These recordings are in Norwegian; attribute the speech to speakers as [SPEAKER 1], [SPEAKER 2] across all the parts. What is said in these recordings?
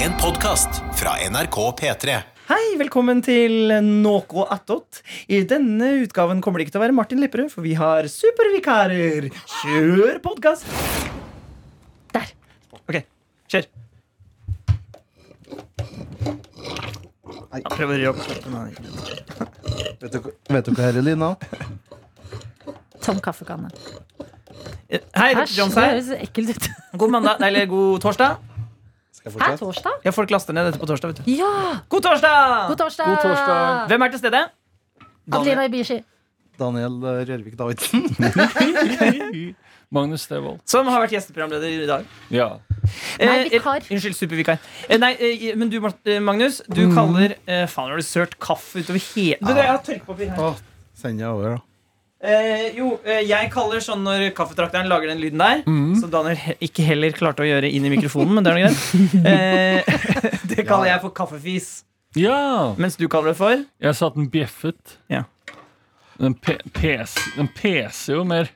[SPEAKER 1] En podcast fra NRK P3.
[SPEAKER 2] Hei, velkommen til Noe attåt. I denne utgaven kommer det ikke til å være Martin Lepperød, for vi har supervikarer. Kjør podkast!
[SPEAKER 3] Der.
[SPEAKER 2] Ok, kjør. Jeg prøver å ri opp. Nei.
[SPEAKER 4] Vet du, vet du hva her er, Lina?
[SPEAKER 3] Tom kaffekanne.
[SPEAKER 2] Eh, Hei, Ruth
[SPEAKER 3] Æsj, det
[SPEAKER 2] Johns her.
[SPEAKER 3] høres ekkelt ut.
[SPEAKER 2] God mandag, nei, eller god torsdag.
[SPEAKER 4] Skal jeg
[SPEAKER 3] Er det
[SPEAKER 4] fortsette?
[SPEAKER 3] torsdag?
[SPEAKER 2] Ja, folk laster ned dette på torsdag, vet du.
[SPEAKER 3] Ja!
[SPEAKER 2] God torsdag!
[SPEAKER 3] God torsdag!
[SPEAKER 4] God torsdag.
[SPEAKER 2] Hvem er til stede?
[SPEAKER 3] Adelina Ibishi.
[SPEAKER 4] Daniel eh, Rørvik Davidsen.
[SPEAKER 5] Magnus Devold.
[SPEAKER 2] Som har vært gjesteprogramleder i dag.
[SPEAKER 5] Ja.
[SPEAKER 3] Nei,
[SPEAKER 2] Eh,
[SPEAKER 3] vikar.
[SPEAKER 2] eh, Unnskyld, supervikar. Eh, nei, eh, men du, Mart- eh, Magnus,
[SPEAKER 5] Mm.
[SPEAKER 2] du kaller eh, Faen, har du sølt kaffe utover Ah. hele Du, jeg har tørkepapir her.
[SPEAKER 4] Å, Send deg over, da.
[SPEAKER 2] Eh, jo, eh, jeg kaller sånn når kaffetrakteren lager den lyden der,
[SPEAKER 5] Mm.
[SPEAKER 2] som Daniel he- ikke heller klarte å gjøre inn i mikrofonen, men det er noe greit. Eh, det kaller jeg for kaffefis.
[SPEAKER 5] ja!
[SPEAKER 2] Mens du kaller det for
[SPEAKER 5] Jeg sa at den bjeffet.
[SPEAKER 2] Ja.
[SPEAKER 5] Den, pe pes den peser jo mer.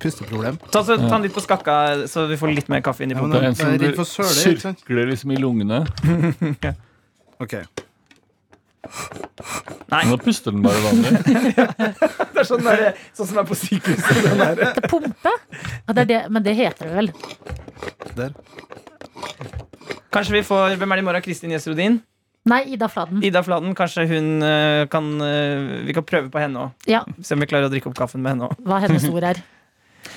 [SPEAKER 4] Pusteproblem.
[SPEAKER 2] Ta, så, ta den litt på skakka, så vi får litt mer kaffe inn i
[SPEAKER 4] Ja, men
[SPEAKER 2] poten.
[SPEAKER 4] Jeg
[SPEAKER 5] Det er en som
[SPEAKER 4] er redd
[SPEAKER 5] du
[SPEAKER 4] for søler, ikke sant?
[SPEAKER 5] sirkler liksom i lungene.
[SPEAKER 4] Ok.
[SPEAKER 5] Nå puster den bare vanlig.
[SPEAKER 2] Det er sånn, der, sånn som er på sykehuset. den der.
[SPEAKER 3] Det er pumpe. Ja, det er det, men det heter det vel.
[SPEAKER 4] Der.
[SPEAKER 2] Kanskje vi får Hvem er det i morgen? Kristin Gjesrodin?
[SPEAKER 3] Nei, Ida Fladen.
[SPEAKER 2] Ida Fladen? Kanskje hun eh, kan eh, Vi kan prøve på henne òg.
[SPEAKER 3] Ja,
[SPEAKER 2] Se om vi klarer å drikke opp kaffen med henne òg.
[SPEAKER 3] hva hennes ord er.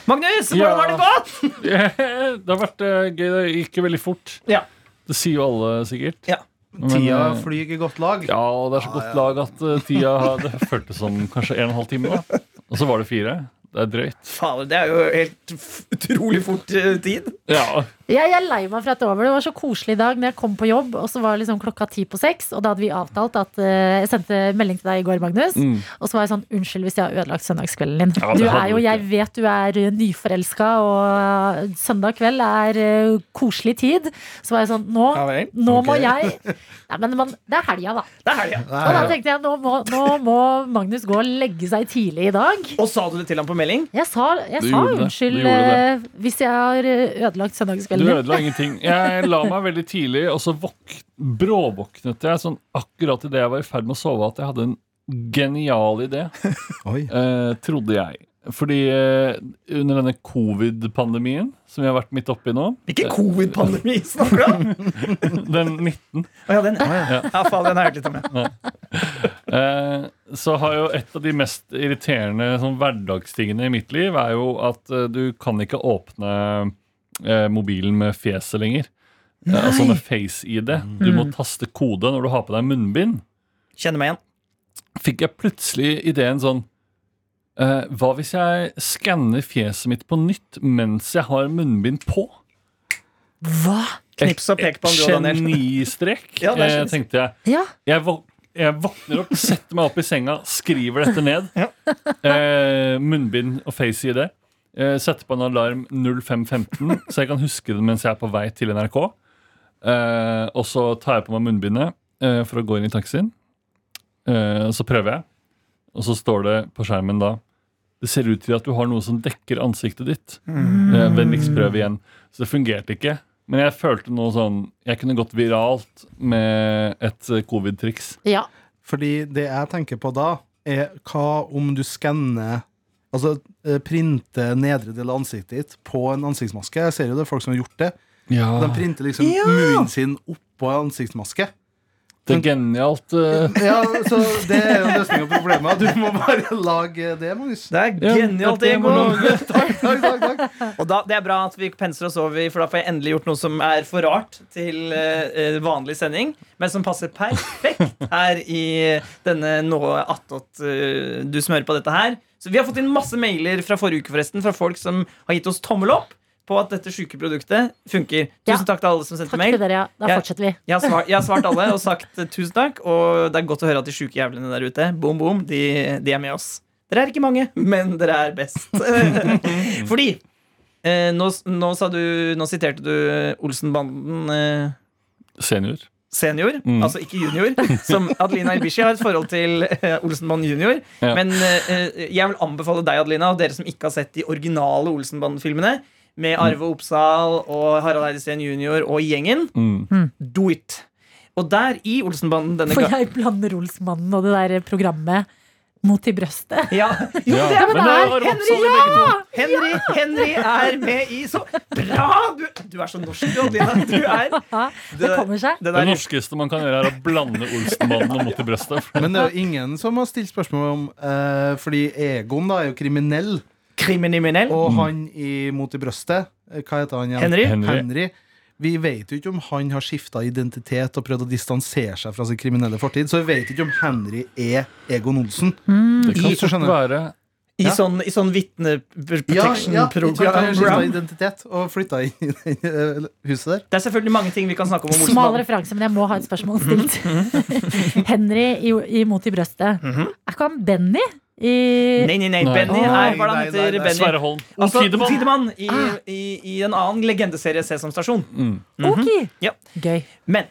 [SPEAKER 2] Magnus, hvordan
[SPEAKER 5] Ja.
[SPEAKER 2] har det gått?
[SPEAKER 5] det har vært eh, gøy. Det gikk jo veldig fort.
[SPEAKER 2] Ja.
[SPEAKER 5] Det sier jo alle sikkert.
[SPEAKER 2] Ja.
[SPEAKER 5] Men,
[SPEAKER 4] Tida
[SPEAKER 5] eh,
[SPEAKER 4] flyr i godt lag.
[SPEAKER 5] Ja, og det er så godt lag at eh, tida har- Det føltes som kanskje en og en halv time. da. Og så var det fire. Det er drøyt.
[SPEAKER 2] Fader, det er jo helt f- utrolig fort eh, tid.
[SPEAKER 5] Ja.
[SPEAKER 3] Jeg, jeg er lei meg for at det var over. Det var så koselig i dag når jeg kom på jobb, og så var liksom klokka ti på seks, og da hadde vi avtalt at eh, Jeg sendte melding til deg i går, Magnus,
[SPEAKER 5] Mm.
[SPEAKER 3] og så var jeg sånn Unnskyld hvis jeg har ødelagt søndagskvelden din.
[SPEAKER 5] Ja, det
[SPEAKER 3] du
[SPEAKER 5] hadde
[SPEAKER 3] er jo,
[SPEAKER 5] du ikke.
[SPEAKER 3] jeg vet du er eh, nyforelska, og eh, søndag kveld er eh, koselig tid. Så var jeg sånn Nå,
[SPEAKER 2] Ja vel.
[SPEAKER 3] nå må
[SPEAKER 4] Ok.
[SPEAKER 3] jeg Nei, men man, det er helga, da.
[SPEAKER 2] Det er helga.
[SPEAKER 4] Nei,
[SPEAKER 3] Og da tenkte jeg nå må, nå må Magnus gå og legge seg tidlig i dag.
[SPEAKER 2] Og sa du det til ham på melding?
[SPEAKER 3] Jeg sa, jeg
[SPEAKER 5] Du
[SPEAKER 3] sa
[SPEAKER 5] gjorde det.
[SPEAKER 3] unnskyld
[SPEAKER 5] Du gjorde
[SPEAKER 3] eh, hvis jeg har eh, ødelagt
[SPEAKER 5] Du
[SPEAKER 3] søndagskvelden din.
[SPEAKER 5] ødela ingenting. Jeg la meg veldig tidlig, og så våk bråvåknet jeg sånn akkurat idet jeg var i ferd med å sove, at jeg hadde en genial idé,
[SPEAKER 4] Oi.
[SPEAKER 5] eh, trodde jeg. Fordi eh, under denne covid-pandemien som vi har vært midt oppi nå, eh,
[SPEAKER 2] Ikke covid-pandemi, snakker du om?
[SPEAKER 5] den 19,
[SPEAKER 2] Å ja, den, ja.
[SPEAKER 5] Ja.
[SPEAKER 2] ja, faen, den har jeg hørt litt om. Ja.
[SPEAKER 5] eh, så har jo et av de mest irriterende sånn, hverdagstingene i mitt liv, er jo at eh, du kan ikke åpne eh, mobilen med fjeset lenger. Eh, altså med face-ID. Du må taste kode når du har på deg munnbind.
[SPEAKER 2] Mm. Kjenner meg igjen.
[SPEAKER 5] fikk jeg plutselig ideen sånn eh, Hva hvis jeg skanner fjeset mitt på nytt mens jeg har munnbind på?
[SPEAKER 3] Hva?
[SPEAKER 2] Knips og pek på han, du og Daniel.
[SPEAKER 5] Genistrek,
[SPEAKER 2] Ja, det er
[SPEAKER 5] eh,
[SPEAKER 2] genistrek.
[SPEAKER 5] tenkte jeg.
[SPEAKER 3] Ja.
[SPEAKER 5] Jeg, våk- jeg våkner opp, setter meg opp i senga, skriver dette ned.
[SPEAKER 2] Ja.
[SPEAKER 5] Eh, munnbind og face-ID. Eh, setter på en alarm 05.15, så jeg kan huske det mens jeg er på vei til NRK. Eh, og så tar jeg på meg munnbindet eh, for å gå inn i taxien. Eh, og så prøver jeg, og så står det på skjermen da Det ser ut til at du har noe som dekker ansiktet ditt.
[SPEAKER 6] Mm.
[SPEAKER 5] Eh, Vennligst prøv igjen. Så det fungerte ikke. Men jeg følte noe sånn Jeg kunne gått viralt med et eh, covid-triks.
[SPEAKER 3] ja.
[SPEAKER 4] Fordi det jeg tenker på da, er hva om du skanner Altså eh, printe nedre del av ansiktet ditt på en ansiktsmaske. Jeg ser jo det er folk som har gjort det. De printer liksom
[SPEAKER 2] Ja.
[SPEAKER 4] munnen sin oppå en ansiktsmaske.
[SPEAKER 5] Det er genialt. eh,
[SPEAKER 4] Ja, så Det er jo løsninga på problemet. Du må bare lage det, Magnus.
[SPEAKER 2] Det er
[SPEAKER 5] Ja,
[SPEAKER 2] genialt,
[SPEAKER 5] dette må
[SPEAKER 2] Ego.
[SPEAKER 5] lages.
[SPEAKER 4] Takk, takk, takk.
[SPEAKER 2] Og da, det er bra at vi penser oss over, for da får jeg endelig gjort noe som er for rart til eh, eh, vanlig sending, men som passer perfekt her i denne nå attåt eh, du smører på dette her. Så vi har fått inn masse mailer fra forrige uke, forresten, fra folk som har gitt oss tommel opp på at dette sjuke produktet funker.
[SPEAKER 3] Ja.
[SPEAKER 2] Tusen takk til alle som sendte
[SPEAKER 3] Takk
[SPEAKER 2] mail.
[SPEAKER 3] til dere, ja. Da
[SPEAKER 2] Jeg-
[SPEAKER 3] fortsetter vi.
[SPEAKER 2] Jeg har, svart, jeg har svart alle og sagt eh, tusen takk. Og det er godt å høre at de sjuke jævlene der ute boom, boom, de, de er med oss. Dere er ikke mange, men dere er best. Fordi eh, nå, s- nå, sa du, nå siterte du Olsenbanden eh,
[SPEAKER 5] Senior.
[SPEAKER 2] senior,
[SPEAKER 5] Mm.
[SPEAKER 2] altså ikke junior, som Adelina Ibishi har et forhold til eh, Olsenbanden junior.
[SPEAKER 5] Ja.
[SPEAKER 2] Men eh, eh, jeg vil anbefale deg, Adelina, og dere som ikke har sett de originale Olsenbanden-filmene,
[SPEAKER 4] Mm.
[SPEAKER 2] med Arve Oppsal og Harald Eide Steen jr. og gjengen.
[SPEAKER 4] Mm.
[SPEAKER 5] Mm.
[SPEAKER 2] Do it! Og der i Olsenbanden denne
[SPEAKER 6] For
[SPEAKER 2] gangen
[SPEAKER 6] jeg blander Olsmannen og det der programmet mot i brøstet.
[SPEAKER 2] ja, jo,
[SPEAKER 5] Ja,
[SPEAKER 2] det er
[SPEAKER 5] men det er Arve Oppsal i begge to.
[SPEAKER 2] Henry, Henry er med i Så bra! Du, du er så norsk, du, Adelina. Du er
[SPEAKER 6] Ja, det kommer seg.
[SPEAKER 2] Det
[SPEAKER 5] Det
[SPEAKER 2] der,
[SPEAKER 5] norskeste man kan gjøre, er å blande Olsenbanden og Mot i brøstet.
[SPEAKER 4] Men det
[SPEAKER 2] eh,
[SPEAKER 4] er jo ingen som har stilt spørsmål om eh, Fordi Egon da er jo kriminell,
[SPEAKER 2] kriminell.
[SPEAKER 4] og han i Mot i brøstet eh, Hva heter han igjen?
[SPEAKER 2] Henry.
[SPEAKER 5] Mm. Henry.
[SPEAKER 4] Henry. Vi vet jo ikke om han har skifta identitet og prøvd å distansere seg fra sin kriminelle fortid. Så vi vet ikke om Henry er Egon Olsen.
[SPEAKER 6] Mm.
[SPEAKER 5] Det
[SPEAKER 4] I-
[SPEAKER 5] kan fort
[SPEAKER 4] skjønner.
[SPEAKER 5] være
[SPEAKER 2] I
[SPEAKER 4] Ja.
[SPEAKER 2] sånn, i sånn
[SPEAKER 4] ikke sant? Han har
[SPEAKER 2] vitne-protection-program.
[SPEAKER 4] skiftet identitet og flytta inn i det eh, huset der.
[SPEAKER 2] Det er selvfølgelig mange ting vi kan snakke om om
[SPEAKER 6] Smal
[SPEAKER 2] Olsenbanden.
[SPEAKER 6] referanse, men jeg må ha et spørsmål stilt. Henry i, i Mot i brøstet. Er ikke han Benny? I,
[SPEAKER 2] Mhm. Nei, nei, nei.
[SPEAKER 5] Nei.
[SPEAKER 2] Benny er hva
[SPEAKER 4] Nei,
[SPEAKER 2] han
[SPEAKER 4] nei, nei,
[SPEAKER 2] heter.
[SPEAKER 4] nei.
[SPEAKER 2] Benny.
[SPEAKER 5] Sverre Holm.
[SPEAKER 2] Altså,
[SPEAKER 5] Tidemann.
[SPEAKER 2] Tidemann i,
[SPEAKER 6] Ah.
[SPEAKER 2] i, i en annen legendeserie, Sesam stasjon.
[SPEAKER 5] Mm.
[SPEAKER 6] Ok!
[SPEAKER 2] Ja.
[SPEAKER 6] Gøy.
[SPEAKER 2] Men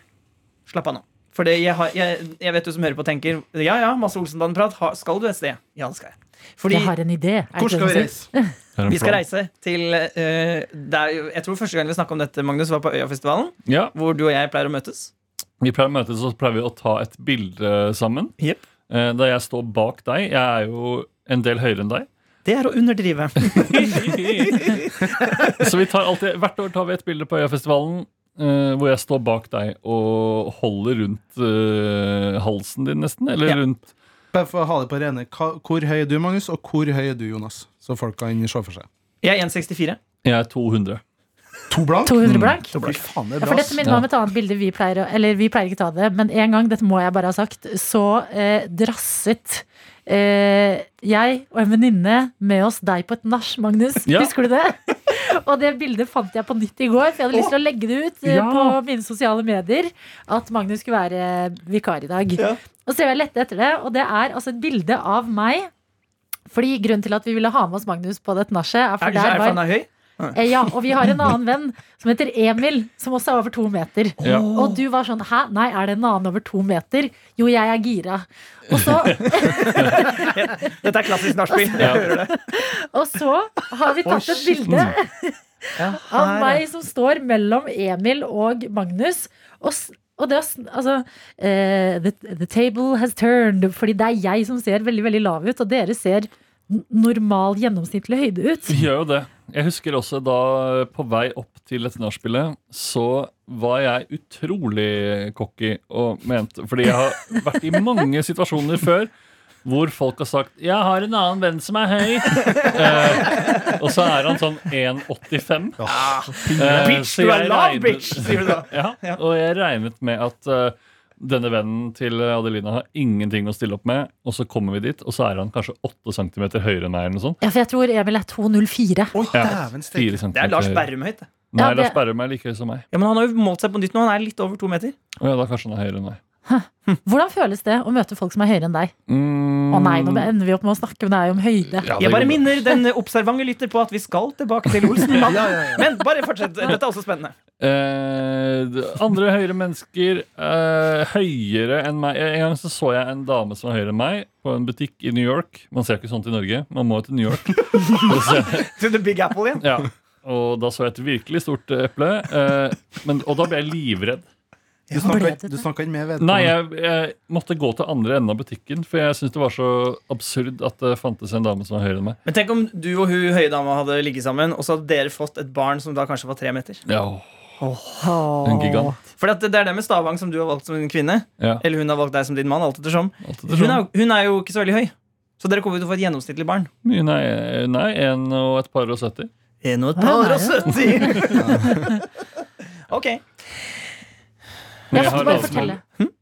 [SPEAKER 2] slapp av nå. For det- jeg, har- jeg, jeg vet du som hører på, tenker ja ja, masse Olsenbanden-prat. Ha- Skal du et sted? Ja, det skal jeg. Fordi
[SPEAKER 6] Jeg har en idé. Er
[SPEAKER 4] Hvor
[SPEAKER 6] det
[SPEAKER 4] skal vi
[SPEAKER 6] det du sier?
[SPEAKER 4] reise?
[SPEAKER 5] Er en
[SPEAKER 2] vi skal
[SPEAKER 5] plan.
[SPEAKER 2] reise til eh, det er jo, Jeg tror første gang vi snakket om dette, Magnus, var på Øyafestivalen.
[SPEAKER 5] Ja,
[SPEAKER 2] Hvor du og jeg pleier å møtes.
[SPEAKER 5] Vi pleier å møtes og så pleier vi å ta et bilde sammen.
[SPEAKER 2] Jep.
[SPEAKER 5] Eh, Da jeg står bak deg. Jeg er jo en del høyere enn deg.
[SPEAKER 2] Det er å underdrive.
[SPEAKER 5] Så vi tar alltid, Hvert år tar vi et bilde på Øyafestivalen eh, hvor jeg står bak deg og holder rundt eh, halsen din, nesten. Eller
[SPEAKER 2] Ja.
[SPEAKER 5] rundt
[SPEAKER 4] Bare for å ha det på rene. hva- Hvor høy er du, Magnus, og hvor høy er du, Jonas? Så folk kan se for seg.
[SPEAKER 2] Jeg er 1,64.
[SPEAKER 5] Jeg er 200.
[SPEAKER 4] To blank?
[SPEAKER 6] 200 blank?
[SPEAKER 4] Fy faen, det er
[SPEAKER 6] Ja, for
[SPEAKER 4] bra.
[SPEAKER 6] dette minner meg om et annet bilde vi pleier å Eller vi pleier ikke ta det, men en gang, dette må jeg bare ha sagt, så eh, drasset eh, jeg og en venninne med oss deg på et nach, Magnus.
[SPEAKER 5] Ja.
[SPEAKER 6] Husker du det? og det bildet fant jeg på nytt i går, for jeg hadde lyst til å legge det ut eh,
[SPEAKER 5] Ja.
[SPEAKER 6] på mine sosiale medier at Magnus skulle være eh, vikar i dag. Og så jeg lette etter det, og det er altså et bilde av meg. Fordi Grunnen til at vi ville ha med oss Magnus på dette nachet, er
[SPEAKER 2] Er
[SPEAKER 6] for
[SPEAKER 2] det ikke
[SPEAKER 6] der
[SPEAKER 2] derfor han
[SPEAKER 6] var
[SPEAKER 2] er høy?
[SPEAKER 6] eh, Ja, og vi har en annen venn som heter Emil, som også er over to meter.
[SPEAKER 5] Ja.
[SPEAKER 6] Og du var sånn Hæ, nei, er det en annen over to meter? Jo, jeg er gira. Og så,
[SPEAKER 2] Dette er klassisk nachspiel. Jeg
[SPEAKER 5] Ja.
[SPEAKER 2] hører det.
[SPEAKER 6] og så har vi tatt et bilde av meg som står mellom Emil og Magnus. Og, s- og det, er s- altså eh, the, the table has turned. Fordi det er jeg som ser veldig, veldig lav ut, og dere ser n- normal, gjennomsnittlig høyde ut.
[SPEAKER 5] Vi gjør jo det. Jeg husker også da eh, på vei opp til dette nachspielet, så var jeg utrolig cocky og mente Fordi jeg har vært i mange situasjoner før hvor folk har sagt 'Jeg har en annen venn som er høy'. Eh, og så er han sånn 1,85. Eh,
[SPEAKER 2] Bitch,
[SPEAKER 5] så
[SPEAKER 2] du er
[SPEAKER 5] jeg
[SPEAKER 2] lav,
[SPEAKER 5] regnet-
[SPEAKER 2] bitch! Sier du da.
[SPEAKER 5] ja, og jeg regnet med at eh, denne vennen til Adelina har ingenting å stille opp med, og så kommer vi dit, og så er han kanskje 8 cm høyere enn meg. eller noe sånt.
[SPEAKER 6] Ja, for jeg tror Emil er 2,04.
[SPEAKER 4] Oi,
[SPEAKER 5] Ja.
[SPEAKER 4] dæven steike.
[SPEAKER 5] Fire
[SPEAKER 2] Det er
[SPEAKER 5] centimeter
[SPEAKER 2] Lars
[SPEAKER 5] høyere.
[SPEAKER 2] Berrum høyt. det.
[SPEAKER 5] Nei,
[SPEAKER 6] Ja, det-
[SPEAKER 5] Lars Berrum er like høy som meg.
[SPEAKER 2] Ja, men han har jo målt seg på nytt nå. Han er litt over to meter.
[SPEAKER 5] Å ja, da kanskje han er høyere enn meg.
[SPEAKER 6] Hvordan føles det å møte folk som er høyere enn deg?
[SPEAKER 5] Mm,
[SPEAKER 6] Å nei, nå ender vi opp med å snakke, men det er jo om høyde.
[SPEAKER 5] ja, det
[SPEAKER 2] Jeg bare
[SPEAKER 5] går bra.
[SPEAKER 2] minner den observante lytter på at vi skal tilbake til Olsenbanden. Men bare fortsett. Dette er også spennende.
[SPEAKER 5] Eh, d- andre høyere mennesker eh, høyere enn meg. En gang så, så jeg en dame som var høyere enn meg, på en butikk i New York. Man ser jo ikke sånt i Norge. Man må jo til New York. Og så-
[SPEAKER 2] Til The Big Apple igjen.
[SPEAKER 5] Ja, og da så jeg et virkelig stort eh, eple. eh, men, og da ble jeg livredd.
[SPEAKER 4] Du snakka ikke- du snakka ikke med vedkommende?
[SPEAKER 5] Nei, jeg, jeg måtte gå til andre enden av butikken, for jeg syntes det var så absurd at det fantes en dame som var høyere enn meg.
[SPEAKER 2] Men tenk om du og hun høye dama hadde ligget sammen, og så hadde dere fått et barn som da kanskje var tre meter.
[SPEAKER 5] Ja, en gigant.
[SPEAKER 2] For det er det med Stavang som du har valgt som en kvinne.
[SPEAKER 5] Ja,
[SPEAKER 2] Eller hun har valgt deg som din mann. alt ettersom
[SPEAKER 5] alt etter
[SPEAKER 2] Hun er,
[SPEAKER 5] sånn.
[SPEAKER 2] jo- hun er jo ikke så veldig høy. Så dere kommer jo til å få et gjennomsnittlig barn.
[SPEAKER 5] Mye Nei, nei, en og et par og sytti.
[SPEAKER 2] En og et
[SPEAKER 6] par og
[SPEAKER 2] par og 70. Ok.
[SPEAKER 5] Men
[SPEAKER 6] Jeg måtte
[SPEAKER 5] jeg har Hm?
[SPEAKER 6] bare
[SPEAKER 5] lave
[SPEAKER 6] fortelle.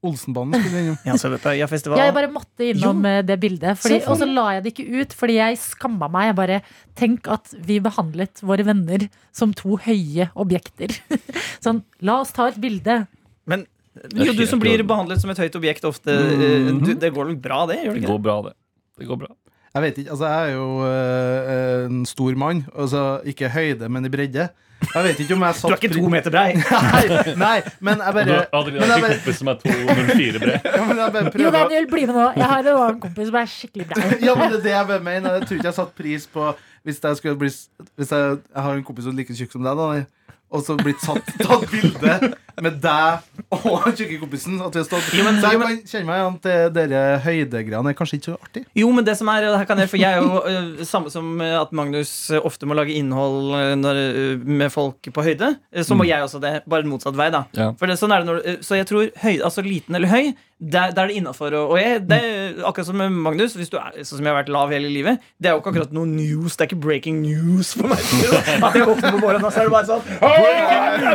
[SPEAKER 4] Olsenbanen skulle innom.
[SPEAKER 2] Ja, så er vi på Øyafestivalen.
[SPEAKER 6] Ja, jeg bare måtte innom eh, det bildet. Fordi,
[SPEAKER 2] Selvfølgelig.
[SPEAKER 6] og så la jeg det ikke ut, fordi jeg skamma meg. Jeg bare, Tenk at vi behandlet våre venner som to høye objekter. sånn, la oss ta et bilde.
[SPEAKER 2] Men jo, du som blir behandlet som et høyt objekt ofte, eh, du, det går vel bra, det? Gjør det
[SPEAKER 5] Mhm. Det
[SPEAKER 2] ikke?
[SPEAKER 5] går bra, det. Det går bra.
[SPEAKER 4] Jeg vet ikke, altså jeg er jo øh, en stor mann. Altså ikke høyde, men i bredde. Jeg vet ikke om jeg satt
[SPEAKER 2] Du er ikke to meter brei.
[SPEAKER 4] Nei, nei, men jeg bare,
[SPEAKER 5] Adelina
[SPEAKER 4] men
[SPEAKER 5] har
[SPEAKER 4] jeg
[SPEAKER 5] ikke
[SPEAKER 4] bare,
[SPEAKER 5] kompis som er 204 bred.
[SPEAKER 4] ja, men jeg bare
[SPEAKER 6] Jo,
[SPEAKER 4] prøver å
[SPEAKER 6] Daniel, bli med nå. Jeg har en annen kompis som er skikkelig brei.
[SPEAKER 4] ja, men det er det jeg bare mener. Jeg tror ikke jeg satte pris på hvis jeg skulle bli Hvis jeg, jeg har en kompis som er like tjukk som deg, da, og så blitt tatt, tatt bilde med deg og den tjukke kompisen at vi har stått.
[SPEAKER 2] Jo, men-
[SPEAKER 4] så jeg
[SPEAKER 2] jo, men-
[SPEAKER 4] kan kjenne meg igjen til dere høydegreiene. er Kanskje ikke så artig.
[SPEAKER 2] Jo, men det som er, og her kan jeg, for jeg er jo eh, samme som eh, at Magnus eh, ofte må lage innhold eh, når, eh, med folk på høyde. eh, Så må jeg også det, bare en motsatt vei. da
[SPEAKER 5] Mm. Ja.
[SPEAKER 2] for det, sånn er det når, eh, Så jeg tror høy, altså liten eller høy, der, der er det innafor. Og, og jeg, det,
[SPEAKER 5] Mm.
[SPEAKER 2] er akkurat som med Magnus, hvis du er, sånn som jeg har vært lav hele livet, det er jo ikke akkurat noe news. Det er ikke breaking news for meg. At jeg våkner på morgenen, og så er det bare sånn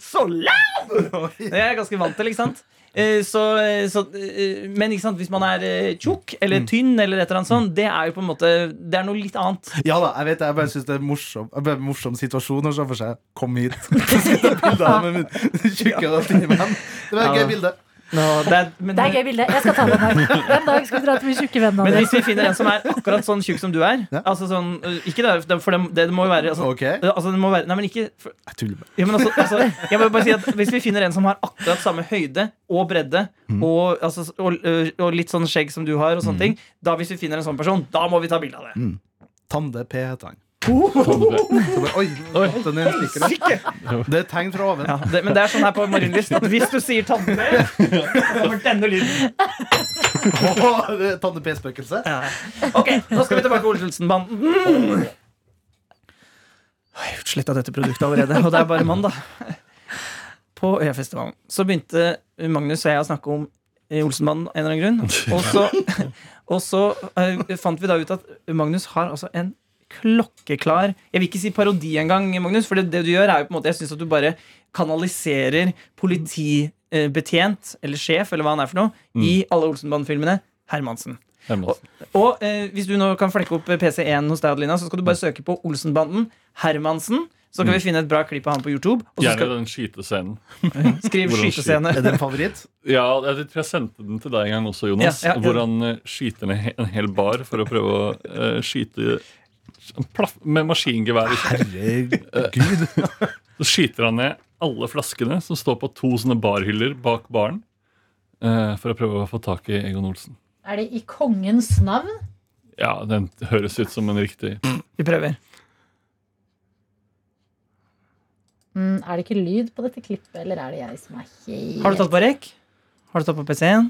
[SPEAKER 2] så lav! Det er jeg ganske vant til, ikke sant? Eh, Så, så, eh, men ikke sant, hvis man er eh, tjukk eller tynn, eller et eller annet sånt, det er jo på en måte Det er noe litt annet.
[SPEAKER 4] Ja da, jeg vet det. Jeg bare syns det er morsom, jeg bare, morsom situasjon å se for seg. Kom hit. Sitte og bilde av meg med min tjukke og tynne venn. Det var et
[SPEAKER 2] Ja.
[SPEAKER 4] gøy bilde.
[SPEAKER 2] det er, men, eh,
[SPEAKER 3] Det er gøy bilde. Jeg skal ta det med meg. En dag skal vi dra til mine tjukke venner.
[SPEAKER 2] men hvis vi finner en som er akkurat sånn tjukk som du er
[SPEAKER 4] Ja.
[SPEAKER 2] Altså sånn, eh, Ikke det, for det, det må jo være altså,
[SPEAKER 4] Ok,
[SPEAKER 2] eh, altså, det må være, Nei, men ikke for,
[SPEAKER 4] jeg tuller med
[SPEAKER 2] ja, men altså, altså, Jeg må bare si at Hvis vi finner en som har akkurat samme høyde og bredde
[SPEAKER 4] Mm.
[SPEAKER 2] og, altså, og, eh, og litt sånn skjegg som du har, og sånne ting Da hvis vi finner en sånn person, da må vi ta bilde av det.
[SPEAKER 4] Tande P heter han.
[SPEAKER 5] Tande.
[SPEAKER 4] Så bare, oi,
[SPEAKER 5] Oi.
[SPEAKER 4] den er en stikker. Det er et tegn fra oven.
[SPEAKER 2] Ja, det, men det er sånn her på Marienlyst at hvis du sier tante, så kommer denne lyden.
[SPEAKER 4] Åh, det er Tande P-spøkelse.
[SPEAKER 2] Ok, nå skal vi tilbake til Ole Olsen-banden. Mm. Jeg har gjort slett av dette produktet allerede, og det er bare mann, da. På Øyafestivalen så begynte Magnus og jeg å snakke om eh, Olsenbanden av en eller annen grunn. Og så, og så eh, fant vi da ut at Magnus har altså en klokkeklar Jeg vil ikke si parodi engang, Magnus, for det, det du gjør, er jo på en måte Jeg syns at du bare kanaliserer politibetjent, eh, eller sjef, eller hva han er for noe, i alle Olsenbanden-filmene. Hermansen.
[SPEAKER 5] Hermansen.
[SPEAKER 2] Og eh, hvis du nå kan flekke opp eh, PC1 hos deg, Adelina, så skal du bare søke på Olsenbanden Hermansen. Så kan vi finne et bra klipp av han på YouTube. Og så
[SPEAKER 5] Mm. Gjerne
[SPEAKER 2] skal,
[SPEAKER 5] den skytescenen.
[SPEAKER 2] skriv
[SPEAKER 5] Hvordan
[SPEAKER 2] skytescene.
[SPEAKER 4] Er det en favoritt?
[SPEAKER 5] Ja, jeg tror jeg sendte den til deg en gang også, Jonas.
[SPEAKER 2] Ja, ja, ja.
[SPEAKER 5] Hvor han eh, skyter ned he- en hel bar for å prøve å eh, skyte han plaff- med maskingevær. Eh,
[SPEAKER 4] Herregud.
[SPEAKER 5] Så skyter han ned alle flaskene som står på to sånne barhyller bak baren. eh, for å prøve å få tak i Egon Olsen.
[SPEAKER 3] Er det i kongens navn?
[SPEAKER 5] Ja, den høres ut som en riktig
[SPEAKER 2] Vi prøver.
[SPEAKER 3] Mm, er det ikke lyd på dette klippet, eller er det jeg som er helt
[SPEAKER 2] Har du tatt på rek? Har du tatt på PC1?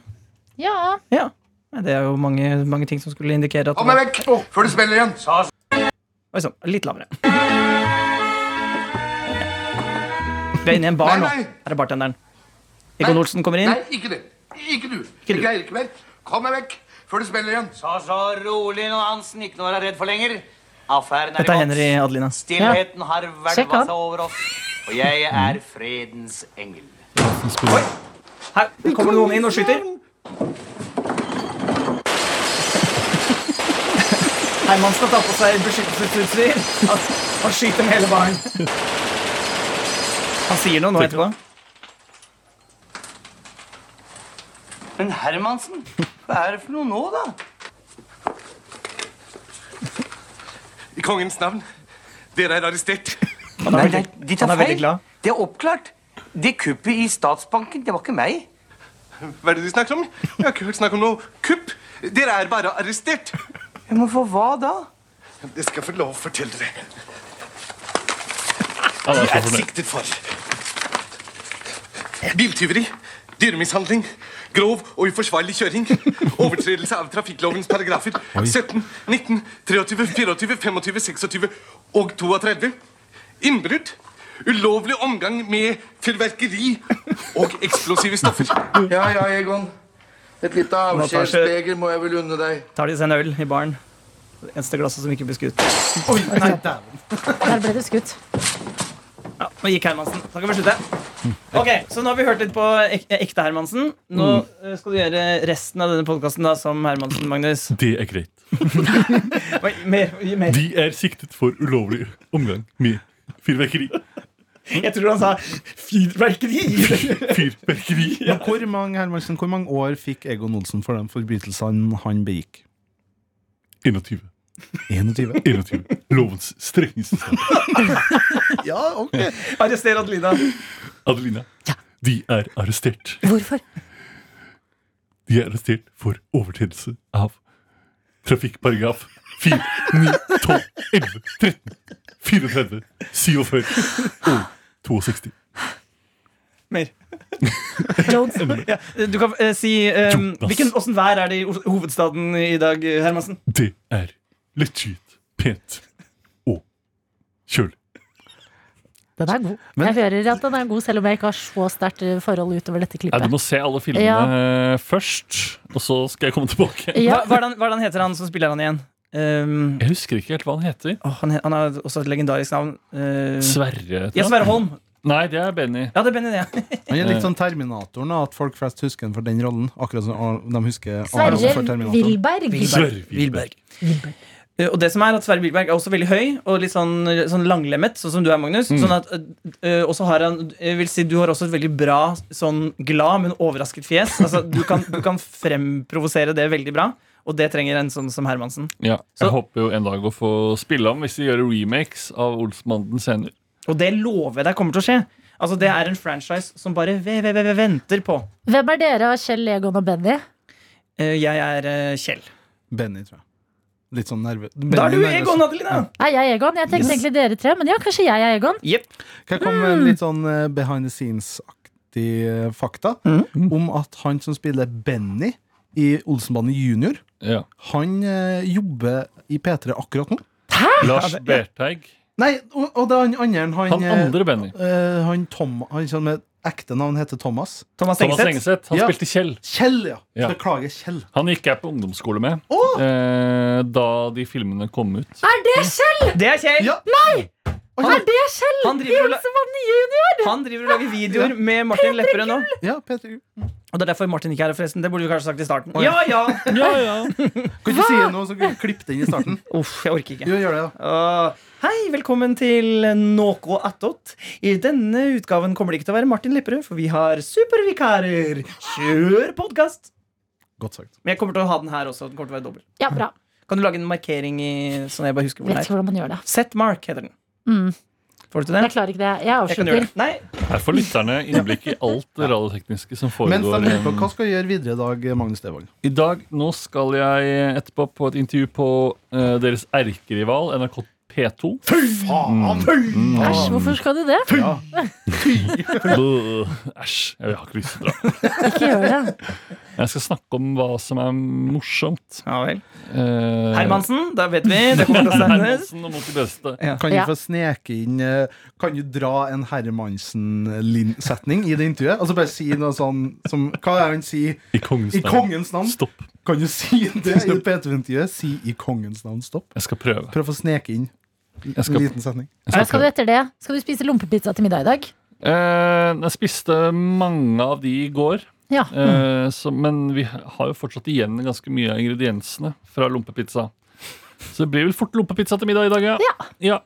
[SPEAKER 3] Ja.
[SPEAKER 2] Ja. Nei, Det er jo mange, mange ting som skulle indikere at
[SPEAKER 7] Kom deg vekk nå, før du smeller igjen.
[SPEAKER 2] Oi sann, litt lavere. Vi er inne i en bar nå.
[SPEAKER 7] Nei, nei.
[SPEAKER 2] Her er bartenderen. Egon Olsen kommer inn.
[SPEAKER 7] Nei, ikke det. Ikke du.
[SPEAKER 2] du.
[SPEAKER 7] Ikke jeg, ikke mer. Kom deg vekk, før du smeller igjen.
[SPEAKER 8] Ta så rolig nå, Hansen. Ikke noe å være redd for lenger. Affæren er
[SPEAKER 2] Dette er
[SPEAKER 8] i
[SPEAKER 2] Henry
[SPEAKER 8] boks.
[SPEAKER 2] Adelina.
[SPEAKER 8] Stillheten har
[SPEAKER 3] Sjekk
[SPEAKER 8] hvelva
[SPEAKER 3] han.
[SPEAKER 8] seg over oss, og jeg
[SPEAKER 2] Mm.
[SPEAKER 8] er fredens engel.
[SPEAKER 2] Her kommer noen inn og skyter. Hermansen har tatt på seg beskyttelsesutstyr. Han- Han skyter med hele baren. Han sier noe nå etterpå.
[SPEAKER 8] Men Hermansen, hva er det for noe nå, da?
[SPEAKER 7] I kongens navn. Dere er arrestert.
[SPEAKER 2] Han er veldig,
[SPEAKER 8] de
[SPEAKER 2] han er veldig glad.
[SPEAKER 8] Det er oppklart. Det kuppet i Statsbanken, det var ikke meg.
[SPEAKER 7] Hva er det du snakker om? Jeg har ikke hørt snakk om noe kupp. Dere er bare arrestert.
[SPEAKER 8] Ja, Men for hva da?
[SPEAKER 7] Det skal jeg få lov å fortelle dere.
[SPEAKER 5] Han er
[SPEAKER 7] Jeg
[SPEAKER 5] så
[SPEAKER 7] er
[SPEAKER 5] fornøyd.
[SPEAKER 7] siktet for biltyveri, dyremishandling, grov og uforsvarlig kjøring, overtredelse av trafikklovens paragrafer 17, 19, 23, 24, 25, 26 og 32, innbrudd, ulovlig omgang med fyrverkeri og eksplosive stoffer.
[SPEAKER 9] Ja, ja, Egon. Et lite avskjedsbeger må jeg vel unne deg.
[SPEAKER 2] Tar de seg en øl i baren. Det eneste glasset som ikke ble skutt.
[SPEAKER 4] Oi, nei, dæven.
[SPEAKER 3] Der ble du skutt.
[SPEAKER 2] Ja, nå gikk Hermansen. Da kan vi slutte. Ok, Så nå har vi hørt litt på ek ekte Hermansen. Nå
[SPEAKER 5] Mm.
[SPEAKER 2] eh, skal du gjøre resten av denne podkasten som Hermansen, Magnus.
[SPEAKER 5] Det er greit.
[SPEAKER 2] Oi, mer, mer.
[SPEAKER 5] De er siktet for ulovlig omgang med fyrverkeri.
[SPEAKER 2] Jeg tror han sa fyrverkeri.
[SPEAKER 5] Fyrverkeri.
[SPEAKER 4] Men hvor mange, Hermansen, hvor mange år fikk Egon Olsen for de forbrytelsene han begikk?
[SPEAKER 5] 21.
[SPEAKER 4] 21.
[SPEAKER 5] 21. Lovens strengeste straff.
[SPEAKER 4] Ja, ok.
[SPEAKER 2] Arrester Adelina.
[SPEAKER 5] Adelina, de er arrestert.
[SPEAKER 3] Hvorfor?
[SPEAKER 5] De er arrestert for overtredelse av trafikkparagraf 4, 9, 12, 11, 13, 34, 47 og 62.
[SPEAKER 2] Mer.
[SPEAKER 3] Jones.
[SPEAKER 2] Ja, du kan eh, si eh,
[SPEAKER 5] Jonas.
[SPEAKER 2] hvilken, Hvordan vær er det i Os- hovedstaden i dag, Hermansen?
[SPEAKER 5] Det er legit, pent og kjølig.
[SPEAKER 3] Den er god.
[SPEAKER 4] Men-
[SPEAKER 3] jeg hører at den er god, selv om jeg ikke har så sterkt eh, forhold utover dette
[SPEAKER 5] Ja, du
[SPEAKER 3] klippet.
[SPEAKER 5] må se alle filmene eh, først, og så skal jeg komme tilbake.
[SPEAKER 3] Ja,
[SPEAKER 2] Hva, hvordan, hvordan heter han som spiller han igjen? Um,
[SPEAKER 5] Jeg husker ikke helt hva han heter.
[SPEAKER 2] åh, han, he- han har også et legendarisk navn. Uh,
[SPEAKER 5] Sverre? heter
[SPEAKER 2] ja,
[SPEAKER 5] han.
[SPEAKER 2] Sverre Holm.
[SPEAKER 5] Nei, det er Benny. Eh.
[SPEAKER 2] Ja, det er Benny, det.
[SPEAKER 4] Men det
[SPEAKER 2] Eh.
[SPEAKER 4] er litt sånn Terminatoren, da, at folk flest husker den for den rollen. Akkurat som Ar- de husker Arnold for
[SPEAKER 3] Sverre
[SPEAKER 4] Terminatoren.
[SPEAKER 3] Wilberg.
[SPEAKER 5] Sverre
[SPEAKER 2] Wilberg. Eh, Og det som er at Sverre Bilberg er også veldig høy og litt sånn, sånn langlemmet, sånn som du er, Magnus. Sånn at, eh, eh, og så har han jeg vil si, Du har også et veldig bra sånn glad, men overrasket fjes. Altså, du, kan, du kan fremprovosere det veldig bra, og det trenger en sånn som Hermansen.
[SPEAKER 5] Ja,
[SPEAKER 2] Så-
[SPEAKER 5] jeg håper jo en dag å få spille ham hvis de gjør remakes av Olsmannen senere.
[SPEAKER 2] Og det lover jeg deg kommer til å skje. Altså, Det er en franchise som bare ve- ve- ve- ve- venter på.
[SPEAKER 3] Hvem er dere av Kjell Egon og Benny?
[SPEAKER 2] Eh, Jeg er eh, Kjell.
[SPEAKER 4] Benny, tror jeg. Litt sånn nerve...
[SPEAKER 2] Da
[SPEAKER 4] Benny
[SPEAKER 2] er du
[SPEAKER 4] nervøs.
[SPEAKER 2] Egon, Adelina!
[SPEAKER 3] Er jeg Egon? Jeg tenkte egentlig dere tre, men ja, kanskje jeg er Egon.
[SPEAKER 2] Jepp.
[SPEAKER 4] Kan jeg komme
[SPEAKER 3] Mm.
[SPEAKER 4] med en litt sånn eh, behind the scenes-aktig eh, fakta
[SPEAKER 2] Mm.
[SPEAKER 4] om at han som spiller Benny i Olsenbanen junior,
[SPEAKER 5] Ja.
[SPEAKER 4] han eh, jobber i P3 akkurat nå.
[SPEAKER 5] Lars Berteig.
[SPEAKER 4] Nei, og, og det er han andre enn han
[SPEAKER 5] Han
[SPEAKER 4] eh,
[SPEAKER 5] andre Benny.
[SPEAKER 4] eh, han, Tom, han som med ekte navn heter Thomas.
[SPEAKER 2] Thomas
[SPEAKER 5] Thomas
[SPEAKER 2] Engseth.
[SPEAKER 5] Engeseth. Han
[SPEAKER 4] Ja.
[SPEAKER 5] spilte Kjell.
[SPEAKER 4] Kjell, ja.
[SPEAKER 5] Ja.
[SPEAKER 4] Beklager, Kjell.
[SPEAKER 5] Han gikk jeg på ungdomsskole med eh, da de filmene kom ut.
[SPEAKER 3] Er det Kjell?
[SPEAKER 2] Det er Kjell!
[SPEAKER 4] Ja.
[SPEAKER 3] Er det Kjell?
[SPEAKER 2] Han driver og la-
[SPEAKER 3] Olsenmannen junior!
[SPEAKER 2] Han driver og lager videoer med Martin Lepperød nå.
[SPEAKER 4] Ja, P3.
[SPEAKER 2] Og det er derfor Martin ikke er her, forresten. Det burde vi kanskje sagt i starten. Ja, ja!
[SPEAKER 5] Ja, ja.
[SPEAKER 4] Kan ikke si noe som klippet inn i starten.
[SPEAKER 2] Uff, jeg orker ikke.
[SPEAKER 4] Jo, gjør det, da.
[SPEAKER 2] Åh, hei, velkommen til Noco attåt. I denne utgaven kommer det ikke til å være Martin Lepperød, for vi har supervikarer. Kjør podkast!
[SPEAKER 4] Godt sagt.
[SPEAKER 2] Men jeg kommer til å ha den her også. Den kommer til å være dobbelt.
[SPEAKER 3] Ja, bra.
[SPEAKER 2] Kan du lage en markering i sånn jeg bare husker hvor den
[SPEAKER 3] Vet ikke
[SPEAKER 2] er?
[SPEAKER 3] hvordan man gjør det.
[SPEAKER 2] Set mark heter den.
[SPEAKER 3] Mm.
[SPEAKER 2] Får du til
[SPEAKER 3] Jeg
[SPEAKER 2] det?
[SPEAKER 3] klarer ikke det.
[SPEAKER 2] Jeg
[SPEAKER 3] Jeg
[SPEAKER 2] kan gjøre
[SPEAKER 3] avslutter.
[SPEAKER 2] det. Nei,
[SPEAKER 5] Her får lytterne innblikk i alt det radiotekniske som
[SPEAKER 4] Mens de
[SPEAKER 5] foregår.
[SPEAKER 4] lurer på,
[SPEAKER 5] eh,
[SPEAKER 4] Hva skal vi gjøre videre i dag, Magnus Devold?
[SPEAKER 5] I dag, nå skal jeg etterpå på et intervju på eh, deres erkerival, NRK Mm. P2.
[SPEAKER 4] Faen!
[SPEAKER 3] Æsj, hvorfor skal du det?
[SPEAKER 4] Ja.
[SPEAKER 5] Bløh. Æsj, jeg har ikke lyst til å dra.
[SPEAKER 3] Ikke gjør det.
[SPEAKER 5] Jeg skal snakke om hva som er morsomt.
[SPEAKER 2] ja vel.
[SPEAKER 5] Eh,
[SPEAKER 2] Hermansen, da vet vi. Det kommer til å sendes.
[SPEAKER 5] Hermansen og Mot de beste.
[SPEAKER 4] Kan du
[SPEAKER 3] Ja.
[SPEAKER 4] få sneke inn eh, Kan du dra en Hermansen-setning i det intervjuet? Altså Bare si noe sånn som Hva er det han sier?
[SPEAKER 5] I kongens
[SPEAKER 4] I
[SPEAKER 5] navn.
[SPEAKER 4] kongens navn?
[SPEAKER 5] Stopp.
[SPEAKER 4] Kan du si det i P2-intervjuet? Si 'i kongens navn', stopp.
[SPEAKER 5] Jeg skal prøve.
[SPEAKER 4] Prøv å sneke inn
[SPEAKER 5] Jeg
[SPEAKER 4] en
[SPEAKER 5] skal,
[SPEAKER 4] liten setning.
[SPEAKER 5] jeg skal
[SPEAKER 3] Skal du
[SPEAKER 5] prøve.
[SPEAKER 3] etter det? Skal du spise lompepizza til middag i dag?
[SPEAKER 5] Eh, jeg spiste mange av de i går,
[SPEAKER 3] Ja.
[SPEAKER 5] eh, så, men vi har jo fortsatt igjen ganske mye av ingrediensene fra lompepizza. Så det blir vel fort lompepizza til middag i dag, ja. ja.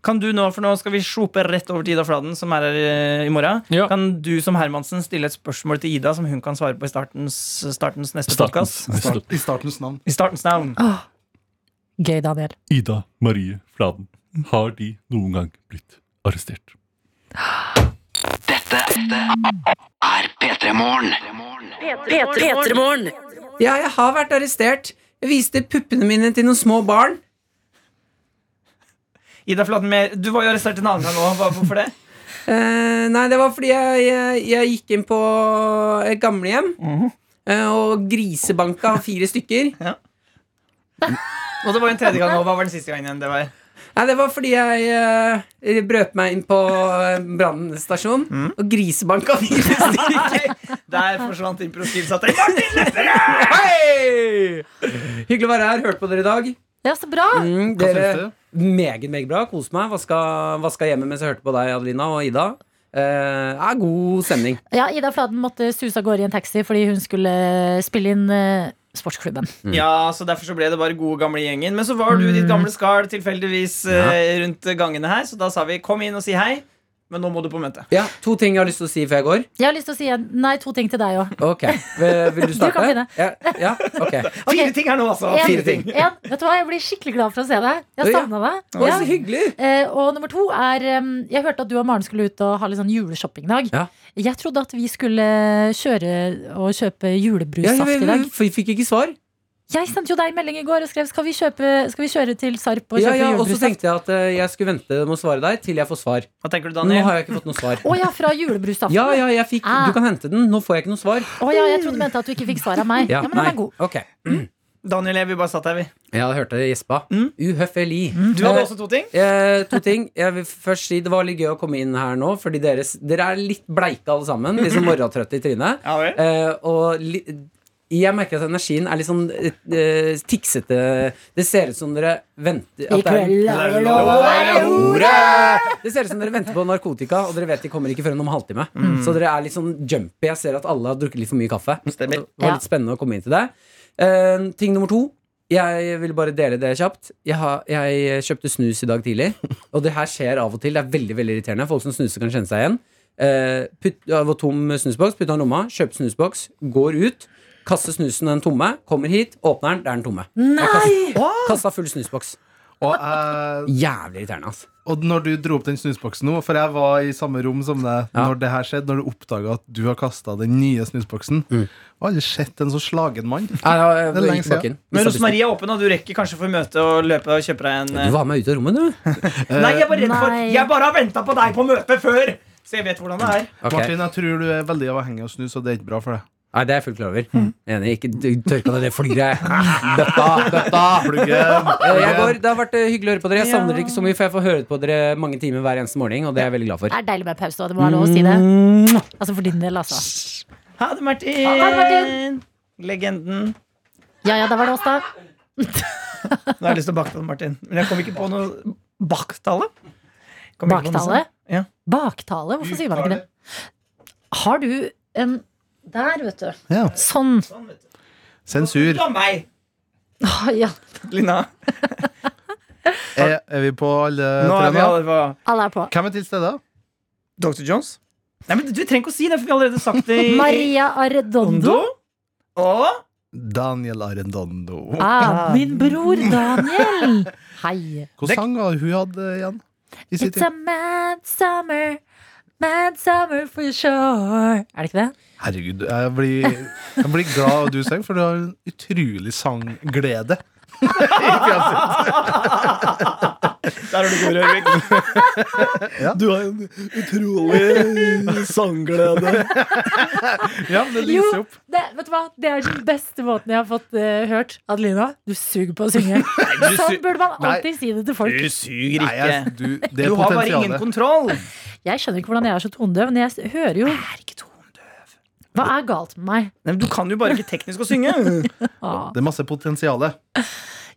[SPEAKER 2] Kan du nå, for nå skal vi sjope rett over til Ida Fladen, som er her eh, i morgen.
[SPEAKER 5] Ja.
[SPEAKER 2] Kan du som Hermansen stille et spørsmål til Ida, som hun kan svare på i startens, startens neste
[SPEAKER 5] Startens.
[SPEAKER 2] podkast?
[SPEAKER 4] Start, I startens navn.
[SPEAKER 2] I startens navn.
[SPEAKER 3] Gøy, Daniel.
[SPEAKER 5] Ida Marie Fladen. Har de noen gang blitt arrestert?
[SPEAKER 10] Ja, jeg har vært arrestert. Jeg viste puppene mine til noen små barn.
[SPEAKER 2] Ida Fladen, mer- du var jo arrestert en annen gang nå. Hva- Hvorfor det?
[SPEAKER 10] Eh, nei, det var fordi jeg, jeg, jeg gikk inn på et gamlehjem eh, og grisebanka fire stykker.
[SPEAKER 2] Og det var jo en tredje gang nå. Hva var den siste gangen igjen? Det var?
[SPEAKER 10] Nei, det var fordi jeg eh, brøt meg inn på eh, brannstasjonen
[SPEAKER 2] Mm.
[SPEAKER 10] og grisebanka fire stykker.
[SPEAKER 2] Nei, der forsvant improskilsatte. Martin Lepperød!
[SPEAKER 10] Hei! Hyggelig å være her. Hørt på dere i dag.
[SPEAKER 3] Ja, så bra!
[SPEAKER 10] Mm,
[SPEAKER 4] Hva
[SPEAKER 10] dere,
[SPEAKER 4] syns du?
[SPEAKER 10] meget, meget bra. Kos meg. Vaska, vaska hjemme mens jeg hørte på deg, Adelina og Ida. Eh, ja, god stemning.
[SPEAKER 3] Ja, Ida Fladen måtte suse av gårde i en taxi fordi hun skulle spille inn eh, Sportsklubben.
[SPEAKER 4] Mm.
[SPEAKER 5] Mm.
[SPEAKER 2] Ja, så derfor så ble det bare gode gamle gjengen. Men så var du i ditt gamle skall tilfeldigvis eh, rundt gangene her, så da sa vi kom inn og si hei. Men nå må du på møte.
[SPEAKER 10] Ja, To ting jeg har lyst til å si før jeg går.
[SPEAKER 3] Jeg har lyst til å si en, nei, to ting til deg òg.
[SPEAKER 10] Ok, Vil, vil du starte?
[SPEAKER 3] kan begynne.
[SPEAKER 10] Ja, ja, ok.
[SPEAKER 2] Fire ting her nå, altså.
[SPEAKER 10] Fire ting.
[SPEAKER 3] En, vet du hva, Jeg blir skikkelig glad for å se deg.
[SPEAKER 10] Ja.
[SPEAKER 3] Jeg savna deg.
[SPEAKER 10] Å,
[SPEAKER 3] Ja.
[SPEAKER 10] så hyggelig!
[SPEAKER 3] Eh, og nummer to er em, Jeg hørte at du og Maren skulle ut og ha litt sånn juleshoppingdag.
[SPEAKER 10] Ja.
[SPEAKER 3] Jeg trodde at vi skulle kjøre og kjøpe
[SPEAKER 10] Ja,
[SPEAKER 3] julebrusaft
[SPEAKER 10] jeg,
[SPEAKER 3] i dag.
[SPEAKER 10] jeg, fikk ikke svar.
[SPEAKER 6] Jeg sendte jo deg en melding i går og skrev skal vi, kjøpe, skal vi kjøre til Sarp og
[SPEAKER 10] Ja,
[SPEAKER 6] kjøpe
[SPEAKER 10] ja, og så
[SPEAKER 6] julebrus.
[SPEAKER 10] tenkte jeg at eh, jeg skulle vente med å svare deg til jeg får svar.
[SPEAKER 2] Hva tenker du,
[SPEAKER 10] Nå
[SPEAKER 2] Daniel?
[SPEAKER 10] har jeg ikke fått noe svar.
[SPEAKER 6] Å ja, fra julebrusaften.
[SPEAKER 10] Ja, ja, jeg fikk Du kan hente den. Nå får jeg ikke noe svar.
[SPEAKER 6] Ah. Å ja, jeg trodde du mente at du ikke fikk svar av meg. Ja,
[SPEAKER 10] Ja,
[SPEAKER 6] men den
[SPEAKER 10] nei.
[SPEAKER 6] er god.
[SPEAKER 10] Ok.
[SPEAKER 2] Daniel og jeg, vi bare satt her, vi. Mm.
[SPEAKER 10] Jeg hadde hørt deg gjespa. Uhøfeli.
[SPEAKER 2] Du hadde også to ting.
[SPEAKER 10] Eh, to ting. Jeg vil først si Det var litt gøy å komme inn her nå, fordi dere, dere er litt bleike alle sammen. Liksom morgentrøtte i trynet.
[SPEAKER 2] Ja vel.
[SPEAKER 10] Eh, og li, jeg merker at energien er litt sånn eh, eh, tiksete. Det ser ut som dere venter at
[SPEAKER 6] I
[SPEAKER 10] det er-
[SPEAKER 6] kveld er det lov å være
[SPEAKER 10] Det ser ut som dere venter på narkotika, og dere vet de kommer ikke før enn om en halvtime. Så dere er litt sånn jumpy. Jeg ser at alle har drukket litt for mye kaffe.
[SPEAKER 2] Stemmer.
[SPEAKER 10] Det var
[SPEAKER 6] Ja.
[SPEAKER 10] litt spennende å komme inn til det. Eh, ting nummer to. Jeg vil bare dele det kjapt. Jeg, har, jeg kjøpte snus i dag tidlig. Og det her skjer av og til. Det er veldig veldig irriterende. Folk som snuser, kan kjenne seg igjen. Eh, putt, jeg var tom snusboks, putta den i lomma, kjøpte snusboks, går ut. Kaster snusen den tomme, kommer hit, åpner den, det er den tomme. Nei! Kasta full snusboks.
[SPEAKER 4] Og, jeg-
[SPEAKER 10] Jævlig irriterende, altså.
[SPEAKER 4] og når du dro opp den snusboksen nå, for jeg var i samme rom som deg
[SPEAKER 10] Ja.
[SPEAKER 4] når det her skjedde, når du oppdaga at du har kasta den nye snusboksen Jeg
[SPEAKER 5] Mm.
[SPEAKER 4] har aldri sett en så slagen mann.
[SPEAKER 10] Nei, jeg, jeg,
[SPEAKER 4] Det er lenge
[SPEAKER 10] eh, gikk tilbake
[SPEAKER 4] siden.
[SPEAKER 10] inn.
[SPEAKER 2] Men
[SPEAKER 10] Mistet
[SPEAKER 2] hos Marie er åpen, og du rekker kanskje å få møte og løpe og kjøpe deg en
[SPEAKER 10] Du var med ut av rommet, du.
[SPEAKER 2] eh, Nei, jeg er bare redd for
[SPEAKER 6] Nei.
[SPEAKER 2] Jeg bare har venta på deg på møtet før! Så jeg vet hvordan det er.
[SPEAKER 10] Ok.
[SPEAKER 4] Martin, jeg tror du er veldig avhengig av snus, og det er ikke bra for deg.
[SPEAKER 10] Nei, det er jeg fullt klar over. Enig. Ikke du- tørka deg det flyret. Bøtta, bøtta.
[SPEAKER 4] Pluggen.
[SPEAKER 10] Eh, Jeg går, det har vært eh, hyggelig å høre på dere. Jeg savner
[SPEAKER 6] Ja.
[SPEAKER 10] dere ikke så mye, for jeg får høre på dere mange timer hver eneste morgen, og det er jeg veldig glad for. Mm.
[SPEAKER 6] Det er deilig med pause, og det må være lov å si det. Altså for din del, altså.
[SPEAKER 2] Ha det, Martin.
[SPEAKER 6] det, Martin.
[SPEAKER 2] Legenden.
[SPEAKER 6] Ja ja, der var det oss, da.
[SPEAKER 2] Nå har jeg lyst til å baktale Martin, men jeg kom ikke på noe Baktale? Kom ikke på noe
[SPEAKER 6] Baktale.
[SPEAKER 2] Ja.
[SPEAKER 6] Baktale? Hvorfor sier man ikke det? Har du en Der, vet du.
[SPEAKER 4] Ja.
[SPEAKER 6] Sånn.
[SPEAKER 4] Sensur.
[SPEAKER 2] sånt. Det var meg,
[SPEAKER 6] Å, ja.
[SPEAKER 2] Lina.
[SPEAKER 4] Er, er vi på alle
[SPEAKER 2] Nå
[SPEAKER 4] tre
[SPEAKER 2] er vi
[SPEAKER 4] nå?
[SPEAKER 2] alle på
[SPEAKER 6] Alle er på.
[SPEAKER 4] Eh, Hvem er til stede?
[SPEAKER 2] Dr. Jones. Nei, men Du trenger ikke å si det, for vi har allerede sagt det. i-
[SPEAKER 6] Maria Arredondo.
[SPEAKER 2] Arredondo. Og
[SPEAKER 4] Daniel Arendondo.
[SPEAKER 6] Ah, min bror Daniel. Hei.
[SPEAKER 4] Hvilken sang var det hun hadde igjen? I sin
[SPEAKER 6] It's a
[SPEAKER 4] tid?
[SPEAKER 6] mad summer. Mad summer for sure. Er det ikke det?
[SPEAKER 4] Herregud, jeg blir, jeg blir glad av at du synger, for du har en utrolig sangglede.
[SPEAKER 2] Der har du god rødvik.
[SPEAKER 4] Du har en utrolig sangglede. Ja, men det lyser
[SPEAKER 6] Jo,
[SPEAKER 4] opp.
[SPEAKER 6] det, vet du hva? det er den beste måten jeg har fått eh, hørt. Adelina, du suger på å synge. Sånn burde man
[SPEAKER 4] Nei.
[SPEAKER 6] alltid si det til folk.
[SPEAKER 2] Du suger
[SPEAKER 4] Nei, jeg,
[SPEAKER 2] ikke.
[SPEAKER 4] du, det
[SPEAKER 2] Du
[SPEAKER 4] er
[SPEAKER 2] har bare ingen
[SPEAKER 4] potensialet.
[SPEAKER 2] kontroll.
[SPEAKER 6] Jeg skjønner ikke hvordan jeg er så tonedøv, men jeg s- hører jo
[SPEAKER 2] Er ikke tondøv.
[SPEAKER 6] Hva er galt med meg?
[SPEAKER 2] Nei, men Du kan jo bare ikke teknisk å synge.
[SPEAKER 6] Ah.
[SPEAKER 4] Det er masse potensiale.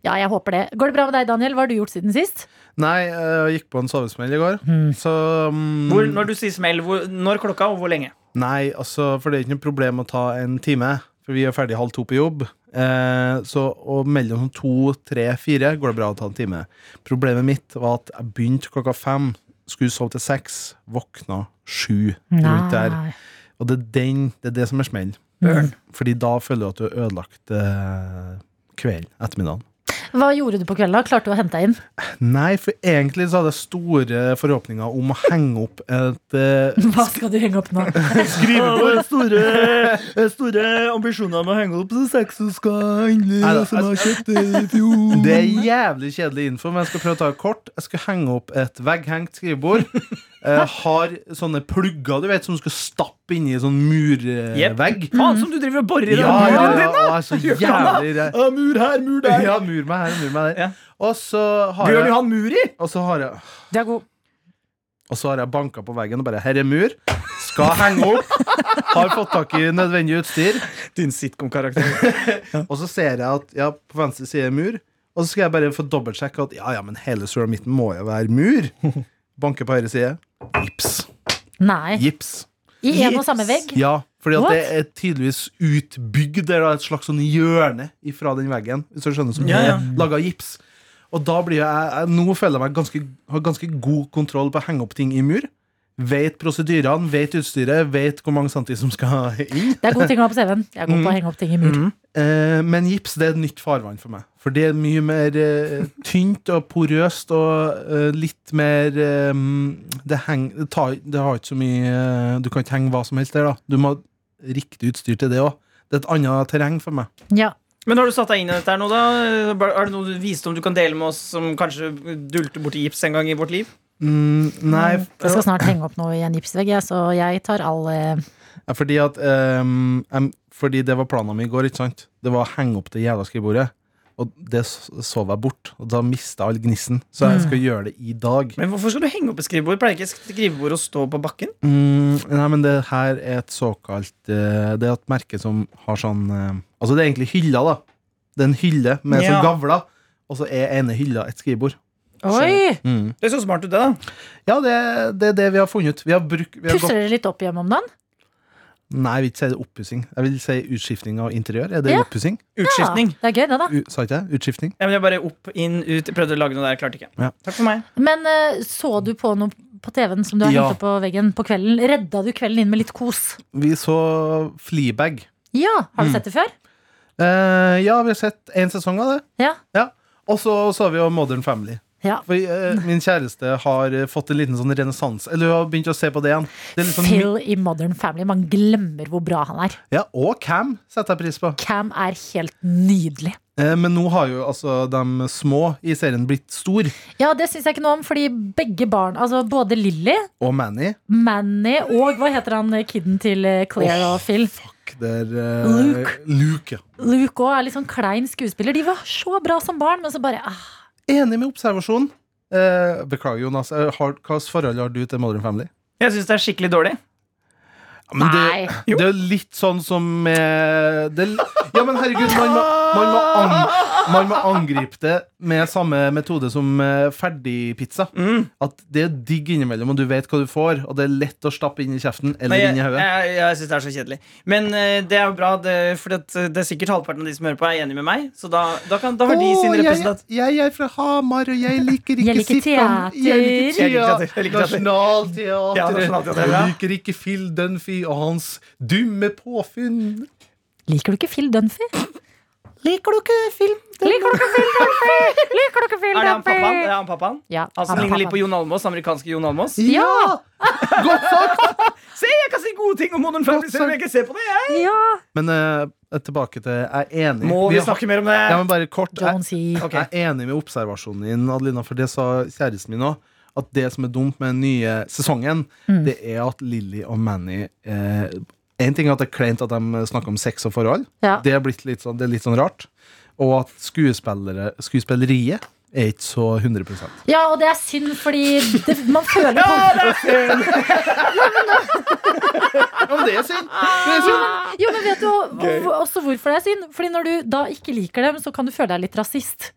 [SPEAKER 6] Ja, jeg håper det. Går det bra med deg, Daniel? Hva har du gjort siden sist?
[SPEAKER 4] Nei, jeg gikk på en sovesmell i går, så mm,
[SPEAKER 2] Hmm. Hvor, når du sier smell, hvor, når klokka, og hvor lenge?
[SPEAKER 4] Nei, altså, for det er ikke noe problem å ta en time, for vi er ferdig halv to på jobb. Eh, så, og mellom sånn to, tre, fire går det bra å ta en time. Problemet mitt var at jeg begynte klokka fem, skulle sove til seks, våkna sju rundt der. Og det er, den, det er det som er smell. Fordi da føler du at du har ødelagt eh, kvelden, ettermiddagen.
[SPEAKER 6] Hva gjorde du på kvelden? da? Klarte du å hente deg inn?
[SPEAKER 4] Nei, for egentlig så hadde jeg store forhåpninger om å henge opp et eh,
[SPEAKER 6] Hva skal du henge opp nå?
[SPEAKER 4] skrivebord.
[SPEAKER 2] Store,
[SPEAKER 4] eh,
[SPEAKER 2] ambisjoner med å henge opp sex du skal
[SPEAKER 4] Neida,
[SPEAKER 2] handle.
[SPEAKER 4] som jeg altså- Det er jævlig kjedelig info, men jeg skal prøve å ta det kort. Jeg skal henge opp et vegghengt skrivebord. Jeg har sånne plugger du vet, som du skal stappe inni sånn murvegg.
[SPEAKER 2] Faen som du driver og borer i
[SPEAKER 4] Ja, ja,
[SPEAKER 2] den
[SPEAKER 4] ja, altså.
[SPEAKER 2] muren
[SPEAKER 4] og
[SPEAKER 2] din!
[SPEAKER 4] jeg er så jævlig redd.
[SPEAKER 2] Mur her, mur
[SPEAKER 4] Ja, mur meg her, mur meg
[SPEAKER 2] Ja.
[SPEAKER 4] der. Og så har
[SPEAKER 2] Bjørn
[SPEAKER 4] jeg,
[SPEAKER 2] Johan Muri!
[SPEAKER 4] og så har jeg,
[SPEAKER 6] Det er god.
[SPEAKER 4] og så har jeg banka på veggen og bare Her er mur. Skal henge opp. Har fått tak i nødvendig utstyr.
[SPEAKER 2] Din sitcom-karakter.
[SPEAKER 4] Og så ser jeg at ja, på venstre side er mur. Og så skal jeg bare få dobbeltsjekke at ja, ja, men hele sulamitten må jo være mur. Banker på høyre side. Gips.
[SPEAKER 6] Nei.
[SPEAKER 4] Gips.
[SPEAKER 6] I en og samme vegg?
[SPEAKER 4] Ja, fordi at
[SPEAKER 6] What?
[SPEAKER 4] det er tydeligvis utbygd. Det er da et slags sånn hjørne ifra den veggen. Hvis du skjønner som
[SPEAKER 2] Ja, ja. Mm.
[SPEAKER 4] er laget av gips. Og da blir jeg, jeg Nå føler jeg meg ganske, har ganske god kontroll på å henge opp ting i mur. Vet prosedyrene, vet utstyret, vet hvor mange centi som skal inn.
[SPEAKER 6] Det er gode ting å ha på CV-en. Jeg er god på
[SPEAKER 2] Mm.
[SPEAKER 6] å henge opp ting i mur.
[SPEAKER 4] Eh, men gips det er et nytt farvann for meg. For det er mye mer eh, tynt og porøst og eh, litt mer eh, det, heng, det, tar, det har ikke så mye eh, Du kan ikke henge hva som helst der. da Du må ha riktig utstyr til det òg. Det er et annet terreng for meg.
[SPEAKER 6] Ja.
[SPEAKER 2] Men har du satt deg inn i dette her nå, da? Er det noe visdom du kan dele med oss som kanskje dulter borti gips en gang i vårt liv?
[SPEAKER 4] Mm, nei,
[SPEAKER 6] Jeg skal snart henge opp noe i en gipsvegg, jeg, så jeg tar all eh,
[SPEAKER 4] Ja, Fordi at ehm, em, Fordi det var planen min i går, ikke sant? Det var å henge opp det jævla skrivebordet. Og det s- sov jeg bort, og da mista all gnissen. Så jeg skal gjøre det i dag.
[SPEAKER 2] Men hvorfor skal du henge opp et skrivebord? Pleier ikke skrivebord å stå på bakken?
[SPEAKER 4] Mm, nei, men det her er et såkalt eh, Det er et merke som har sånn eh, Altså, det er egentlig hylla, da. Det er en hylle med
[SPEAKER 2] Ja.
[SPEAKER 4] sånn gavler, og så er ene hylla et skrivebord.
[SPEAKER 3] Oi!
[SPEAKER 4] Mm.
[SPEAKER 2] Det er så smart ut, det, da.
[SPEAKER 4] Ja, det, det er det vi har funnet ut. Vi har bruk, vi har
[SPEAKER 6] Pusser
[SPEAKER 4] gått,
[SPEAKER 6] dere litt opp hjemme om dagen?
[SPEAKER 4] nei, jeg vil ikke si det er oppussing. Jeg vil si utskifting av interiør. Er det
[SPEAKER 6] Ja.
[SPEAKER 4] oppussing?
[SPEAKER 2] Utskiftning.
[SPEAKER 6] Ja, det er gøy, det, da.
[SPEAKER 4] U- Sa ikke jeg? Utskifting?
[SPEAKER 2] Ja, men jeg bare opp, inn, ut. Jeg prøvde å lage noe der, jeg klarte ikke.
[SPEAKER 4] Ja.
[SPEAKER 2] Takk for meg.
[SPEAKER 6] Men eh, så du på noe på TV-en som du har
[SPEAKER 4] Ja.
[SPEAKER 6] hengt opp på veggen på kvelden? Redda du kvelden inn med litt kos?
[SPEAKER 4] Vi så Fleabag.
[SPEAKER 6] Ja!
[SPEAKER 4] Mm.
[SPEAKER 6] Har du sett det før?
[SPEAKER 4] Eh, ja, vi har sett én sesong av det.
[SPEAKER 6] Ja.
[SPEAKER 4] Og så så vi jo Modern Family.
[SPEAKER 6] Ja.
[SPEAKER 4] For eh, Min kjæreste har eh, fått en liten sånn renessanse. Eller hun har begynt å se på det igjen. Det er litt sånn my-
[SPEAKER 6] Phil i Modern Family. Man glemmer hvor bra han er.
[SPEAKER 4] ja, Og Cam setter jeg pris på.
[SPEAKER 6] Cam er helt nydelig.
[SPEAKER 4] Eh, men nå har jo altså de små i serien blitt stor
[SPEAKER 6] Ja, det syns jeg ikke noe om, fordi begge barn, altså både Lilly,
[SPEAKER 4] Og Manny
[SPEAKER 6] Manny og hva heter han eh, kiden til eh, Claire og Phil?
[SPEAKER 4] Fuck, det er eh,
[SPEAKER 6] Luke.
[SPEAKER 4] Luke, ja.
[SPEAKER 6] Luke òg er litt sånn klein skuespiller. De var så bra som barn, men så bare ah,
[SPEAKER 4] Enig med observasjonen. Eh, beklager, Jonas. Eh, har, hva slags forhold har du til Modern Family?
[SPEAKER 2] Jeg syns det er skikkelig dårlig.
[SPEAKER 4] Ja, men det,
[SPEAKER 6] Nei.
[SPEAKER 4] det er jo litt sånn som eh, det, Ja, men herregud, man må, man, må ang, man må angripe det med samme metode som eh, ferdigpizza.
[SPEAKER 2] Mm.
[SPEAKER 4] At det er digg innimellom, og du vet hva du får, og det er lett å stappe inn i kjeften eller
[SPEAKER 2] Nei, jeg
[SPEAKER 4] inn i hodet.
[SPEAKER 2] jeg, jeg syns det er så kjedelig. Men eh, det er jo bra, det, for det, det er sikkert halvparten av de som hører på, er enig med meg. Så da, da, kan, da har de sin
[SPEAKER 4] Å, jeg,
[SPEAKER 2] representant.
[SPEAKER 4] jeg er fra Hamar, og jeg liker ikke
[SPEAKER 6] Jeg liker
[SPEAKER 4] sitcom. Jeg liker
[SPEAKER 2] teater. Jeg liker teater, jeg
[SPEAKER 4] teater.
[SPEAKER 2] liker teater.
[SPEAKER 4] Nasjonalteatret.
[SPEAKER 2] Ja, Nationaltheatret, ja.
[SPEAKER 4] Jeg liker ikke Phil Dunphy og hans dumme påfunn.
[SPEAKER 6] Liker du ikke Phil Dunphy?
[SPEAKER 4] Liker du ikke film?
[SPEAKER 6] Liker du ikke Phil Dunphy? Liker du ikke Phil
[SPEAKER 2] Er det han
[SPEAKER 6] Dunphy?
[SPEAKER 2] pappaen? Er det han pappaen?
[SPEAKER 6] Ja,
[SPEAKER 2] Han som
[SPEAKER 6] er
[SPEAKER 2] ligner litt på
[SPEAKER 6] pappaen.
[SPEAKER 2] Jon Almaas, amerikanske Jon Almaas?
[SPEAKER 6] Ja!
[SPEAKER 4] Godt sagt!
[SPEAKER 2] Se, jeg kan si gode ting om Modern Family, selv om jeg ikke ser på det, jeg!
[SPEAKER 6] ja.
[SPEAKER 4] Men eh, tilbake til Jeg er enig.
[SPEAKER 2] Må
[SPEAKER 4] Vi
[SPEAKER 2] vi
[SPEAKER 4] har-
[SPEAKER 2] snakke mer om det?
[SPEAKER 4] Ja, men bare kort jeg,
[SPEAKER 6] Don't see.
[SPEAKER 2] Ok.
[SPEAKER 4] jeg er enig med observasjonen din, Adelina, for det sa kjæresten min òg. At det som er dumt med den nye sesongen,
[SPEAKER 6] Mm.
[SPEAKER 4] det er at Lilly og Manny eh, En ting er at det er kleint at de snakker om sex og forhold.
[SPEAKER 6] Ja.
[SPEAKER 4] Det, er blitt litt sånn, det er litt sånn rart. Og at skuespillere, skuespilleriet er ikke så 100
[SPEAKER 6] ja, og det er synd, fordi det, man føler på
[SPEAKER 4] Ja, men det er synd! Det er
[SPEAKER 6] Jo,
[SPEAKER 4] synd.
[SPEAKER 6] men, Ah. jo, men vet du hvor- hvor- også hvorfor det er synd? Fordi når du da ikke liker dem, så kan du føle deg litt rasist.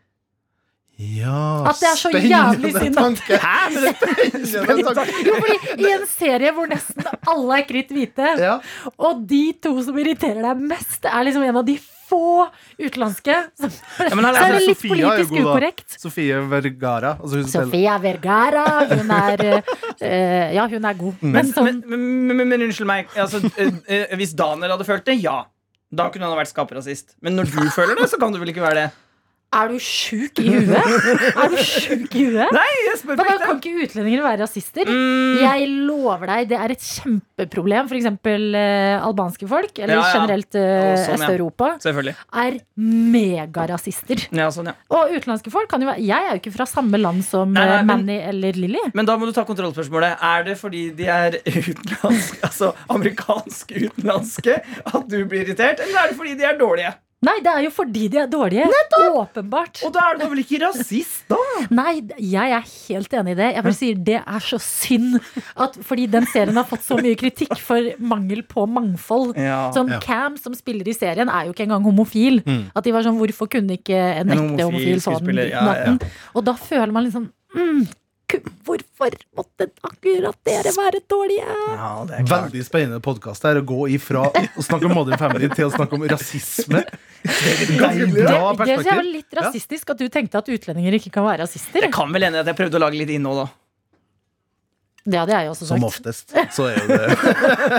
[SPEAKER 4] Ja,
[SPEAKER 6] At det er så jævlig synd at-
[SPEAKER 4] Ah, tanke. Spennende tanke.
[SPEAKER 6] Jo, fordi I en serie hvor nesten alle er kritt hvite,
[SPEAKER 4] Ja.
[SPEAKER 6] og de to som irriterer deg mest, er liksom en av de få utenlandske, så,
[SPEAKER 2] men her
[SPEAKER 6] så
[SPEAKER 2] er
[SPEAKER 6] er det litt
[SPEAKER 4] altså, Sofia er jo
[SPEAKER 6] politisk
[SPEAKER 4] god, da.
[SPEAKER 6] ukorrekt.
[SPEAKER 4] Sofie Vergara. Altså hun spiller-
[SPEAKER 6] Sofia Vergara, hun er eh, Ja, hun er god. Men
[SPEAKER 2] Men,
[SPEAKER 6] sånn
[SPEAKER 2] men, men, men, men unnskyld meg. Altså, eh, eh, hvis Daniel hadde følt det, ja. Da kunne han ha vært skaperrasist. Men når du føler det, så kan du vel ikke være det?
[SPEAKER 6] Er du sjuk i huet? Er du sjuk i huet?
[SPEAKER 2] Nei, jeg spør Mm.
[SPEAKER 6] Men
[SPEAKER 2] på
[SPEAKER 6] da
[SPEAKER 2] ekte.
[SPEAKER 6] kan ikke utlendinger være rasister. Jeg lover deg, det er et kjempeproblem. For eksempel eh, albanske folk, eller
[SPEAKER 2] Ja, ja.
[SPEAKER 6] generelt eh,
[SPEAKER 2] Å, sånn, ja.
[SPEAKER 6] Øst-Europa,
[SPEAKER 2] Selvfølgelig.
[SPEAKER 6] er megarasister.
[SPEAKER 2] Ja, sånn, ja.
[SPEAKER 6] Og utenlandske folk kan jo være Jeg er jo ikke fra samme land som
[SPEAKER 2] Nei, nei,
[SPEAKER 6] eh,
[SPEAKER 2] men-
[SPEAKER 6] Manny eller Lilly.
[SPEAKER 2] Men da må du ta kontrollspørsmålet. Er det fordi de er utenlandske, altså amerikanske utenlandske, at du blir irritert, eller er det fordi de er dårlige?
[SPEAKER 6] Nei, det er jo fordi de er dårlige. Åpenbart.
[SPEAKER 2] Og da er du da vel ikke rasist, da?
[SPEAKER 6] Nei, jeg er helt enig i det. Jeg bare sier det er så synd. At, fordi den serien har fått så mye kritikk for mangel på mangfold.
[SPEAKER 2] Ja.
[SPEAKER 6] Sånn
[SPEAKER 4] Ja. Mm.
[SPEAKER 6] Cam, som spiller i serien, er jo ikke engang homofil. At de var sånn, hvorfor kunne ikke en ekte
[SPEAKER 2] homofil
[SPEAKER 6] homofil få den
[SPEAKER 2] skuespiller, ja, ja, ja.
[SPEAKER 6] natten? Og da føler man liksom mm, ku- Hvorfor måtte akkurat dere være dårlige?
[SPEAKER 2] Ja, det er klart.
[SPEAKER 4] Veldig spennende podkast her å gå ifra å snakke om Modern Family til å snakke om rasisme. Det er et ganske bra
[SPEAKER 6] Det, det synes jeg var
[SPEAKER 4] perspektiv.
[SPEAKER 6] litt rasistisk at du tenkte at utlendinger ikke kan være rasister.
[SPEAKER 2] Jeg kan vel enig i at jeg prøvde å lage litt innhold, da.
[SPEAKER 6] Det hadde jeg også sagt.
[SPEAKER 4] Som oftest. Så er jo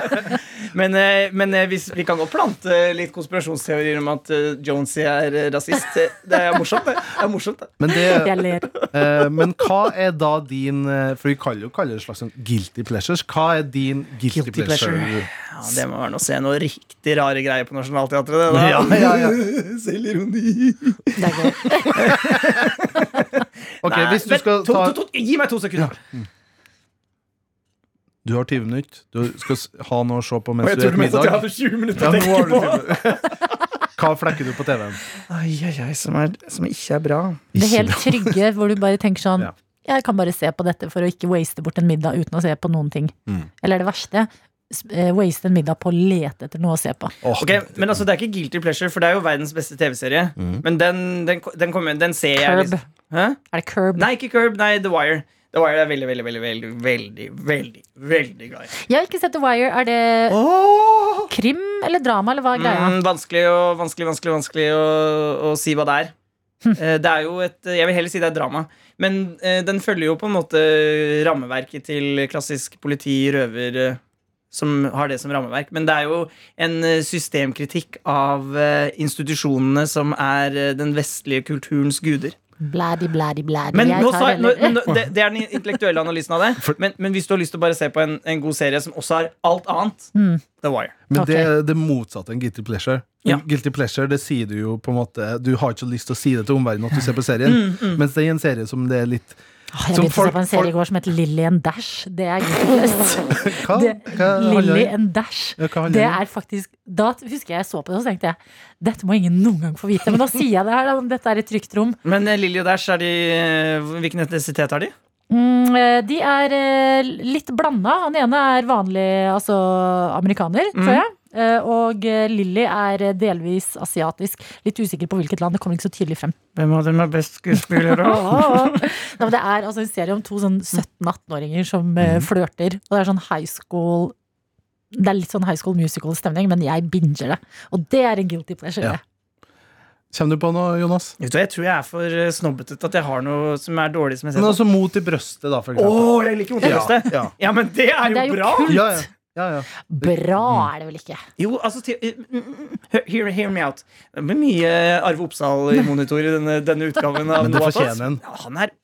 [SPEAKER 4] det
[SPEAKER 2] Men, eh, men eh, hvis, vi kan godt plante litt konspirasjonsteorier om at eh, Jonesy er eh, rasist. Eh, Det er morsomt, det. det, er morsomt, det.
[SPEAKER 4] Men, det,
[SPEAKER 6] Jeg ler.
[SPEAKER 4] eh, men hva er da din eh, For vi kaller jo kaller det slags sånn guilty pleasures. Hva er din guilty,
[SPEAKER 2] Guilty pleasure.
[SPEAKER 4] pleasure?
[SPEAKER 2] Ja, det må være noe å se noe riktig rare greier på Nationaltheatret. Det, da.
[SPEAKER 4] Ja, ja,
[SPEAKER 2] Selvironi.
[SPEAKER 6] Det er gøy.
[SPEAKER 4] Ok,
[SPEAKER 2] Nei,
[SPEAKER 4] hvis du
[SPEAKER 2] vent,
[SPEAKER 4] skal
[SPEAKER 2] to,
[SPEAKER 4] ta
[SPEAKER 2] to, to, Gi meg to sekunder.
[SPEAKER 4] Du har 20 minutter. Du skal s- ha noe å se på mens
[SPEAKER 2] Og jeg
[SPEAKER 4] du spiser
[SPEAKER 2] tror du mente at jeg
[SPEAKER 4] middag.
[SPEAKER 2] hadde 20 minutter
[SPEAKER 4] Ja,
[SPEAKER 2] å
[SPEAKER 4] nå har
[SPEAKER 2] tenke
[SPEAKER 4] du
[SPEAKER 2] på.
[SPEAKER 4] 20. Hva flekker du på TV-en?
[SPEAKER 2] Ai, ai, ai, som, er, som ikke er bra.
[SPEAKER 6] Det helt trygge hvor du bare tenker sånn
[SPEAKER 4] Ja.
[SPEAKER 6] Jeg kan bare se på dette for å ikke waste bort en middag uten å se på noen ting.
[SPEAKER 1] Mm.
[SPEAKER 6] Eller det verste, s- eh, waste en middag på å lete etter noe å se på.
[SPEAKER 4] Åh,
[SPEAKER 2] Ok, men altså, Det er ikke guilty pleasure, for det er jo verdens beste TV-serie. Men den, den, den, kommer, den ser jeg
[SPEAKER 6] Curb.
[SPEAKER 2] liksom. Hæ?
[SPEAKER 6] Er det curb?
[SPEAKER 2] Nei, ikke Curb. Nei, The Wire. The Wire er veldig, veldig, veldig, veldig, veldig, veldig, veldig glad i.
[SPEAKER 6] Jeg har ikke sett The Wire. Er det krim eller drama, eller hva er greia?
[SPEAKER 2] Mm, vanskelig og vanskelig, vanskelig, vanskelig å, å si hva det er. Eh, Det er jo et, Jeg vil heller si det er drama. Men eh, den følger jo på en måte rammeverket til klassisk politi, røver, eh, som har det som rammeverk. Men det er jo en eh, systemkritikk av eh, institusjonene som er eh, den vestlige kulturens guder.
[SPEAKER 6] Blædi, blædi, blædi.
[SPEAKER 2] Men
[SPEAKER 6] Jeg
[SPEAKER 2] nå
[SPEAKER 6] tar
[SPEAKER 2] sa jeg, nå,
[SPEAKER 6] heller-
[SPEAKER 2] nå, det, det er den intellektuelle analysen av det. Men, men hvis du har lyst til å bare se på en, en god serie som også har alt annet,
[SPEAKER 6] Mm.
[SPEAKER 2] The Wire.
[SPEAKER 4] Men det
[SPEAKER 6] Ok.
[SPEAKER 4] er det motsatte enn guilty pleasure.
[SPEAKER 2] Ja.
[SPEAKER 4] Guilty pleasure, det sier Du jo på en måte Du har ikke så lyst til å si det til omverdenen at du ser på serien. Mens det er en serie som det er litt
[SPEAKER 6] Mm, Åh, Jeg
[SPEAKER 4] som
[SPEAKER 6] begynte å se
[SPEAKER 4] folk-
[SPEAKER 6] på en serie i går som het Lilly and Dash. Det er guilty.
[SPEAKER 4] Hva?
[SPEAKER 6] Det-
[SPEAKER 4] Hva handler
[SPEAKER 6] Lilly
[SPEAKER 4] det om?
[SPEAKER 6] and Dash.
[SPEAKER 4] Ja, hva handler
[SPEAKER 6] Det
[SPEAKER 4] det om?
[SPEAKER 6] er faktisk Da husker jeg jeg så på det, og så tenkte jeg dette må ingen noen gang få vite. Men nå sier jeg det her, da. Dette er et trygt rom.
[SPEAKER 2] Men eh, Lilly og Dash, er de, eh, hvilken etnisitet har de?
[SPEAKER 6] Mm, eh, de er eh, litt blanda. Han ene er vanlig altså, amerikaner,
[SPEAKER 4] Mm.
[SPEAKER 6] tror jeg. Eh, Og eh, Lilly er eh, delvis asiatisk. Litt usikker på hvilket land. Det kommer ikke så tydelig frem.
[SPEAKER 2] Hvem av dem er best skuespillere?
[SPEAKER 6] Nei, men det er altså en serie om to sånn 17-18-åringer som
[SPEAKER 2] Mm.
[SPEAKER 6] eh, flørter. Og det er sånn high school Det er litt sånn high school musical-stemning, men jeg binger det. Og det er en guilty pleasure.
[SPEAKER 4] Ja. Kommer du på noe, Jonas?
[SPEAKER 2] Vet du, hva, jeg tror jeg er for eh, snobbete til at jeg har noe som er dårlig. som jeg ser
[SPEAKER 4] Men
[SPEAKER 2] på.
[SPEAKER 4] altså mot i brøstet, da, for
[SPEAKER 2] Å,
[SPEAKER 4] eksempel.
[SPEAKER 2] jeg liker moteløste! Ja,
[SPEAKER 4] ja.
[SPEAKER 2] ja, men det er
[SPEAKER 6] Men
[SPEAKER 2] jo,
[SPEAKER 6] det er jo
[SPEAKER 2] bra!
[SPEAKER 6] kult.
[SPEAKER 4] Ja, ja. ja, Mm. ja.
[SPEAKER 6] Bra er det vel ikke?
[SPEAKER 2] Jo, altså, til, mm, mm, hear, hear me out. Det blir mye eh, Arve Oppsal i monitor i denne, denne utgaven. av
[SPEAKER 4] Men det
[SPEAKER 2] Noe av oss.
[SPEAKER 4] fortjener en.
[SPEAKER 2] Ja, han er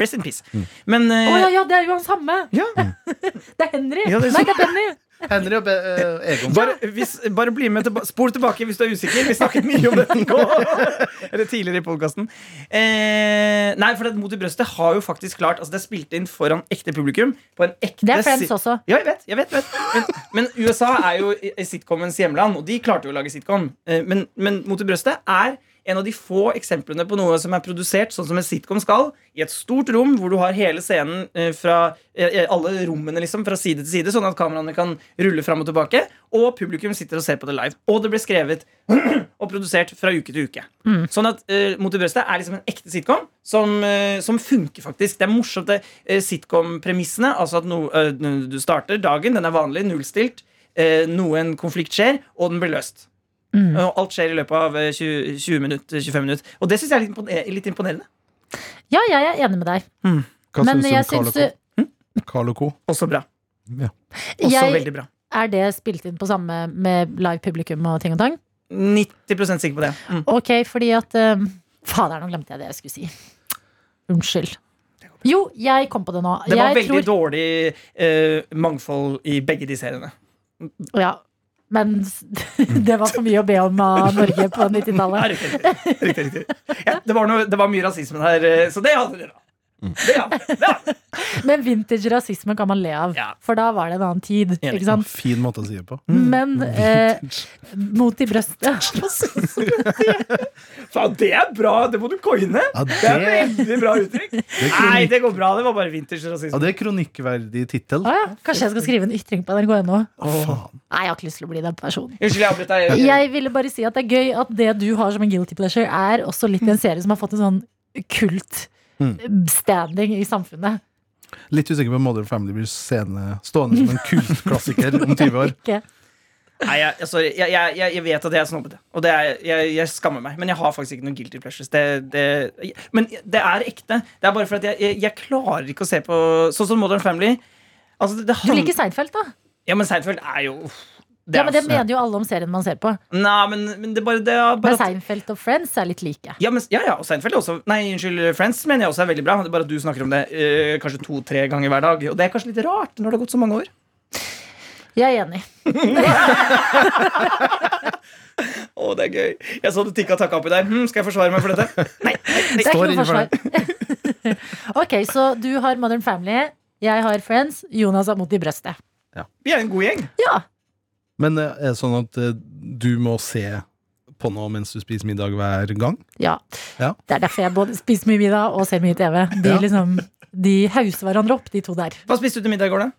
[SPEAKER 2] Rest in peace. Men
[SPEAKER 6] Å
[SPEAKER 2] eh,
[SPEAKER 6] ja, ja, det er jo han samme!
[SPEAKER 2] ja.
[SPEAKER 6] Det er Henry!
[SPEAKER 2] Ja, det er
[SPEAKER 6] Nei, det er Benny!
[SPEAKER 4] Henry og Be eh, Egon.
[SPEAKER 2] Bare, hvis, bare bli med tilba Spol tilbake hvis du er usikker. Vi snakket mye om dette nå. Eller tidligere i podkasten. Eh, nei, for det Mot i brøstet har jo faktisk klart Altså Det er spilt inn foran ekte publikum. På en ekte
[SPEAKER 6] Det er Friends
[SPEAKER 2] si-
[SPEAKER 6] også.
[SPEAKER 2] Ja, jeg vet. jeg vet, vet. Men, men USA er jo i- i sitcomens hjemland, og de klarte jo å lage sitcom. Eh, Men, men Mot i brøstet er en av de få eksemplene på noe som er produsert sånn som en sitcom skal, i et stort rom hvor du har hele scenen eh, fra eh, eh, alle rommene liksom, fra side til side, sånn at kameraene kan rulle fram og tilbake, og publikum sitter og ser på det live. Og det ble skrevet og produsert fra uke til uke.
[SPEAKER 11] Mm.
[SPEAKER 2] Sånn at eh, Mot i brøstet er liksom en ekte sitcom som, eh, som funker, faktisk. Det er morsomt, det eh, sitcom-premissene. Altså at no, eh, du starter dagen, den er vanlig, nullstilt. eh, noen konflikt skjer, og den blir løst.
[SPEAKER 6] Mm.
[SPEAKER 2] Og alt skjer i løpet av eh, 20, 20 minutter, 25 minutter. eh, Og det syns jeg er litt, impone- Eh, litt imponerende.
[SPEAKER 6] Ja, jeg er enig med deg.
[SPEAKER 4] Mm. Hva
[SPEAKER 6] Men jeg
[SPEAKER 4] syns du om Carl og Co?
[SPEAKER 6] syns
[SPEAKER 4] Carl og Co?
[SPEAKER 2] Også bra. Også
[SPEAKER 6] jeg,
[SPEAKER 2] veldig bra.
[SPEAKER 6] Er det spilt inn på samme med live publikum og ting og tang?
[SPEAKER 2] 90 sikker på det. Mm.
[SPEAKER 6] Ok, fordi at um, Fader, nå glemte jeg det jeg skulle si. Unnskyld. Jo, jeg kom på det nå.
[SPEAKER 2] Det var
[SPEAKER 6] jeg
[SPEAKER 2] veldig dårlig eh, mangfold i begge de seriene.
[SPEAKER 6] ja, Men s- det var for mye å be om av Norge på 90-tallet.
[SPEAKER 2] Ja, riktig, riktig. riktig, riktig. Ja, det, var noe, det var mye rasisme her, eh, så det hadde dere. Det hadde dere. Det hadde dere.
[SPEAKER 6] Men vintage rasisme kan man le av,
[SPEAKER 2] Ja.
[SPEAKER 6] for da var det en annen tid.
[SPEAKER 2] Enig.
[SPEAKER 6] Ikke sant? Mm.
[SPEAKER 4] Fin måte å si det på.
[SPEAKER 6] Men
[SPEAKER 4] Mm.
[SPEAKER 2] Mm.
[SPEAKER 6] eh, mot i brøstet
[SPEAKER 2] Faen, det er bra! Det må du coine.
[SPEAKER 4] Ja, det,
[SPEAKER 2] Det er veldig bra uttrykk. Nei, det går bra. Det var bare vinters
[SPEAKER 4] ja,
[SPEAKER 2] rasisme.
[SPEAKER 4] det er kronikkverdig tittel.
[SPEAKER 6] Å ja, Kanskje jeg skal skrive en ytring på nrk.no?
[SPEAKER 4] Å, faen.
[SPEAKER 6] Nei, jeg har ikke lyst til å bli den personen.
[SPEAKER 2] Unnskyld, jeg avbrøt deg.
[SPEAKER 6] Jeg ville bare si at det er gøy at det du har som en guilty pleasure, er også litt
[SPEAKER 2] Mm.
[SPEAKER 6] en serie som har fått en sånn kult standing i samfunnet.
[SPEAKER 4] Litt usikker på om Modern Family blir scene, stående som en kultklassiker om 20 år.
[SPEAKER 6] Ikke?
[SPEAKER 2] Nei, jeg, jeg- sorry. Jeg, jeg, jeg- jeg vet at jeg er snobbete, og det er, jeg, jeg skammer meg. Men jeg har faktisk ikke noen guilty pleasures. Det, det, jeg- men det er ekte. Det er bare for at jeg, jeg, jeg klarer ikke å se på Sånn som Modern Family. Altså, det- det
[SPEAKER 6] Du
[SPEAKER 2] hand-
[SPEAKER 6] liker Seinfeld, da?
[SPEAKER 2] Ja, men Seinfeld er jo uff, det
[SPEAKER 6] Ja,
[SPEAKER 2] er
[SPEAKER 6] men Det
[SPEAKER 2] jo-
[SPEAKER 6] mener jo alle om serien man ser på.
[SPEAKER 2] Nei, men, men det er bare, det er bare
[SPEAKER 6] Men
[SPEAKER 2] at,
[SPEAKER 6] Seinfeld og Friends er litt like.
[SPEAKER 2] ja, men, ja, ja, og Seinfeld er også Nei, unnskyld, Friends mener jeg også er veldig bra. men Det er bare at du snakker om det eh, kanskje to-tre ganger hver dag. Og det er kanskje litt rart når det har gått så mange år.
[SPEAKER 6] Jeg er enig.
[SPEAKER 2] Å, det er gøy. Jeg så du tikka takka oppi der. Hm, skal jeg forsvare meg for dette? Nei, nei, nei.
[SPEAKER 6] Det er
[SPEAKER 4] Står
[SPEAKER 6] ikke noe
[SPEAKER 4] innenfor
[SPEAKER 6] forsvar. ok, så du har Modern Family, jeg har Friends, Jonas har mot i brøstet.
[SPEAKER 2] Vi er en god gjeng.
[SPEAKER 6] Ja,
[SPEAKER 4] Men eh, er det sånn at eh, du må se på noe mens du spiser middag hver gang?
[SPEAKER 6] ja.
[SPEAKER 4] Ja.
[SPEAKER 6] Det er derfor jeg både spiser mye middag og ser mye TV. De,
[SPEAKER 4] Ja.
[SPEAKER 6] liksom, de hauser hverandre opp, de to der.
[SPEAKER 2] Hva spiste du til middag i går, da?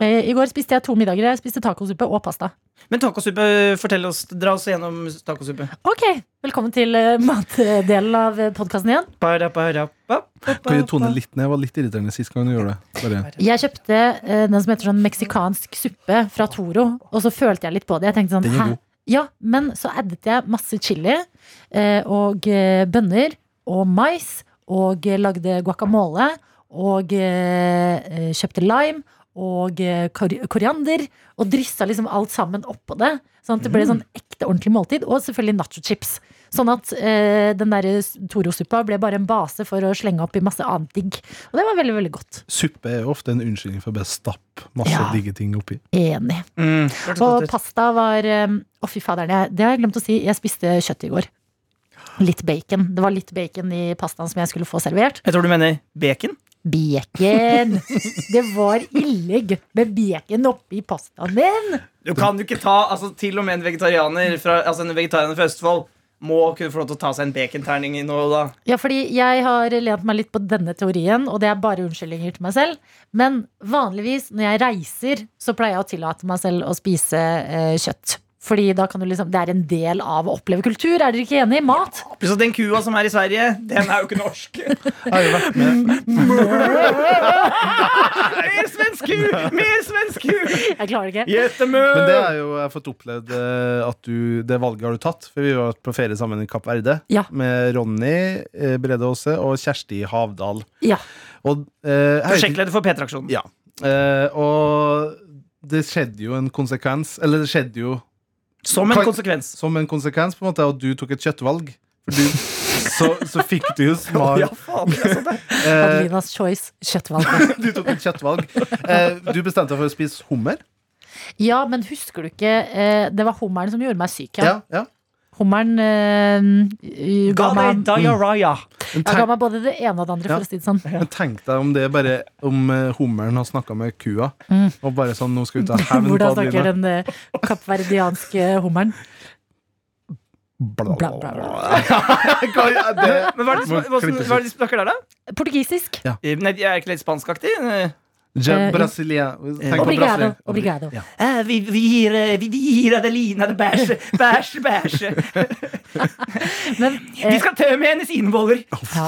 [SPEAKER 6] Eh, I går spiste jeg to middager. Jeg spiste tacosuppe og pasta.
[SPEAKER 2] Men tacosuppe, fortell oss, dra oss gjennom tacosuppe.
[SPEAKER 6] Ok, velkommen til eh, matdelen av podkasten igjen.
[SPEAKER 2] Para, para, pa, pa, pa,
[SPEAKER 4] Kan vi tone
[SPEAKER 2] pa.
[SPEAKER 4] litt ned? Jeg var litt irriterende sist gang du gjorde det. Bare.
[SPEAKER 6] Jeg kjøpte eh, den som heter sånn meksikansk suppe fra Toro, og så følte jeg litt på det. Jeg tenkte sånn,
[SPEAKER 4] Den er
[SPEAKER 6] hæ?
[SPEAKER 4] god.
[SPEAKER 6] Ja, men så addet jeg masse chili eh, og eh, bønner og mais, og eh, lagde guacamole, og eh, eh, kjøpte lime og eh, kori- koriander, og dryssa liksom alt sammen oppå det. Sånn
[SPEAKER 4] Mm.
[SPEAKER 6] at det ble sånn ekte, ordentlig måltid, og selvfølgelig nachochips. Sånn at eh, den der Toro-suppa ble bare en base for å slenge opp i masse annet digg. Og det var veldig, veldig godt.
[SPEAKER 4] Suppe er jo ofte en unnskyldning for å bare stappe masse
[SPEAKER 6] Ja.
[SPEAKER 4] digge ting oppi.
[SPEAKER 6] Enig.
[SPEAKER 2] Mm, hørtes godt
[SPEAKER 6] Og
[SPEAKER 2] ut.
[SPEAKER 6] pasta var um, Å, fy faderen. Jeg, det har jeg glemt å si. Jeg spiste kjøtt i går. Litt bacon. Det var litt bacon i pastaen som jeg skulle få servert.
[SPEAKER 2] Jeg tror du mener bacon?
[SPEAKER 6] Bacon! Det var ille gøy med bacon oppi pastaen min.
[SPEAKER 2] Du kan jo ikke ta, altså Til og med en vegetarianer fra, altså en vegetarianer fra Østfold må kunne få lov til å ta seg en baconterning i nå og da.
[SPEAKER 6] Ja, fordi jeg har lent meg litt på denne teorien, og det er bare unnskyldninger til meg selv. Men vanligvis når jeg reiser, så pleier jeg å tillate meg selv å spise eh, kjøtt. Fordi da kan du liksom, Det er en del av å oppleve kultur. Er dere ikke enig? Mat.
[SPEAKER 2] Pluss at den kua som er i Sverige, den er jo ikke norsk.
[SPEAKER 4] Jeg har jo vært med,
[SPEAKER 2] Mer svensk ku! Mer svensk ku!
[SPEAKER 6] Jeg klarer ikke.
[SPEAKER 2] Gjetemø!
[SPEAKER 4] men det er jo jeg har fått opplevd eh, at du, det valget har du tatt. For vi var på ferie sammen i Kapp Verde
[SPEAKER 6] Ja.
[SPEAKER 4] med Ronny eh, Brede Aase og Kjersti Havdal.
[SPEAKER 6] Ja.
[SPEAKER 4] Og, eh, jeg vet ikke-
[SPEAKER 2] Prosjektleder for P3-aksjonen.
[SPEAKER 4] Ja. Eh, og det skjedde jo en konsekvens, eller det skjedde jo
[SPEAKER 2] Som en
[SPEAKER 4] Kan-
[SPEAKER 2] konsekvens.
[SPEAKER 4] som en konsekvens på en måte at du tok et kjøttvalg. For du, så, så fikk du jo svar.
[SPEAKER 2] Ja, faen, det er sånn det.
[SPEAKER 4] Eh,
[SPEAKER 6] Adelinas Choice kjøttvalg.
[SPEAKER 4] du tok et kjøttvalg. Eh, du bestemte deg for å spise hummer.
[SPEAKER 6] Ja, men husker du ikke eh, Det var hummeren som gjorde meg syk. Ja.
[SPEAKER 4] Ja, ja.
[SPEAKER 6] Hummeren eh, ga,
[SPEAKER 2] Ga deg
[SPEAKER 6] meg, Mm.
[SPEAKER 2] diarrhea.
[SPEAKER 4] Mm. Men,
[SPEAKER 6] ja, ga
[SPEAKER 4] tenk,
[SPEAKER 6] meg både det ene og det andre,
[SPEAKER 4] Ja.
[SPEAKER 6] for å si det sånn.
[SPEAKER 4] men tenk deg om det er bare om eh, hummeren har snakka med kua, og bare sånn 'Nå skal vi ta hevn på
[SPEAKER 6] Mm. Hvordan snakker
[SPEAKER 4] Adelina'.
[SPEAKER 6] den eh, kappverdianske hummeren?
[SPEAKER 4] Bla,
[SPEAKER 6] Bla, bla, bla.
[SPEAKER 4] Hva- det-
[SPEAKER 2] Men hva er det, som- hva, som- hva er det de snakker der, da?
[SPEAKER 6] Portugisisk.
[SPEAKER 2] Eh, Nei, de er ikke litt spanskaktig? Eh,
[SPEAKER 4] Je- Brasilia. Tenk på
[SPEAKER 6] Obrigado.
[SPEAKER 4] Brasilia.
[SPEAKER 6] Obrigado.
[SPEAKER 4] Ja.
[SPEAKER 2] eh, Vi, vi, gir, eh, vi gir Adelina det bæsje, bæsje, bæsje.
[SPEAKER 6] Men
[SPEAKER 2] Vi
[SPEAKER 6] eh,
[SPEAKER 2] skal tømme hennes innvoller.
[SPEAKER 6] ja,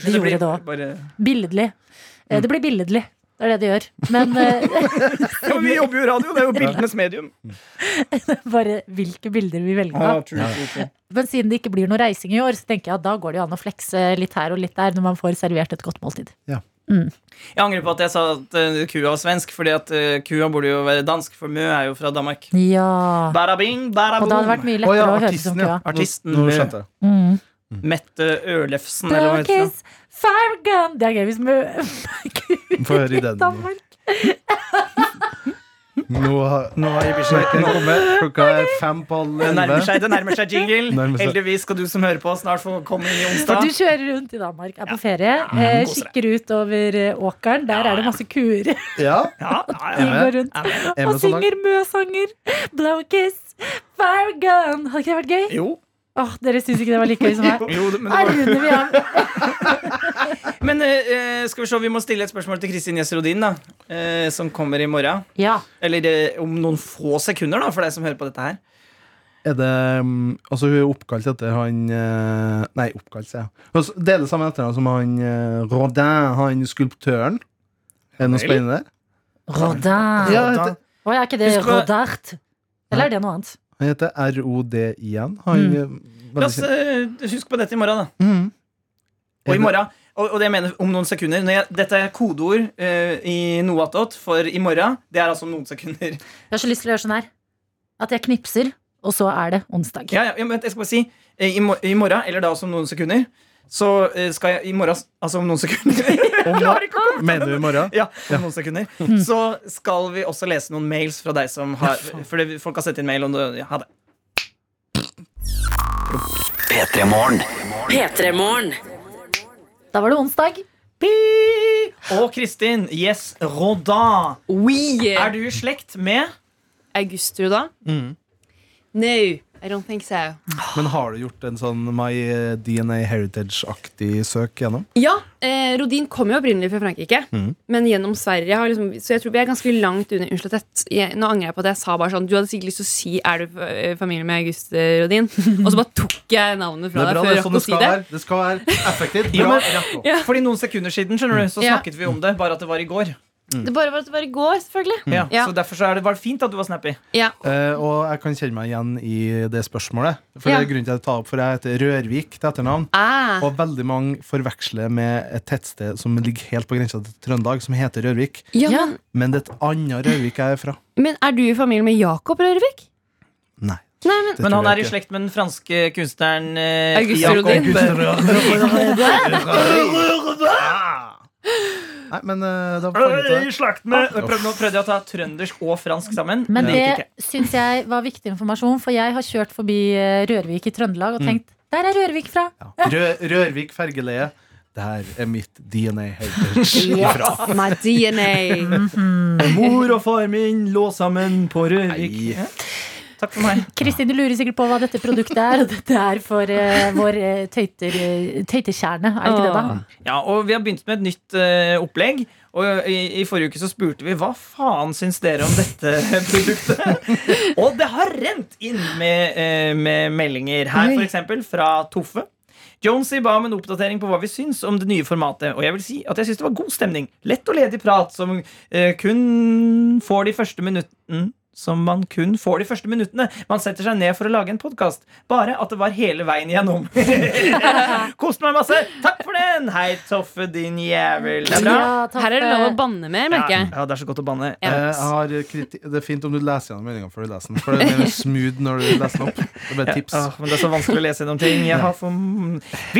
[SPEAKER 6] de gjorde det òg.
[SPEAKER 2] Bare-
[SPEAKER 6] Billedlig. Eh, det blir billedlig. Det er det de gjør. Men eh,
[SPEAKER 2] Ja, men vi jobber jo i radio, det er jo bildenes medium.
[SPEAKER 4] Mm.
[SPEAKER 6] bare hvilke bilder vi velger, da. Men siden det ikke blir noe reising i år, så tenker jeg at da går det jo an å flekse litt her og litt der når man får servert et godt måltid.
[SPEAKER 2] Jeg angrer på at jeg sa at eh, kua var svensk, fordi at eh, kua burde jo være dansk, for Mø er jo fra Danmark.
[SPEAKER 6] Ja.
[SPEAKER 2] Bada bing, bada
[SPEAKER 6] Ah. Og da hadde det
[SPEAKER 2] boom.
[SPEAKER 6] vært
[SPEAKER 4] Å
[SPEAKER 6] mye lettere
[SPEAKER 4] ja,
[SPEAKER 6] å høre som
[SPEAKER 4] artisten, ja.
[SPEAKER 6] køa.
[SPEAKER 2] Artisten
[SPEAKER 4] Nå, nå
[SPEAKER 2] Mø.
[SPEAKER 4] skjønte jeg.
[SPEAKER 6] Mm.
[SPEAKER 2] Mette Ørlefsen, eller hva heter Sånn det?
[SPEAKER 6] Darkies, fire gun Det er gøy hvis vi
[SPEAKER 4] Få høre i den.
[SPEAKER 6] Danmark.
[SPEAKER 4] Nå har, nå har Ibishi-sjekken kommet. Klokka er fem på halv
[SPEAKER 2] Det nærmer
[SPEAKER 4] elleve.
[SPEAKER 2] seg, det nærmer seg jingle.
[SPEAKER 4] Nærmer seg.
[SPEAKER 2] Heldigvis skal du som hører på, snart få komme inn i
[SPEAKER 6] For du
[SPEAKER 2] onsdag.
[SPEAKER 6] kjører rundt i Danmark, er på ferie, eh,
[SPEAKER 2] koser deg.
[SPEAKER 6] kikker ut over eh, åkeren. Der er det masse kuer.
[SPEAKER 4] Ja,
[SPEAKER 2] Ja, ja,
[SPEAKER 6] De
[SPEAKER 2] ja.
[SPEAKER 4] med.
[SPEAKER 6] går rundt
[SPEAKER 4] er
[SPEAKER 6] og
[SPEAKER 4] med så langt.
[SPEAKER 6] synger Mø-sanger. Blowkiss, fire gun Hadde ikke det vært gøy?
[SPEAKER 2] Jo.
[SPEAKER 6] Åh, Dere syns ikke det var like gøy som meg?
[SPEAKER 2] jo det- men,
[SPEAKER 6] Her
[SPEAKER 2] det var,
[SPEAKER 6] runder vi av.
[SPEAKER 2] men eh, eh, skal vi se, vi må stille et spørsmål til Kristin Gjesserodin, da. eh, som kommer i morgen.
[SPEAKER 6] Ja.
[SPEAKER 2] Eller eh, om noen få sekunder, da, for deg som hører på dette her.
[SPEAKER 4] Er det mm, Altså, hun er oppkalt etter han eh, Nei, oppkalt, sier jeg. Hun s- deler samme etternavn som han eh, Rodin, han skulptøren. Er det noe
[SPEAKER 2] Vel.
[SPEAKER 4] spennende der?
[SPEAKER 6] Rodin.
[SPEAKER 4] Ja, heter,
[SPEAKER 6] Ah. Å, er ikke det
[SPEAKER 2] Husk å-
[SPEAKER 6] Rodart? Eller er det noe annet?
[SPEAKER 4] han heter RODIN. Han eh,
[SPEAKER 2] La oss
[SPEAKER 4] veldig
[SPEAKER 6] Mm.
[SPEAKER 4] kjent.
[SPEAKER 2] eh, huske på dette i morgen, da.
[SPEAKER 4] Mhm.
[SPEAKER 2] Og i morgen og, og det jeg mener om noen sekunder når jeg, Dette er kodeord eh, i noe attåt for i morgen. Det er altså om noen sekunder.
[SPEAKER 6] Jeg har så lyst til å gjøre sånn her. At jeg knipser, og så er det onsdag.
[SPEAKER 2] Ja, ja, ja, men jeg skal bare si eh, i, mor- I morgen, eller da også om noen sekunder, så eh, skal jeg I morgen, altså om noen sekunder
[SPEAKER 4] Om, mener du i morgen?
[SPEAKER 2] Ja, om noen sekunder
[SPEAKER 6] Hmm.
[SPEAKER 2] Så skal vi også lese noen mails fra deg som har For det, folk har sendt inn mail om det. Ja, ha det.
[SPEAKER 12] P3-morgen.
[SPEAKER 6] Da var det onsdag.
[SPEAKER 2] Og Kristin, yes, Rodin.
[SPEAKER 11] We
[SPEAKER 2] Er du i slekt med
[SPEAKER 11] Augustrud, da?
[SPEAKER 4] Mm.
[SPEAKER 11] No, I don't think so.
[SPEAKER 4] Men har du gjort en sånn My DNA Heritage-aktig søk gjennom?
[SPEAKER 11] Ja, eh, Rodin kommer jo opprinnelig fra Frankrike,
[SPEAKER 4] Mhm.
[SPEAKER 11] men gjennom Sverige. Har liksom, så jeg tror vi er ganske langt under. Unnskyld at jeg- jeg, nå angrer jeg på at jeg sa bare sånn Du hadde sikkert lyst til å si 'Er du eh, familie med August eh, Rodin?' Og så bare tok jeg navnet
[SPEAKER 4] Det
[SPEAKER 11] fra
[SPEAKER 4] er
[SPEAKER 11] deg
[SPEAKER 4] bra,
[SPEAKER 11] før
[SPEAKER 4] det
[SPEAKER 11] jeg
[SPEAKER 4] er sånn
[SPEAKER 11] rakk
[SPEAKER 4] det
[SPEAKER 11] å si
[SPEAKER 4] skal
[SPEAKER 11] det.
[SPEAKER 4] være. Det skal være effektivt.
[SPEAKER 2] Ja,
[SPEAKER 4] Bra.
[SPEAKER 2] men-
[SPEAKER 4] Rett opp.
[SPEAKER 11] Ja.
[SPEAKER 2] Fordi noen sekunder siden, skjønner du, så
[SPEAKER 11] Ja.
[SPEAKER 2] snakket vi om det, bare at det var i går.
[SPEAKER 4] Mm.
[SPEAKER 11] Det bare var at det var i går, selvfølgelig.
[SPEAKER 2] Ja,
[SPEAKER 11] Mm. Ja.
[SPEAKER 2] Så derfor så er det, var det fint at du var snappy.
[SPEAKER 11] Ja.
[SPEAKER 4] Eh, og jeg kan kjenne meg igjen i det spørsmålet. For
[SPEAKER 11] Ja.
[SPEAKER 4] det er grunnen til at jeg tar opp For jeg heter Rørvik til etternavn.
[SPEAKER 11] Ah.
[SPEAKER 4] Og veldig mange forveksler med et tettsted som ligger helt på grensa til Trøndelag, som heter Rørvik.
[SPEAKER 11] Ja,
[SPEAKER 6] Ja.
[SPEAKER 11] Men,
[SPEAKER 4] Men det er et annet Rørvik jeg er fra.
[SPEAKER 11] men er du i familie med Jakob Rørvik?
[SPEAKER 4] Nei.
[SPEAKER 11] Nei, men
[SPEAKER 2] Men han er i slekt med den franske kunstneren eh,
[SPEAKER 11] August
[SPEAKER 2] Jacob
[SPEAKER 11] Rodin.
[SPEAKER 4] Nei, men eh, da får jeg
[SPEAKER 2] Rodin.
[SPEAKER 4] vite det.
[SPEAKER 2] Prøv, nå prøvde jeg å ta trøndersk og fransk sammen.
[SPEAKER 6] Men
[SPEAKER 2] gikk
[SPEAKER 6] det
[SPEAKER 2] ikke.
[SPEAKER 6] syns jeg var viktig informasjon, for jeg har kjørt forbi eh, Rørvik i Trøndelag og
[SPEAKER 2] Mm.
[SPEAKER 6] tenkt der er Rørvik fra!
[SPEAKER 4] Ja. Rø- Rørvik fergeleie. Der er mitt DNA heritage ifra.
[SPEAKER 11] Yes, my DNA.
[SPEAKER 6] Mhm.
[SPEAKER 11] Mm.
[SPEAKER 2] Mor og far min lå sammen på Rørvik.
[SPEAKER 4] Nei.
[SPEAKER 2] Ja. Takk for meg.
[SPEAKER 6] Kristin, du lurer sikkert på hva dette produktet er, og dette er for eh, vår uh, tøyter, eh, tøytekjerne, er det ikke det, da?
[SPEAKER 2] Ah. Ja, og vi har begynt med et nytt eh, opplegg. Og eh, i, I forrige uke så spurte vi hva faen syns dere om dette produktet. og det har rent inn med, eh, med meldinger her, f.eks. fra Toffe. Jonesy ba om en oppdatering på hva vi syns om det nye formatet. Og jeg vil si at jeg syns det var god stemning. Lett og ledig prat som eh, kun får de første minuttene som man kun får de første minuttene. Man setter seg ned for å lage en podkast. Bare at det var hele veien gjennom. Kost meg masse. Takk for den! Hei, Toffe, din jævel. Det er bra.
[SPEAKER 6] Ja, takk,
[SPEAKER 11] Her er det lov å
[SPEAKER 6] eh,
[SPEAKER 11] banne mer, merker jeg.
[SPEAKER 2] Ja, det er så godt å banne.
[SPEAKER 4] Eh, jeg har kriti det er fint om du leser gjennom meldinga før du leser den. For det er mer smooth når du leser den opp. Det ble et tips.
[SPEAKER 2] Åh, men det er så vanskelig å lese gjennom ting. Jeg har for...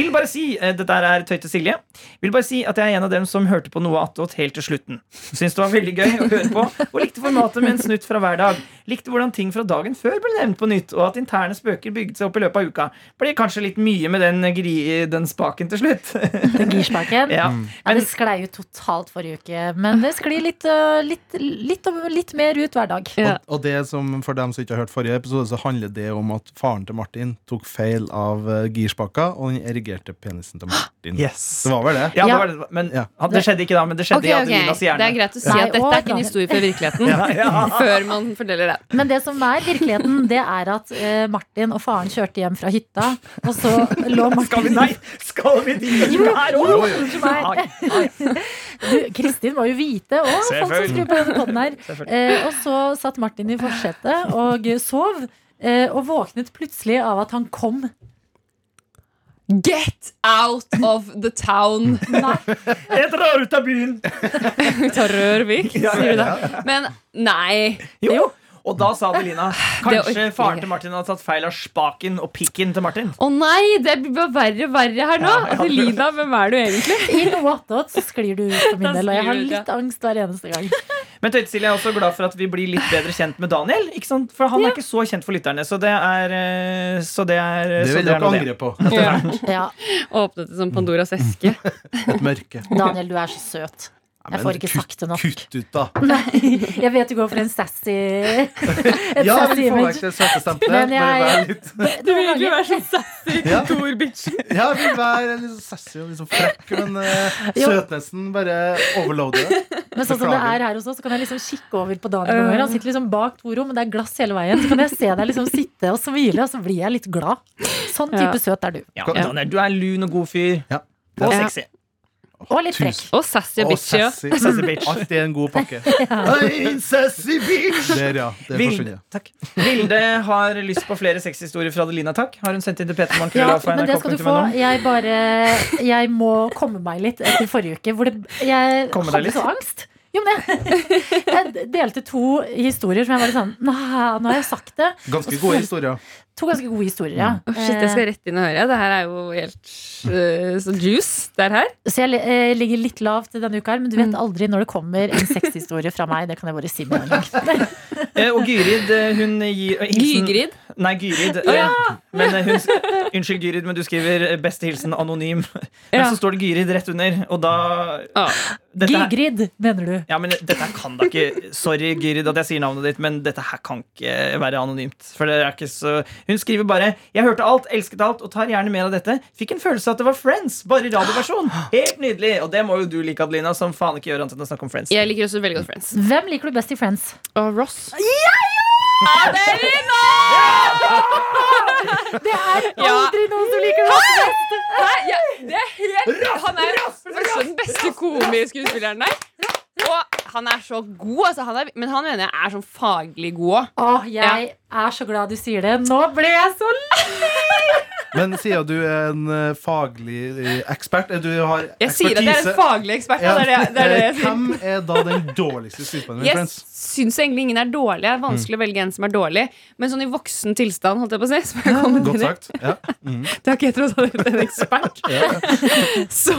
[SPEAKER 2] Vil bare si eh, Dette er Tøyte Silje. Vil bare si at jeg er en av dem som hørte på noe attåt helt til slutten. Syns det var veldig gøy å høre på, og likte formatet med en snutt fra hver dag. Likte hvordan ting fra dagen før ble nevnt på nytt, og at interne spøker bygde seg opp i løpet av uka. Ble kanskje litt mye med den, gri, den spaken til slutt.
[SPEAKER 6] Den girspaken.
[SPEAKER 2] ja.
[SPEAKER 4] Mm.
[SPEAKER 6] Ja, det sklei jo totalt forrige uke, men det sklir litt, øh, litt, litt, og- litt mer ut hver dag.
[SPEAKER 11] Ja.
[SPEAKER 4] Og det som for dem som ikke har hørt forrige episode, så handler det om at faren til Martin tok feil av eh, girspaka og den erigerte penisen til Martin. Det var vel det?
[SPEAKER 2] Ja,
[SPEAKER 6] Ja.
[SPEAKER 2] det var det. Men
[SPEAKER 4] Ja.
[SPEAKER 2] han- det skjedde ikke da, men det skjedde
[SPEAKER 11] Ok,
[SPEAKER 2] i
[SPEAKER 11] ok.
[SPEAKER 2] Adelinas hjerne.
[SPEAKER 11] Det er greit å si
[SPEAKER 6] Nei,
[SPEAKER 11] at dette er
[SPEAKER 6] og
[SPEAKER 11] ikke en
[SPEAKER 6] Daniel.
[SPEAKER 11] historie fra virkeligheten. Før man fordeler det.
[SPEAKER 6] Men det som er virkeligheten, det er at eh, Martin og faren kjørte hjem fra hytta, og så lå Martin
[SPEAKER 2] Skal vi, nei, skal vi dit her
[SPEAKER 6] jo,
[SPEAKER 2] òg?
[SPEAKER 6] unnskyld meg. Du, Kristin må jo vite og folk som skrur på denne podden her. Eh, og så satt Martin i forsetet og sov, eh, og våknet plutselig av at han kom.
[SPEAKER 11] Get out of the town!
[SPEAKER 2] Jeg drar ut av byen!
[SPEAKER 11] Ta Rørvik, sier du da. Men nei.
[SPEAKER 2] Jo. Og da sa Adelina
[SPEAKER 11] Det orker
[SPEAKER 2] kanskje
[SPEAKER 11] jeg
[SPEAKER 2] faren
[SPEAKER 11] ikke.
[SPEAKER 2] til Martin hadde tatt feil av spaken og pikken til Martin.
[SPEAKER 11] Å nei, det blir bare verre og verre her nå. Adelina, hvem er du egentlig?
[SPEAKER 6] I noe attåt så sklir du ut for min
[SPEAKER 11] Da
[SPEAKER 6] del, og jeg
[SPEAKER 11] sklir
[SPEAKER 6] har
[SPEAKER 11] du ut, ja.
[SPEAKER 6] litt angst hver eneste gang.
[SPEAKER 2] Men Tøyte Silje er også glad for at vi blir litt bedre kjent med Daniel. Ikke sant? For han er ikke så kjent for lytterne, så det er eh, Så det er,
[SPEAKER 4] Det
[SPEAKER 2] så
[SPEAKER 4] vil dere
[SPEAKER 2] nå det.
[SPEAKER 4] angre på.
[SPEAKER 6] Ja,
[SPEAKER 11] Åpnet det som Pandoras eske.
[SPEAKER 4] Et mørke.
[SPEAKER 6] Daniel, du er så søt.
[SPEAKER 4] Nei,
[SPEAKER 6] Jeg
[SPEAKER 4] men
[SPEAKER 6] får ikke
[SPEAKER 4] kutt-
[SPEAKER 6] sagt det nok.
[SPEAKER 4] Kutt ut, da.
[SPEAKER 6] Jeg vet du går for en sassy Et
[SPEAKER 4] Ja, jeg
[SPEAKER 6] sassy
[SPEAKER 4] vil få vekk
[SPEAKER 6] image.
[SPEAKER 4] det søte
[SPEAKER 6] Men
[SPEAKER 4] stempelet. Bare
[SPEAKER 6] jeg-
[SPEAKER 4] være litt
[SPEAKER 11] Du vil egentlig være sånn sassy
[SPEAKER 4] Ja.
[SPEAKER 11] kontorbitchen.
[SPEAKER 4] Ja, jeg vil være litt sånn sassy og litt sånn frekk, men uh,
[SPEAKER 6] Jo.
[SPEAKER 4] søtnessen bare overloader det.
[SPEAKER 6] Men sånn som det
[SPEAKER 4] Beklager.
[SPEAKER 6] er her også, så kan jeg liksom kikke over på Daniel noen ganger. Han sitter liksom bak to rom, men det er glass hele veien. Så kan jeg se deg liksom sitte og smile, og så blir jeg litt glad. Sånn type
[SPEAKER 11] Ja.
[SPEAKER 6] søt er du.
[SPEAKER 2] Ja, Daniel, du er en lun og god fyr.
[SPEAKER 4] Ja.
[SPEAKER 2] Og
[SPEAKER 11] Ja.
[SPEAKER 2] sexy.
[SPEAKER 6] Og litt frekk.
[SPEAKER 11] Og sassy
[SPEAKER 4] Og
[SPEAKER 11] bitch. Ja.
[SPEAKER 4] sassy. Alt er en god pakke. Oi, sassy bitch! Der, ja. Der
[SPEAKER 2] Vil-
[SPEAKER 4] forsvinner det.
[SPEAKER 2] Vilde har lyst på flere sexhistorier fra Adelina, takk. Har hun sendt inn til Petermann
[SPEAKER 6] Ja, men det skal du få. Jeg bare Jeg må komme meg litt etter forrige uke, hvor det, jeg
[SPEAKER 2] Komme deg
[SPEAKER 6] hadde
[SPEAKER 2] litt?
[SPEAKER 6] så angst. Jo, men jeg, jeg delte to historier som jeg var litt sånn Nei, nå har jeg sagt det.
[SPEAKER 4] Ganske gode historier.
[SPEAKER 6] To ganske gode historier, ja. Eh,
[SPEAKER 11] Å, shit, jeg skal rett inn og høre. Det her er jo helt eh, så juice. Det er her. Mm.
[SPEAKER 6] Så jeg eh, ligger litt lavt denne uka, her, men du vet aldri når det kommer en sexhistorie fra meg. Det kan jeg bare si med en gang.
[SPEAKER 2] Eh, Og Gyrid, eh, hun gir eh, hilsen-
[SPEAKER 11] Gygrid.
[SPEAKER 2] Nei, Gyrid. eh, Men eh, hun, s- unnskyld, Gyrid, men du skriver eh, 'beste hilsen anonym'. Men
[SPEAKER 6] Ja.
[SPEAKER 2] så står det Gyrid rett under, og da
[SPEAKER 11] Ah.
[SPEAKER 2] Dette her-
[SPEAKER 6] Gygrid, mener du?
[SPEAKER 2] Ja, men dette her kan da ikke Sorry, Gyrid, at jeg sier navnet ditt, men dette her kan ikke være anonymt. For det er ikke så Hun skriver bare 'Jeg hørte alt, elsket alt, og tar gjerne mer av dette'. Fikk en følelse av at det var Friends, bare i radioversjon. Helt nydelig. Og det må jo du like, Adelina, som faen ikke gjør annet enn å snakke om Friends.
[SPEAKER 11] Jeg liker også veldig godt Friends.
[SPEAKER 6] Hvem liker du best i Friends?
[SPEAKER 11] Og Ross.
[SPEAKER 6] Adelina! Det er aldri noen som liker Ross best.
[SPEAKER 11] Nei, ja, det er helt Han er for det første den beste komiskuespilleren der. Og han er så god, altså. Han er, men han mener jeg er sånn faglig god òg.
[SPEAKER 6] Åh, jeg er så glad du sier det. Nå ble jeg så lei!
[SPEAKER 4] Men sier du er en eh, faglig eh, ekspert? Er Du har
[SPEAKER 11] Jeg sier at jeg er en
[SPEAKER 4] ekspertise? Eh,
[SPEAKER 11] faglig ekspert. da. Det er det, det er det jeg sier.
[SPEAKER 4] Hvem er da den dårligste skuespilleren i
[SPEAKER 11] Jeg
[SPEAKER 4] Friends?
[SPEAKER 11] syns egentlig ingen er dårlig. Det er vanskelig å velge en som er dårlig. Men sånn i voksen tilstand, holdt jeg på å si, som jeg kom inn
[SPEAKER 4] Godt
[SPEAKER 11] i,
[SPEAKER 4] sagt. Ja. Mm.
[SPEAKER 11] det har ikke jeg trodd hadde vært en ekspert. Så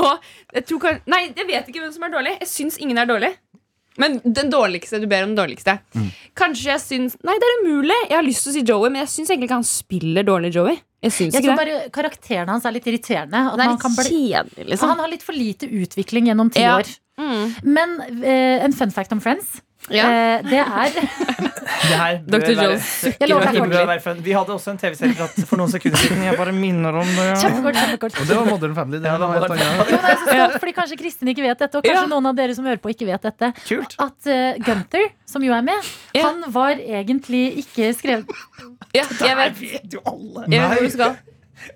[SPEAKER 11] jeg tror kan, Nei, jeg vet ikke hvem som er dårlig. Jeg syns ingen er dårlig. Men den dårligste, du ber om den dårligste.
[SPEAKER 4] Mm.
[SPEAKER 11] Kanskje jeg syns Nei, det er umulig. Jeg har lyst til å si Joey, men jeg syns egentlig ikke han spiller dårlig Joey. Jeg syns
[SPEAKER 6] Jeg
[SPEAKER 11] ikke
[SPEAKER 6] tror
[SPEAKER 11] det.
[SPEAKER 6] bare Karakteren hans er litt irriterende. At
[SPEAKER 11] Han er
[SPEAKER 6] man
[SPEAKER 11] litt
[SPEAKER 6] kan bli...
[SPEAKER 11] kjedelig, liksom.
[SPEAKER 6] Han har litt for lite utvikling gjennom ti
[SPEAKER 11] Ja. Mm.
[SPEAKER 6] år. Men eh, en fun fact om Friends, eh, det er
[SPEAKER 2] Det her bør
[SPEAKER 6] Dr.
[SPEAKER 2] være-
[SPEAKER 6] Jones sukker Jeg lover deg
[SPEAKER 2] Det bør
[SPEAKER 6] ordentlig.
[SPEAKER 2] være fun. Vi hadde også en TV-serie for at- for noen sekunder siden. Jeg bare minner om det.
[SPEAKER 6] Kjempekort, kjempekort.
[SPEAKER 4] Og det var Modern Family. Det er noe helt annet.
[SPEAKER 6] Jo, men jeg er så stolt, Altså, fordi Kanskje Kristin ikke vet dette, og kanskje noen av dere som hører på, ikke vet dette. At eh, Gunther, som jo er med, han var egentlig ikke skrevet
[SPEAKER 11] jeg vet.
[SPEAKER 2] jo alle.
[SPEAKER 11] Jeg vet hvor du skal.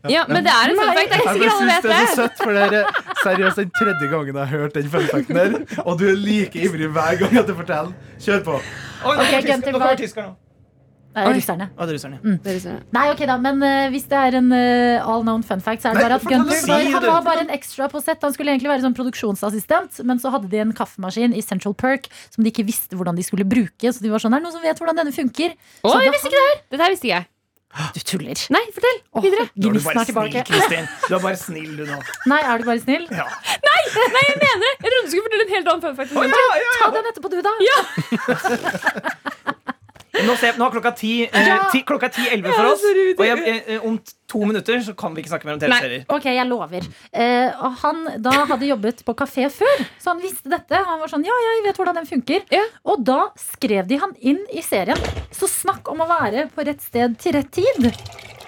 [SPEAKER 11] Ja, men det er en fun fact. Det er ikke
[SPEAKER 4] Jeg
[SPEAKER 11] sikkert
[SPEAKER 4] bare
[SPEAKER 11] alle
[SPEAKER 4] synes
[SPEAKER 11] vet
[SPEAKER 4] det er så
[SPEAKER 11] det.
[SPEAKER 4] søtt, for det er eh, seriøst den tredje gangen jeg har hørt den funfacten her, og du er like ivrig hver gang jeg forteller. Kjør på.
[SPEAKER 2] Oi,
[SPEAKER 6] Ok,
[SPEAKER 2] nå kommer
[SPEAKER 6] Gunther,
[SPEAKER 2] tysker- nå
[SPEAKER 6] hva-
[SPEAKER 2] kommer tyskeren nå.
[SPEAKER 6] Nei,
[SPEAKER 2] Oi.
[SPEAKER 6] russerne. Mm.
[SPEAKER 2] Å, det er russerne.
[SPEAKER 6] Nei, ok da, men eh, hvis det er en eh, all known fun fact, så er det
[SPEAKER 2] Nei,
[SPEAKER 6] bare at
[SPEAKER 2] fortell
[SPEAKER 6] Gunther
[SPEAKER 2] oss.
[SPEAKER 6] var,
[SPEAKER 2] Si
[SPEAKER 6] han
[SPEAKER 2] det.
[SPEAKER 6] var bare en ekstra på sett. Han skulle egentlig være sånn produksjonsassistent, men så hadde de en kaffemaskin i Central Perk som de ikke visste hvordan de skulle bruke. Så de var sånn, er det noen som vet hvordan denne funker?
[SPEAKER 11] Å,
[SPEAKER 6] Så
[SPEAKER 11] jeg
[SPEAKER 6] da-
[SPEAKER 11] visste ikke det her. Dette her visste ikke jeg.
[SPEAKER 6] Du tuller.
[SPEAKER 11] Nei, fortell.
[SPEAKER 6] Åh,
[SPEAKER 11] Videre.
[SPEAKER 2] Nå er du
[SPEAKER 6] Gnisten
[SPEAKER 2] bare
[SPEAKER 6] er
[SPEAKER 2] snill,
[SPEAKER 6] tilbake.
[SPEAKER 2] Kristin. Du er bare snill, du nå.
[SPEAKER 6] Nei, er du bare snill?
[SPEAKER 2] Ja.
[SPEAKER 11] Nei, jeg mener det! Jeg trodde du skulle fortelle en helt annen fun fact.
[SPEAKER 6] Ta den etterpå, du, da. Ja.
[SPEAKER 2] Nå, ser, jeg- nå er klokka ti, eh,
[SPEAKER 6] Ja.
[SPEAKER 2] ti, klokka ti elleve for
[SPEAKER 11] Ja,
[SPEAKER 2] oss.
[SPEAKER 11] sorry,
[SPEAKER 2] Og jeg, eh, om to minutter så kan vi ikke snakke mer om TV-serier.
[SPEAKER 6] Ok, jeg lover. Eh, og han da hadde jobbet på kafé før, så han visste dette. Han var sånn, ja, jeg vet hvordan den funker. Og da skrev de han inn i serien. Så snakk om å være på rett sted til rett tid.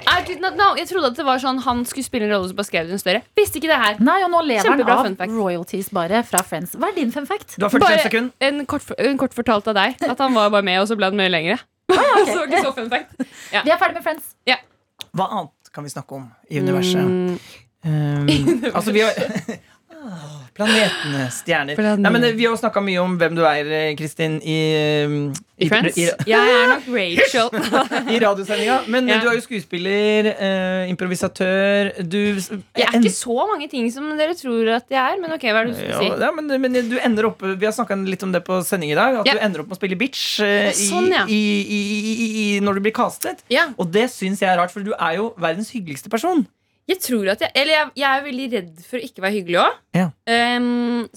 [SPEAKER 11] I did not know. Jeg trodde at det var sånn han skulle spille en rolle som bare skrev den større. Visste ikke det her.
[SPEAKER 6] Nei, og nå lever han
[SPEAKER 11] Kjempebra
[SPEAKER 6] av
[SPEAKER 11] fun fact.
[SPEAKER 6] royalties bare fra Friends. Hva er din fun fact?
[SPEAKER 2] Du har 45
[SPEAKER 11] Bare
[SPEAKER 2] sekunder.
[SPEAKER 11] en kort, en kort fortalt av deg. At han var bare med, og så ble han mye lengre. så
[SPEAKER 6] ok.
[SPEAKER 11] det var ikke så fun fact.
[SPEAKER 6] Vi er ferdig med Friends.
[SPEAKER 2] Hva annet kan vi snakke om i universet?
[SPEAKER 6] Mm.
[SPEAKER 2] Um, altså, vi har Ah, Planetene, stjerner Nei, men eh, Vi har snakka mye om hvem du er, eh, Kristin, i, um,
[SPEAKER 11] I Friends?
[SPEAKER 2] i,
[SPEAKER 11] Jeg er nok Rachel.
[SPEAKER 2] i radiosendinga. Men eh,
[SPEAKER 11] Ja.
[SPEAKER 2] du er jo skuespiller, eh, improvisatør Du
[SPEAKER 11] Jeg er ikke så mange ting som dere tror at jeg er, men ok, hva er det du
[SPEAKER 2] Ja,
[SPEAKER 11] skulle si?
[SPEAKER 2] ja, men, men eh, du ender opp Vi har snakka litt om det på sending i dag. At
[SPEAKER 11] Ja.
[SPEAKER 2] du ender opp med å spille bitch eh,
[SPEAKER 11] Ja, sånn, ja.
[SPEAKER 2] i, i, i, i, i, i, når du blir castet.
[SPEAKER 11] Ja,
[SPEAKER 2] Og det syns jeg er rart, for du er jo verdens hyggeligste person.
[SPEAKER 11] jeg tror at jeg Eller jeg, jeg er veldig redd for å ikke være hyggelig òg.
[SPEAKER 2] Ja.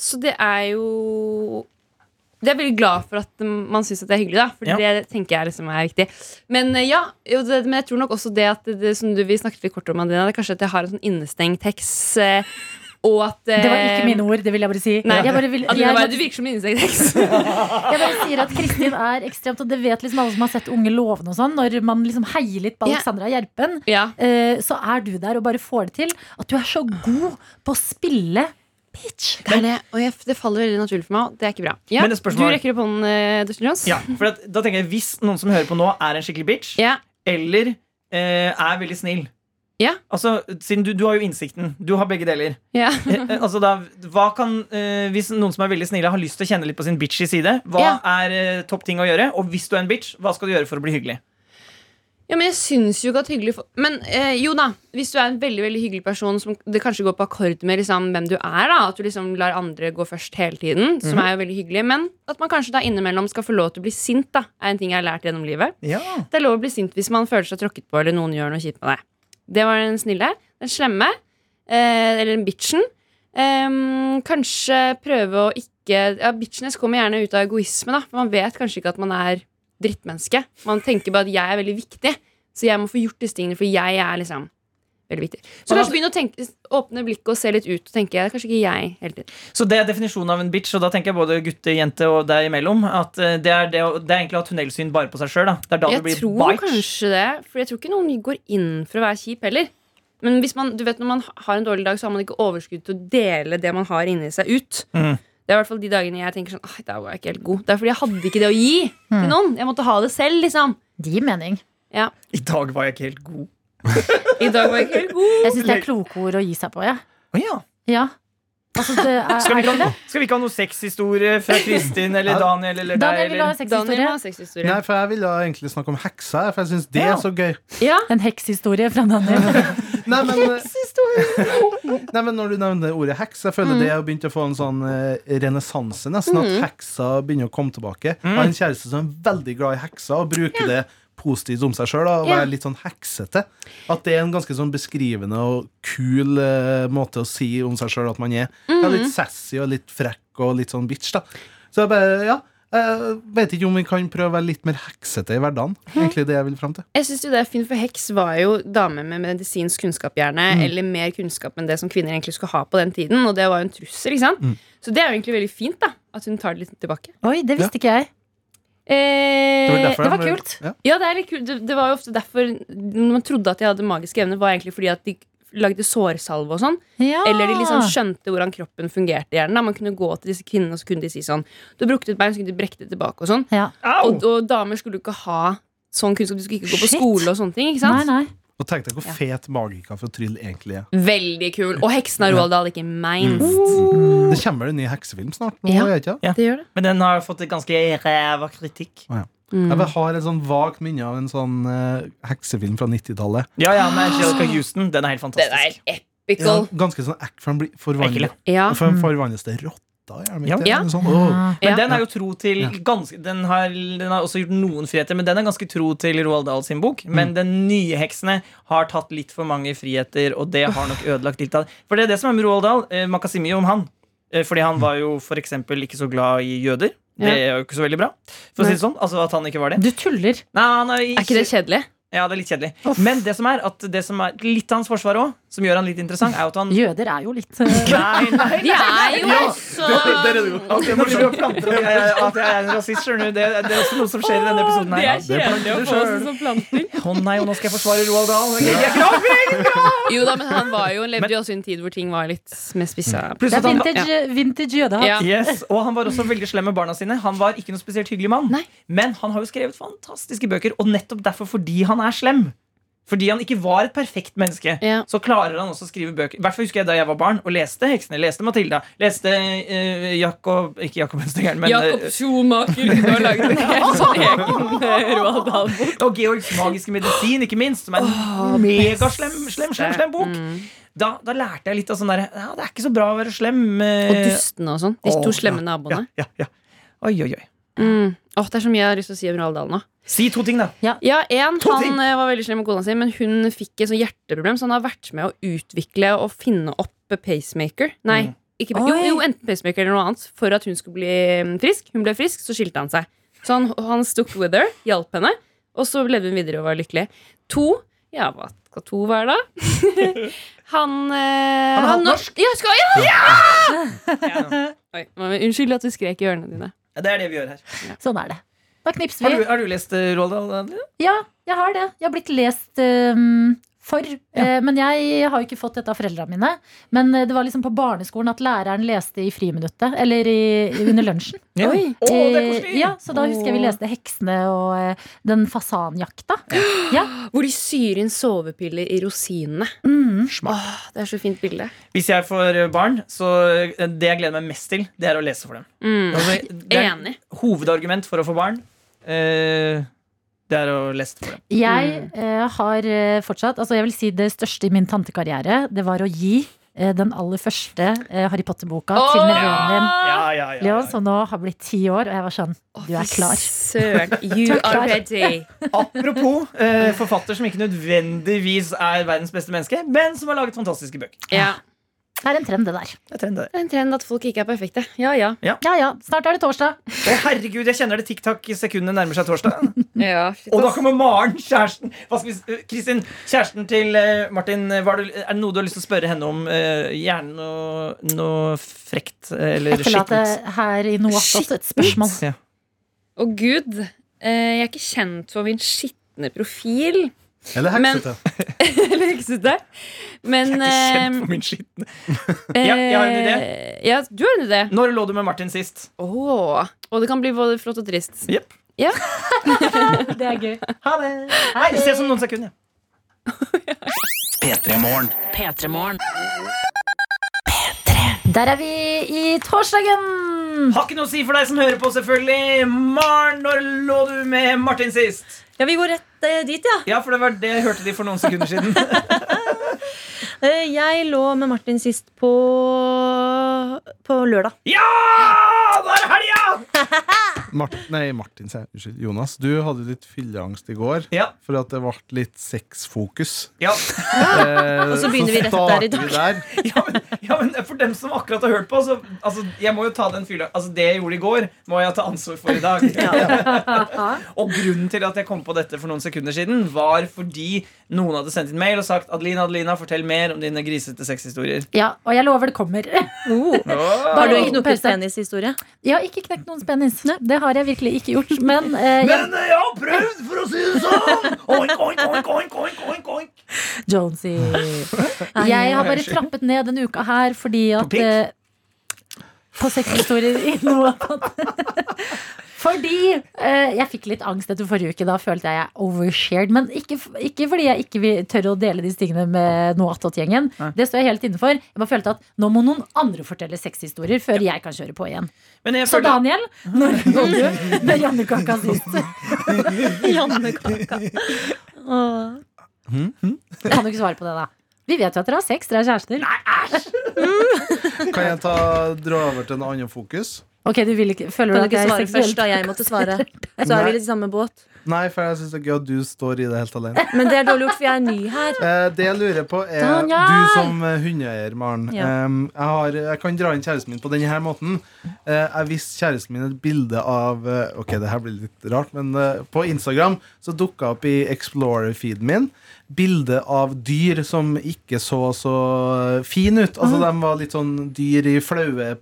[SPEAKER 11] så det er jo Det er jeg veldig glad for at um, man syns at det er hyggelig, da. For
[SPEAKER 2] Ja.
[SPEAKER 11] det tenker jeg liksom er riktig. Men eh, ja, jo, det, men jeg tror nok også det at det, det som du, vi snakket litt kort om, Adina, det er kanskje at jeg har en sånn innestengt heks. eh, og at eh,
[SPEAKER 6] Det var ikke mine ord. det vil Jeg bare si
[SPEAKER 11] Nei.
[SPEAKER 6] jeg, bare vil, jeg,
[SPEAKER 11] Adina, bare, du
[SPEAKER 6] jeg
[SPEAKER 11] virker som en innestengt heks.
[SPEAKER 6] bare sier at Kristin er ekstremt Og det vet liksom alle som har sett Unge lovende og sånn. Når man liksom heier litt på
[SPEAKER 11] Ja.
[SPEAKER 6] Alexandra Gjerpen,
[SPEAKER 11] ja.
[SPEAKER 6] eh, så er du der og bare får det til. At du er så god på å spille bitch.
[SPEAKER 11] Det, er det, og jeg, det faller veldig naturlig for meg, og det er ikke bra. Ja,
[SPEAKER 2] Men
[SPEAKER 11] du
[SPEAKER 2] et spørsmål-
[SPEAKER 11] rekker opp hånden, eh, Dustin Jones.
[SPEAKER 2] Ja, for at, da tenker jeg Hvis noen som hører på nå, er en skikkelig bitch,
[SPEAKER 11] Ja.
[SPEAKER 2] eller eh, er veldig snill, Altså, siden du, du har jo innsikten. Du har begge deler.
[SPEAKER 11] Ja.
[SPEAKER 2] Eh, eh, altså da, hva kan, eh, hvis noen som er veldig snille, har lyst til å kjenne litt på sin bitchy side, hva er eh, topp ting å gjøre? Og hvis du er en bitch, hva skal du gjøre for å bli hyggelig?
[SPEAKER 11] Ja, men jeg syns jo ikke at hyggelig fo- Men eh, jo da, hvis du er en veldig veldig hyggelig person som det kanskje går på akkord med liksom, hvem du er, da at du liksom lar andre gå først hele tiden, som
[SPEAKER 2] Mhm.
[SPEAKER 11] er jo veldig hyggelig, men at man kanskje da innimellom skal få lov til å bli sint, da er en ting jeg har lært gjennom livet.
[SPEAKER 2] Ja.
[SPEAKER 11] Det er lov å bli sint hvis man føler seg tråkket på eller noen gjør noe kjipt med deg. Det var den snille. Den slemme. Eh, eller den bitchen. Ehm, kanskje prøve å ikke Ja, Bitchness kommer gjerne ut av egoisme, da. For man vet kanskje ikke at man er drittmenneske. Man tenker bare at jeg er veldig viktig, så jeg må få gjort disse tingene, for jeg er liksom veldig viktig. Så
[SPEAKER 2] Men
[SPEAKER 11] kanskje begynne å tenke, åpne blikket og se litt ut og tenke "Det er kanskje ikke jeg hele tiden.
[SPEAKER 2] Så det er definisjonen av en bitch, og da tenker jeg både gutte, jente og deg imellom. At eh, det er, det, å- det er egentlig å ha tunnelsyn bare på seg sjøl. Det er da
[SPEAKER 11] jeg
[SPEAKER 2] du blir
[SPEAKER 11] tror
[SPEAKER 2] bitch.
[SPEAKER 11] kanskje det, for jeg tror ikke noen går inn for å være kjip heller. Men hvis man, du vet når man har en dårlig dag, så har man ikke overskudd til å dele det man har inni seg, ut.
[SPEAKER 13] Oh.
[SPEAKER 2] Mm.
[SPEAKER 11] Det er i hvert fall de dagene jeg tenker sånn «Ah, I dag var jeg ikke helt god. Det er fordi jeg hadde ikke det å gi til noen. Jeg måtte ha det selv, liksom.
[SPEAKER 6] Hmm. Det gir mening.
[SPEAKER 11] Ja.
[SPEAKER 2] I dag var jeg ikke helt god.
[SPEAKER 11] I dag var jeg ikke helt god.
[SPEAKER 6] Jeg syns det er kloke ord å gi seg på, jeg.
[SPEAKER 2] Å ja.
[SPEAKER 6] Ja. Altså, det er,
[SPEAKER 2] Skal
[SPEAKER 6] er
[SPEAKER 2] vi, ikke
[SPEAKER 6] det
[SPEAKER 2] ha,
[SPEAKER 6] det?
[SPEAKER 2] noe- skal vi ikke ha noe sexhistorie fra Kristin eller Daniel eller deg?
[SPEAKER 6] Daniel vil ha
[SPEAKER 2] Eller?
[SPEAKER 6] en
[SPEAKER 11] Daniel
[SPEAKER 6] sexhistorie.
[SPEAKER 11] må ha sexhistorie.
[SPEAKER 4] Nei, for jeg ville egentlig snakke om hekser, for jeg syns det
[SPEAKER 2] Ja.
[SPEAKER 4] er så gøy.
[SPEAKER 11] Ja.
[SPEAKER 6] En hekshistorie fra Daniel.
[SPEAKER 4] Nei, men, nei, men når du nevner ordet heks, jeg føler det har begynt å få en sånn eh, renessanse, nesten, at hekser begynner å komme tilbake. Jeg har en kjæreste som er veldig glad i hekser, og bruker det positivt om seg sjøl, og
[SPEAKER 11] Ja.
[SPEAKER 4] er litt sånn heksete. At det er en ganske sånn beskrivende og kul eh, måte å si om seg sjøl at man er. Ja, litt sassy og litt frekk og litt sånn bitch, da. Så jeg bare, ja. Jeg vet ikke om vi kan prøve å være litt mer heksete i hverdagen. Egentlig det jeg vil fram til.
[SPEAKER 11] Jeg synes jo det er fint, for heks var jo dame med medisinsk kunnskap, gjerne.
[SPEAKER 6] Hmm.
[SPEAKER 11] Eller mer kunnskap enn det som kvinner egentlig skulle ha på den tiden. Og det var jo en trussel, ikke sant.
[SPEAKER 2] mm.
[SPEAKER 11] Så det er jo egentlig veldig fint, da. At hun tar det litt tilbake.
[SPEAKER 6] Oi, det visste ikke jeg.
[SPEAKER 11] Eh,
[SPEAKER 4] derfor
[SPEAKER 6] Det var
[SPEAKER 4] jeg-
[SPEAKER 6] kult.
[SPEAKER 4] Ja.
[SPEAKER 11] Ja, det er litt kult. Det, det var jo ofte derfor når man trodde at de hadde magiske evner, var egentlig fordi at de lagde sårsalve og sånn.
[SPEAKER 6] Ja.
[SPEAKER 11] Eller de liksom skjønte hvordan kroppen fungerte. gjerne da. Man kunne gå til disse kvinnene og så kunne de si sånn Du har brukket et bein, så kunne de brekke det tilbake og sånn.
[SPEAKER 6] Ja.
[SPEAKER 2] Au!
[SPEAKER 11] Og, og damer skulle jo ikke ha sånn kunnskap. De skulle ikke gå på
[SPEAKER 6] Shit.
[SPEAKER 11] skole og sånne ting. ikke
[SPEAKER 6] Nei,
[SPEAKER 11] sant?
[SPEAKER 6] nei.
[SPEAKER 4] Og tenk deg hvor
[SPEAKER 11] Ja.
[SPEAKER 4] fet magiker fra Tryll egentlig er. Mm.
[SPEAKER 11] Veldig kul. Og heksen av Roald Dahl, ikke minst.
[SPEAKER 4] Det kommer en ny heksefilm snart. Nå,
[SPEAKER 11] Ja.
[SPEAKER 4] vet jeg ikke.
[SPEAKER 2] Mm. Ja.
[SPEAKER 11] Det gjør det.
[SPEAKER 2] Men den har fått et ganske ræva kritikk.
[SPEAKER 12] Mm.
[SPEAKER 4] Jeg bare har et sånn vagt minne av en sånn eh, heksefilm fra 90-tallet.
[SPEAKER 2] Ja, ja,
[SPEAKER 6] Ah.
[SPEAKER 2] med Angelica Houston. Den er helt
[SPEAKER 11] Den er
[SPEAKER 2] fantastisk.
[SPEAKER 11] helt epical.
[SPEAKER 4] Ganske sånn ekk, for den blir
[SPEAKER 2] Ekkel,
[SPEAKER 4] forvandlet,
[SPEAKER 2] ja. Mm.
[SPEAKER 11] Ja.
[SPEAKER 4] for den forvandles til rotta. gjør den ikke
[SPEAKER 2] Ja. Ah.
[SPEAKER 4] det?
[SPEAKER 11] Ja.
[SPEAKER 4] Eller Sånn, åh.
[SPEAKER 2] Men
[SPEAKER 11] Ja.
[SPEAKER 2] den er jo tro til
[SPEAKER 4] Ja.
[SPEAKER 2] ganske, den, har, den har også gjort noen friheter, men den er ganske tro til Roald Dahl sin bok.
[SPEAKER 4] Mm.
[SPEAKER 2] Men den nye heksene har tatt litt for mange friheter, og det har nok ødelagt litt av For det er det som er med Roald Dahl. eh, Man kan si mye om han. Eh, Fordi han var jo f.eks. ikke så glad i jøder. Det er jo ikke så veldig bra. For å si det sånn, altså at han ikke var det.
[SPEAKER 6] Du tuller.
[SPEAKER 2] Nei, han er,
[SPEAKER 11] Er ikke det kjedelig?
[SPEAKER 2] Ja, det er litt kjedelig. Men det som er, at det som er litt av hans forsvar òg, som gjør han litt interessant, er jo at han
[SPEAKER 6] Jøder er jo litt eh,
[SPEAKER 2] Nei, nei,
[SPEAKER 11] De er jo også
[SPEAKER 2] Ok, nå driver jeg og planter at jeg, at jeg er en rasist, skjønner du. Det, det er også noe som skjer i denne episoden
[SPEAKER 11] Det er
[SPEAKER 2] her.
[SPEAKER 11] kjedelig å få seg som planter.
[SPEAKER 2] Å nei, og nå skal jeg forsvare Roald Dahl. Jeg er ikke glad for det.
[SPEAKER 11] Jo da, men han var jo, han levde jo også i en tid hvor ting var litt mer spissa.
[SPEAKER 2] Pluss
[SPEAKER 6] Det
[SPEAKER 2] at
[SPEAKER 6] er
[SPEAKER 2] han,
[SPEAKER 6] vintage, vintage jødehatt.
[SPEAKER 11] Ja.
[SPEAKER 2] yes, og han var også veldig slem med barna sine. Han var ikke noe spesielt hyggelig mann.
[SPEAKER 11] Nei.
[SPEAKER 2] Men han har jo skrevet fantastiske bøker, og nettopp derfor fordi han er slem. Fordi han ikke var et perfekt menneske,
[SPEAKER 11] Ja.
[SPEAKER 2] så klarer han også å skrive bøker. I hvert fall husker jeg da jeg var barn og leste Heksene. Leste Matilda. Leste eh, Jakob Ikke Jakob Ønstengeren, men eh,
[SPEAKER 11] Jakob Schumacher har laget en helt sånn egen eh, Roald Dahl-bok.
[SPEAKER 2] Og Georgs magiske medisin, ikke minst, som er en megaslem slem, slem, slem bok. Da, da lærte jeg litt av sånn derre ja, Det er ikke så bra å være slem. eh,
[SPEAKER 11] Og Dustene og sånn. De
[SPEAKER 2] Åh,
[SPEAKER 11] to slemme
[SPEAKER 2] ja,
[SPEAKER 11] naboene.
[SPEAKER 2] Ja, ja, ja. Oi, oi, oi.
[SPEAKER 11] Mm. Åh, det er så mye jeg har lyst til å si om Roald Dahl nå.
[SPEAKER 2] Si to ting, da.
[SPEAKER 11] Ja, en,
[SPEAKER 2] To ting.
[SPEAKER 11] Han eh, var veldig slem med kona si, men hun fikk et sånt hjerteproblem, så han har vært med å utvikle og finne opp pacemaker. Nei,
[SPEAKER 2] Mm.
[SPEAKER 11] ikke, jo,
[SPEAKER 6] Oi.
[SPEAKER 11] jo, enten pacemaker eller noe annet, for at hun skulle bli mm, frisk. Hun ble frisk, så skilte han seg. Så han, han stuck with her, hjalp henne, og så levde hun videre og var lykkelig. To Ja, hva skal to være, da? han eh,
[SPEAKER 2] Han er halvt
[SPEAKER 11] norsk. Ja, skal, ja! Oi, men unnskyld at du skrek i ørene dine.
[SPEAKER 2] Ja, Det er det vi gjør her.
[SPEAKER 6] Sånn er det. Da knipser
[SPEAKER 2] Har
[SPEAKER 6] vi.
[SPEAKER 2] du, har du lest eh, Roald Dahl? Adrian?
[SPEAKER 6] Ja, jeg har det. Jeg har blitt lest um, for. Eh, men jeg har jo ikke fått dette av foreldrene mine. Men eh, det var liksom på barneskolen at læreren leste i friminuttet, eller i, under lunsjen.
[SPEAKER 3] Ja.
[SPEAKER 6] Oi.
[SPEAKER 3] Å, det er
[SPEAKER 6] Eh, ja, så da husker jeg vi leste 'Heksene' og eh, den fasanjakta.
[SPEAKER 12] Hvor de syr inn sovepiller i rosinene.
[SPEAKER 6] Mm.
[SPEAKER 12] Åh, det er så fint bilde.
[SPEAKER 2] Hvis jeg får barn, så eh, det jeg gleder meg mest til, det er å lese for dem. Altså,
[SPEAKER 12] Mm.
[SPEAKER 2] det er
[SPEAKER 12] Enig.
[SPEAKER 2] hovedargument for å få barn, eh, det er å lese for dem.
[SPEAKER 6] Jeg eh, har eh, fortsatt Altså jeg vil si det største i min tantekarriere Det var å gi eh, den aller første eh, Harry Potter-boka til
[SPEAKER 12] Åh!
[SPEAKER 6] nevøen din
[SPEAKER 12] Ja, ja, ja,
[SPEAKER 6] Leon, som nå har blitt ti år Og jeg var sånn, du er klar
[SPEAKER 12] Søren, you
[SPEAKER 6] Du er
[SPEAKER 12] are
[SPEAKER 6] klar.
[SPEAKER 12] ready.
[SPEAKER 2] Apropos eh, forfatter som ikke nødvendigvis er verdens beste menneske, men som har laget fantastiske bøker.
[SPEAKER 6] Det er en trend det der
[SPEAKER 2] Det er trend det der.
[SPEAKER 12] Det er en trend at folk ikke er perfekte. Ja, ja.
[SPEAKER 2] Ja.
[SPEAKER 6] snart er det torsdag
[SPEAKER 2] Å herregud, jeg kjenner det tiktak-sekundene nærmer seg torsdag.
[SPEAKER 12] Ja,
[SPEAKER 2] Og da kommer Maren, kjæresten hva skal vi, s- eh, Kristin, kjæresten til eh, Martin. eh, Var det, er det noe du har lyst til å spørre henne om? eh, gjerne noe, noe frekt eh, eller
[SPEAKER 6] Etterlate
[SPEAKER 2] skittent.
[SPEAKER 6] her i noe et spørsmål
[SPEAKER 2] Ja.
[SPEAKER 12] Og gud, eh, jeg er ikke kjent for min skitne profil.
[SPEAKER 4] Eller heksete.
[SPEAKER 12] Eller heksete. Men
[SPEAKER 2] Jeg er ikke kjent for min skitne
[SPEAKER 12] eh,
[SPEAKER 2] Ja, jeg har en idé.
[SPEAKER 12] Ja, du har en idé.
[SPEAKER 2] Når lå du med Martin sist?
[SPEAKER 12] Åh, Og det kan bli både flott og trist.
[SPEAKER 2] Jepp.
[SPEAKER 12] Ja.
[SPEAKER 6] det er gøy.
[SPEAKER 2] Ha det. Hei, vi ses om noen sekunder.
[SPEAKER 1] P3-morgen.
[SPEAKER 6] Der er vi i torsdagen
[SPEAKER 2] Har ikke noe å si for deg som hører på, selvfølgelig. Maren, når lå du med Martin sist?
[SPEAKER 12] Ja, vi går rett eh, dit, ja.
[SPEAKER 2] Ja, for det var det jeg hørte de for noen sekunder siden.
[SPEAKER 12] Eh, Jeg lå med Martin sist på, på lørdag.
[SPEAKER 2] Ja! Da er det helga!
[SPEAKER 4] Martin, nei, Martin, sier jeg. Unnskyld. Jonas, du hadde litt fylleangst i går for at det ble litt sexfokus.
[SPEAKER 2] Ja.
[SPEAKER 4] Eh,
[SPEAKER 12] Og så begynner vi rett der i
[SPEAKER 4] starter vi
[SPEAKER 12] dag.
[SPEAKER 4] der.
[SPEAKER 2] Ja, men For dem som akkurat har hørt på, så altså, jeg må jo ta den fylla Altså, det jeg gjorde i går, må jeg ta ansvar for i dag. og grunnen til at jeg kom på dette for noen sekunder siden, var fordi noen hadde sendt inn mail og sagt Adelina, Adelina, fortell mer om dine grisete sexhistorier.
[SPEAKER 6] Ja, og jeg lover det kommer
[SPEAKER 12] Oh. Har du
[SPEAKER 6] Bare-
[SPEAKER 12] knokket penishistorie?
[SPEAKER 6] Jeg har ikke knekt noens penis Det har jeg virkelig ikke gjort Men, eh, jeg,
[SPEAKER 2] Men eh, jeg har prøvd, for å si det sånn! Oink, oink, oink, oink, oink, oink, oink.
[SPEAKER 6] Jonesy Jeg har bare trappet ned denne uka her fordi at
[SPEAKER 2] pikk?
[SPEAKER 6] eh, På sexhistorier i noe annet. Fordi eh, jeg fikk litt angst etter forrige uke. Da følte jeg jeg overshared. Men ikke, f- ikke fordi jeg ikke vil- tør å dele disse tingene med noe attåt-gjengen. Det står jeg helt innenfor. Jeg bare følte at nå må noen andre fortelle sexhistorier før jeg kan kjøre på igjen.
[SPEAKER 2] Men jeg
[SPEAKER 6] Så
[SPEAKER 2] føler-
[SPEAKER 6] Daniel, når går du med Jannekaka sist?
[SPEAKER 12] Jannekaka.
[SPEAKER 6] Åh. Kan du ikke svare på det, da? Vi vet jo at dere har sex, dere er kjærester.
[SPEAKER 4] Kan jeg ta, dra over til en annen fokus?
[SPEAKER 6] Ok, du vil ikke, føler du
[SPEAKER 12] Kan du
[SPEAKER 6] at det
[SPEAKER 12] ikke
[SPEAKER 6] er
[SPEAKER 12] svare
[SPEAKER 6] seksuelt?
[SPEAKER 12] først, da? Jeg måtte svare. Så er
[SPEAKER 4] Nei.
[SPEAKER 12] vi litt i samme båt.
[SPEAKER 4] Nei, for jeg syns det er gøy at du står i det helt alene.
[SPEAKER 12] Men det er dårlig gjort, for jeg er ny her.
[SPEAKER 4] Eh, det jeg lurer på, er
[SPEAKER 12] Daniel!
[SPEAKER 4] du som eh, hundeeier, Maren.
[SPEAKER 12] Ja.
[SPEAKER 4] em, jeg, har, jeg kan dra inn kjæresten min på denne her måten. Eh, jeg viste kjæresten min et bilde av eh, Ok, det her blir litt rart, men eh, på Instagram så dukka opp i Explorer-feeden min bilde av dyr som ikke så så fin ut. Altså, De var litt sånn dyr i flaue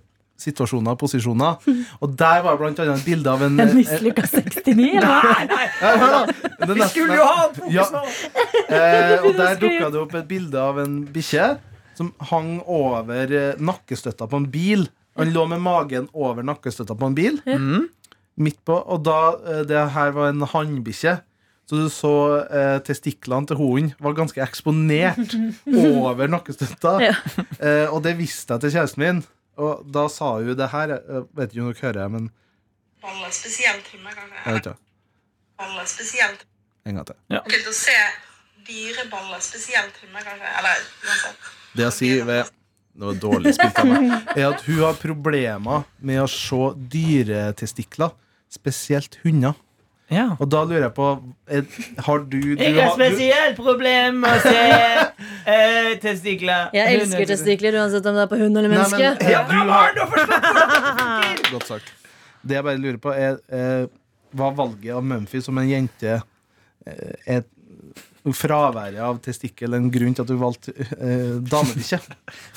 [SPEAKER 4] situasjoner, posisjoner. Og der var blant annet et bilde av en eh,
[SPEAKER 6] En mislykka 69, eller hva?
[SPEAKER 4] Ja, hør da. Det er
[SPEAKER 2] Vi
[SPEAKER 4] nesten-
[SPEAKER 2] skulle jo ha en fokus
[SPEAKER 4] Ja.
[SPEAKER 2] nå.
[SPEAKER 4] Eh, og der dukka det opp et bilde av en bikkje som hang over eh, nakkestøtta på en bil. Han lå med magen over nakkestøtta på en bil. Midt på, og da eh, det her var en hannbikkje. Så du så eh, testiklene til hunden var ganske eksponert over nakkestøtta.
[SPEAKER 12] Ja.
[SPEAKER 4] Eh, og det visste jeg til kjæresten min. Og da sa hun det her eh, Vet ikke om dere hører, men
[SPEAKER 14] Alle spesielt hunder,
[SPEAKER 4] jeg
[SPEAKER 14] kanskje.
[SPEAKER 4] vet ikke.
[SPEAKER 14] Baller spesielt.
[SPEAKER 4] En gang til.
[SPEAKER 14] Ok, til å se dyreballer, spesielt hunder, kanskje. Eller uansett.
[SPEAKER 4] Det jeg sier ved Det var dårlig spilt av meg. Er at hun har problemer med å se dyretestikler. Spesielt hunder. Og da lurer jeg på er, Har du, du
[SPEAKER 2] Jeg har
[SPEAKER 4] har- du-
[SPEAKER 2] spesielt problem med å se eh, testikler.
[SPEAKER 12] Jeg elsker testikler uansett om det er på hund eller
[SPEAKER 4] Nei,
[SPEAKER 12] menneske.
[SPEAKER 4] men,
[SPEAKER 2] eh,
[SPEAKER 4] ja, du har, Godt sagt. Det jeg bare lurer på, er eh, Var valget av Mumphy som en jente eh, et fraværet av testikkel en grunn til at du valgte eh, damebikkje?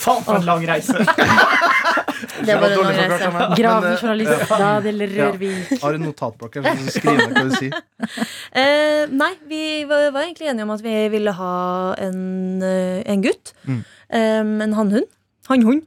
[SPEAKER 2] Faen, for en lang reise.
[SPEAKER 3] Det var
[SPEAKER 4] dårlig forklart
[SPEAKER 3] en
[SPEAKER 4] av meg, men, eh,
[SPEAKER 3] Gravejournalist, da, det
[SPEAKER 4] ja.
[SPEAKER 3] rører vi inn.
[SPEAKER 4] Har en notatblokke her, så skriver jeg hva du sier.
[SPEAKER 12] Eh, nei, vi var, var egentlig enige om at vi ville ha en, eh, en gutt.
[SPEAKER 4] Mm.
[SPEAKER 12] Um, en hannhund. Hannhund.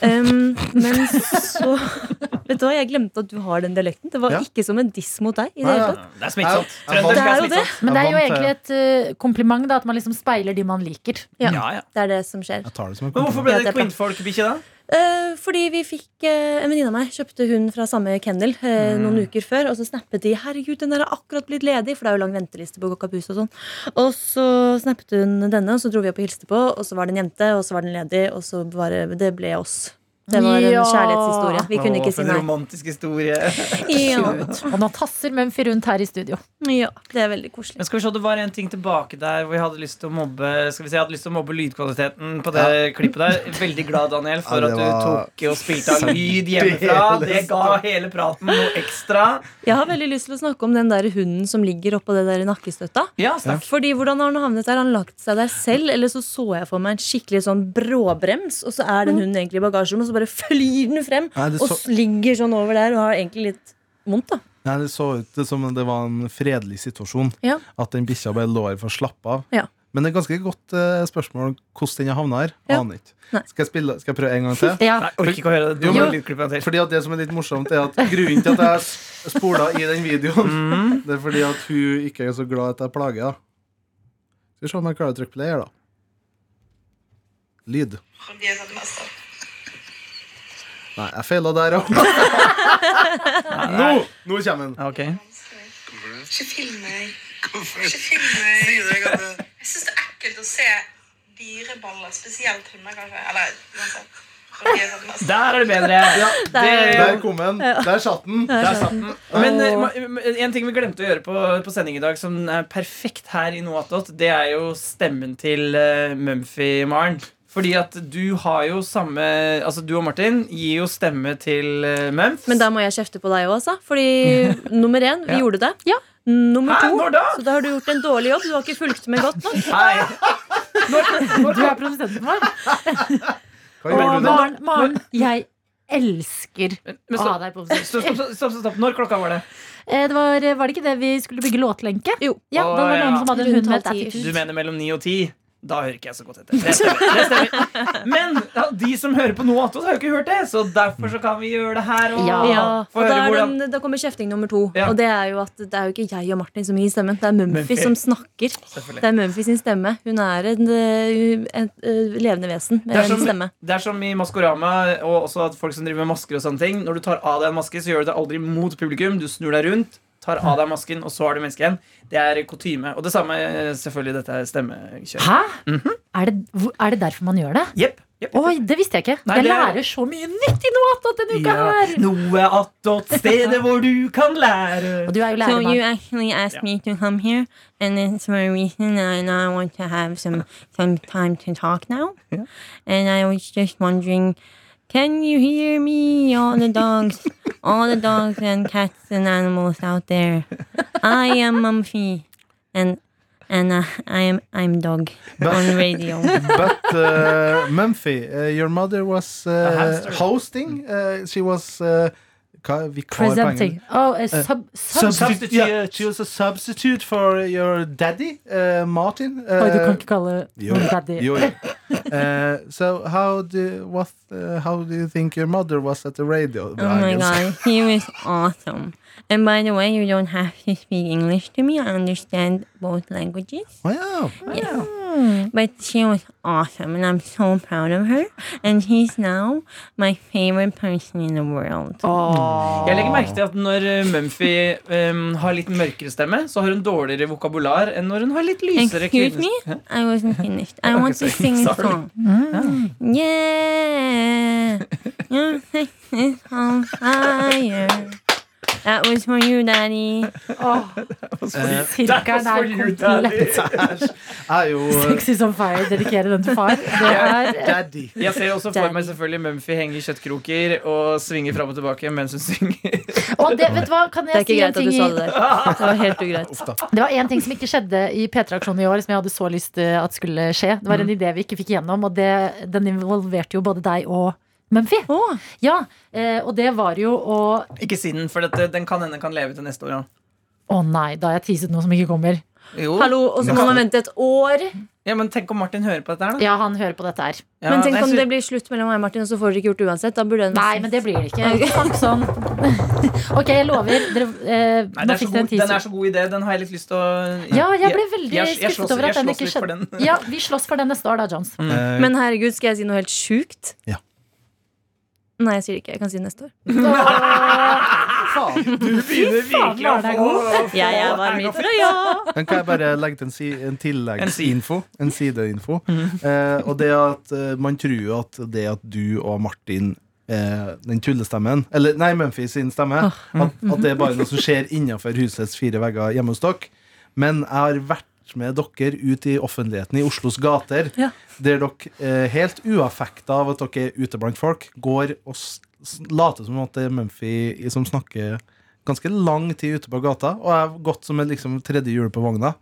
[SPEAKER 12] Um, men så Vet du hva, jeg glemte at du har den dialekten. Det var
[SPEAKER 3] Ja.
[SPEAKER 12] ikke som en diss mot deg. i Det
[SPEAKER 3] Nei,
[SPEAKER 12] hele
[SPEAKER 3] nei,
[SPEAKER 12] tatt
[SPEAKER 2] Det er smittsomt.
[SPEAKER 12] Ja, ja.
[SPEAKER 2] Trøndersk
[SPEAKER 12] Det er
[SPEAKER 2] er
[SPEAKER 12] jo det.
[SPEAKER 2] smittsomt.
[SPEAKER 6] Men det er jo
[SPEAKER 12] Jeg vant,
[SPEAKER 6] egentlig et eh, kompliment da, at man liksom speiler de man liker.
[SPEAKER 12] Ja, Det er det som skjer.
[SPEAKER 2] Men hvorfor ble det kvinnfolkbikkje, da?
[SPEAKER 12] Eh, fordi vi fikk eh, En venninne av meg kjøpte hund fra samme kennel eh,
[SPEAKER 2] Mm.
[SPEAKER 12] noen uker før. Og så snappet de 'herregud, den der har akkurat blitt ledig', for det er jo lang venteliste på Gokkapus og sånn. Og så snappet hun denne, og så dro vi opp og hilste på, og så var det en jente, og så var den ledig, og så bare Det ble oss. Det var en
[SPEAKER 6] Ja.
[SPEAKER 12] kjærlighetshistorie. Vi kunne
[SPEAKER 2] Å,
[SPEAKER 12] ikke
[SPEAKER 2] for
[SPEAKER 12] si
[SPEAKER 2] en
[SPEAKER 12] nei.
[SPEAKER 2] romantisk historie.
[SPEAKER 12] Ja.
[SPEAKER 6] Og nå tasser Mumphy rundt her i studio.
[SPEAKER 12] Ja, det er veldig koselig.
[SPEAKER 2] Men skal vi se, Det var en ting tilbake der hvor jeg hadde lyst til å mobbe Skal vi si, jeg hadde lyst til å mobbe lydkvaliteten på det klippet der. Veldig glad, Daniel, for
[SPEAKER 4] Ja, det
[SPEAKER 2] at du
[SPEAKER 4] var
[SPEAKER 2] tok og spilte av lyd hjemmefra. Det ga hele praten noe ekstra.
[SPEAKER 12] Jeg har veldig lyst til å snakke om den der hunden som ligger oppå det der nakkestøtta.
[SPEAKER 2] Ja, snakk.
[SPEAKER 12] Fordi hvordan har han havnet der? Han har lagt seg der selv, eller så så jeg for meg en skikkelig sånn bråbrems, og så er den hunden egentlig i bagasjerommet, og så bare flyr den frem,
[SPEAKER 4] Nei, det
[SPEAKER 12] og
[SPEAKER 4] så-
[SPEAKER 12] s- ligger sånn over der og har egentlig litt vondt, da.
[SPEAKER 4] Nei, Det så ut som om det var en fredelig situasjon.
[SPEAKER 12] Ja.
[SPEAKER 4] At den bikkja bare lå her for å slappe av.
[SPEAKER 12] Ja.
[SPEAKER 4] Men det er ganske godt eh, spørsmål hvordan den har havna her.
[SPEAKER 12] Ja.
[SPEAKER 4] Aner ikke. Skal jeg, spille, skal jeg prøve en gang til?
[SPEAKER 6] Ja.
[SPEAKER 2] Nei, orker ikke å høre det.
[SPEAKER 4] Jo, men-
[SPEAKER 2] Jo. lydklippet til.
[SPEAKER 4] Fordi at Det som er litt morsomt, er at grunnen til at jeg s- spola i den videoen,
[SPEAKER 6] Mm.
[SPEAKER 2] Mm.
[SPEAKER 4] det er fordi at hun ikke er så glad at jeg plager henne. Skal vi se om jeg klarer å trykke play her, da. Lyd.
[SPEAKER 14] De er sånn mest opp.
[SPEAKER 4] Nei, jeg feila der òg. nå, nå kommer den.
[SPEAKER 14] Ikke film meg. Ikke film meg. Jeg syns det er ekkelt å se dyreballer, spesielt hunder, kanskje. Eller uansett. For de er sånn mest opp.
[SPEAKER 2] Der er det bedre.
[SPEAKER 14] Ja,
[SPEAKER 4] der- Der kom den. Der satt den.
[SPEAKER 2] Der satt den. Men eh,
[SPEAKER 4] Åh.
[SPEAKER 2] ma- ma- en ting vi glemte å gjøre på, på sending i dag, som er perfekt her i Noatot, det er jo stemmen til uh, Mumphy-Maren. Fordi at du har jo samme Altså du og Martin gir jo stemme til uh, Mumph.
[SPEAKER 12] Men da må jeg kjefte på deg òg, altså. Fordi nummer én, vi
[SPEAKER 2] Ja.
[SPEAKER 12] gjorde det. Nummer
[SPEAKER 2] Hæ,
[SPEAKER 12] to,
[SPEAKER 2] når da?
[SPEAKER 12] så da har du gjort en dårlig jobb. Du har ikke fulgt med godt nok.
[SPEAKER 6] Du er produsenten vår.
[SPEAKER 2] Hva
[SPEAKER 6] Og
[SPEAKER 2] gjorde du?
[SPEAKER 6] Maren, Maren, jeg elsker Ah,
[SPEAKER 2] Men
[SPEAKER 6] å
[SPEAKER 2] stopp,
[SPEAKER 6] ha deg på besøk.
[SPEAKER 2] stopp, stopp, stopp, stopp, stopp. Når klokka var det?
[SPEAKER 6] Eh, Det var, var det ikke det vi skulle bygge låtlenke?
[SPEAKER 12] Jo.
[SPEAKER 6] Ja, da var det
[SPEAKER 2] Å,
[SPEAKER 6] noen
[SPEAKER 2] ja.
[SPEAKER 6] som hadde en hund med et
[SPEAKER 2] Du
[SPEAKER 6] attitude.
[SPEAKER 2] mener mellom 9 og 10 Da hører ikke jeg så godt etter. Det stemmer. Det stemmer. Men ja, de som hører på noe annet, har jo ikke hørt det. Så derfor så kan vi gjøre det her. Og
[SPEAKER 12] Ja, og
[SPEAKER 2] få
[SPEAKER 12] da,
[SPEAKER 2] høre
[SPEAKER 12] er
[SPEAKER 2] hvordan
[SPEAKER 12] den, da kommer kjefting nummer to.
[SPEAKER 2] Ja.
[SPEAKER 12] Og det er jo at det er jo ikke jeg og Martin som gir stemmen, det er Mumphy
[SPEAKER 2] Mumphy.
[SPEAKER 12] som snakker.
[SPEAKER 2] Selvfølgelig.
[SPEAKER 12] Det er Mumphy sin stemme. Hun er en, eh, et, eh, levende vesen med
[SPEAKER 2] Det er,
[SPEAKER 12] en
[SPEAKER 2] som,
[SPEAKER 12] stemme.
[SPEAKER 2] det er som i Maskorama og også at folk som driver med masker og sånne ting. Når du tar av deg en maske, så gjør du det aldri mot publikum. Du snur deg rundt, tar av deg masken, og så er du menneske igjen. Det er kutyme. Og det samme eh, selvfølgelig dette stemmekjøret.
[SPEAKER 6] Hæ? er, det, hvor- er det derfor man gjør det?
[SPEAKER 2] Jepp.
[SPEAKER 6] Oi, det visste jeg ikke.
[SPEAKER 2] Nei,
[SPEAKER 6] jeg
[SPEAKER 2] det er-
[SPEAKER 6] lærer så mye nytt i noe annet denne uka
[SPEAKER 2] Ja.
[SPEAKER 6] her.
[SPEAKER 2] Noe attåt stedet hvor du kan lære.
[SPEAKER 6] Og du er jo
[SPEAKER 13] So you
[SPEAKER 6] lærermann.
[SPEAKER 13] actually asked me to come here, and it's for a reason, and I want to have some some time to talk now. And I was just wondering, can you hear me? All the dogs, all the dogs and cats and animals out there. I am Mumphy, and and uh, I am I'm dog on radio.
[SPEAKER 4] But uh, Mumphy, uh, your mother was
[SPEAKER 6] A
[SPEAKER 4] uh,
[SPEAKER 6] hamster.
[SPEAKER 4] hosting. Uh, she was uh, hva- vikar på
[SPEAKER 6] Presenting.
[SPEAKER 4] engelsk.
[SPEAKER 6] Oh, a
[SPEAKER 4] Eh,
[SPEAKER 6] sub, sub,
[SPEAKER 4] Substitute. Yeah, she was a substitute for your daddy, uh, Martin. Uh,
[SPEAKER 6] Oi, du kan ikke kalle
[SPEAKER 4] Jo,
[SPEAKER 6] noen daddy.
[SPEAKER 4] jo, jo. Uh, so how do what uh, how do you think your mother was at the radio?
[SPEAKER 13] Oh my
[SPEAKER 4] Engelsk.
[SPEAKER 13] god, he was awesome. And by the way, you don't have to speak English to me. I understand both languages.
[SPEAKER 4] Wow.
[SPEAKER 13] Yeah. But she was awesome, and I'm so proud of her. And she's now my favorite person in the world.
[SPEAKER 2] Jeg legger merke til at når eh, Mumphy em, har litt mørkere stemme, så har hun dårligere vokabular enn når hun har litt lysere
[SPEAKER 13] Excuse
[SPEAKER 2] kvinnes-
[SPEAKER 13] me?
[SPEAKER 2] Hæ?
[SPEAKER 13] I wasn't finished. I want to
[SPEAKER 2] Okay,
[SPEAKER 13] sing a
[SPEAKER 2] sorry. Ah.
[SPEAKER 13] song. Yeah. Your sex is on fire. That was for you, Daddy. Uh,
[SPEAKER 4] Eh,
[SPEAKER 6] Oh, Sirkelen er komplett.
[SPEAKER 4] Jeg er jo
[SPEAKER 6] Sexy som fire. Dedikerer den til far. Det er
[SPEAKER 4] Daddy.
[SPEAKER 2] Jeg ser også for meg selvfølgelig Mumphy henge i kjøttkroker og svinge fram og tilbake mens hun synger.
[SPEAKER 6] Og det, vet du hva, kan
[SPEAKER 12] Det er
[SPEAKER 6] jeg
[SPEAKER 12] ikke
[SPEAKER 6] si en
[SPEAKER 12] greit at
[SPEAKER 6] ting
[SPEAKER 12] du
[SPEAKER 6] i
[SPEAKER 12] sa det der. Det var helt ugreit.
[SPEAKER 6] Det var en ting som ikke skjedde i P3-aksjonen i år, som jeg hadde eh,
[SPEAKER 2] Mm.
[SPEAKER 6] så lyst til at skulle skje. Det var en idé vi ikke fikk gjennom, og det, den involverte jo både deg og Mumphy. Ja, eh, og det var jo å
[SPEAKER 2] Ikke si den, for dette, den kan hende kan leve til neste år. Ja.
[SPEAKER 6] Å nei, da har jeg teaset noe som ikke kommer.
[SPEAKER 2] Jo.
[SPEAKER 6] Hallo, og så må
[SPEAKER 2] Ja.
[SPEAKER 6] man
[SPEAKER 12] vente et år.
[SPEAKER 2] Ja, men tenk om Martin hører på dette her, da.
[SPEAKER 6] Ja, han hører på dette her.
[SPEAKER 2] Ja,
[SPEAKER 12] men tenk
[SPEAKER 2] nei,
[SPEAKER 12] om
[SPEAKER 2] så-
[SPEAKER 12] det blir slutt mellom meg og Martin, og så får dere ikke gjort det uansett. Da burde
[SPEAKER 6] Nei, men det blir det ikke. Folk sånn. Ok, jeg lover. Dere, eh,
[SPEAKER 2] Nei, den,
[SPEAKER 6] nå
[SPEAKER 2] er så
[SPEAKER 6] fikk dere
[SPEAKER 2] god,
[SPEAKER 6] en
[SPEAKER 2] den er
[SPEAKER 6] teaser.
[SPEAKER 2] så god idé. Den har jeg litt lyst til å
[SPEAKER 6] Ja, jeg ble veldig
[SPEAKER 2] jeg- jeg
[SPEAKER 6] skuffet
[SPEAKER 2] slåss-
[SPEAKER 6] over at
[SPEAKER 2] jeg
[SPEAKER 6] den
[SPEAKER 2] slåss
[SPEAKER 6] ikke
[SPEAKER 2] litt for
[SPEAKER 6] skjedde.
[SPEAKER 2] den.
[SPEAKER 6] Ja, Vi slåss for den neste år, da, Jones.
[SPEAKER 2] Mm.
[SPEAKER 12] Men herregud, skal jeg si noe helt sjukt?
[SPEAKER 4] Ja.
[SPEAKER 12] Nei, jeg sier det ikke. Jeg kan si det neste år.
[SPEAKER 2] Du begynner virkelig å få
[SPEAKER 12] Ja, jeg var midt fra ja.
[SPEAKER 4] Den kan jeg bare legge til en, si, en tilleggsinfo. En sideinfo.
[SPEAKER 12] Mhm.
[SPEAKER 4] Eh, og det at eh, man tror jo at det at du og Martin eh, den tullestemmen, eller nei, Mumphy sin stemme,
[SPEAKER 12] Ah,
[SPEAKER 4] at,
[SPEAKER 12] mhm.
[SPEAKER 4] at det er bare noe som skjer innenfor husets fire vegger hjemme hos dere. Men jeg har vært med dere ut i offentligheten i Oslos gater, der dere eh, helt uaffekta av at dere er ute blant folk, går og s- s- later som at det er Mumphy som snakker ganske lang tid ute på gata, og jeg har gått som et liksom, tredje hjul på vogna.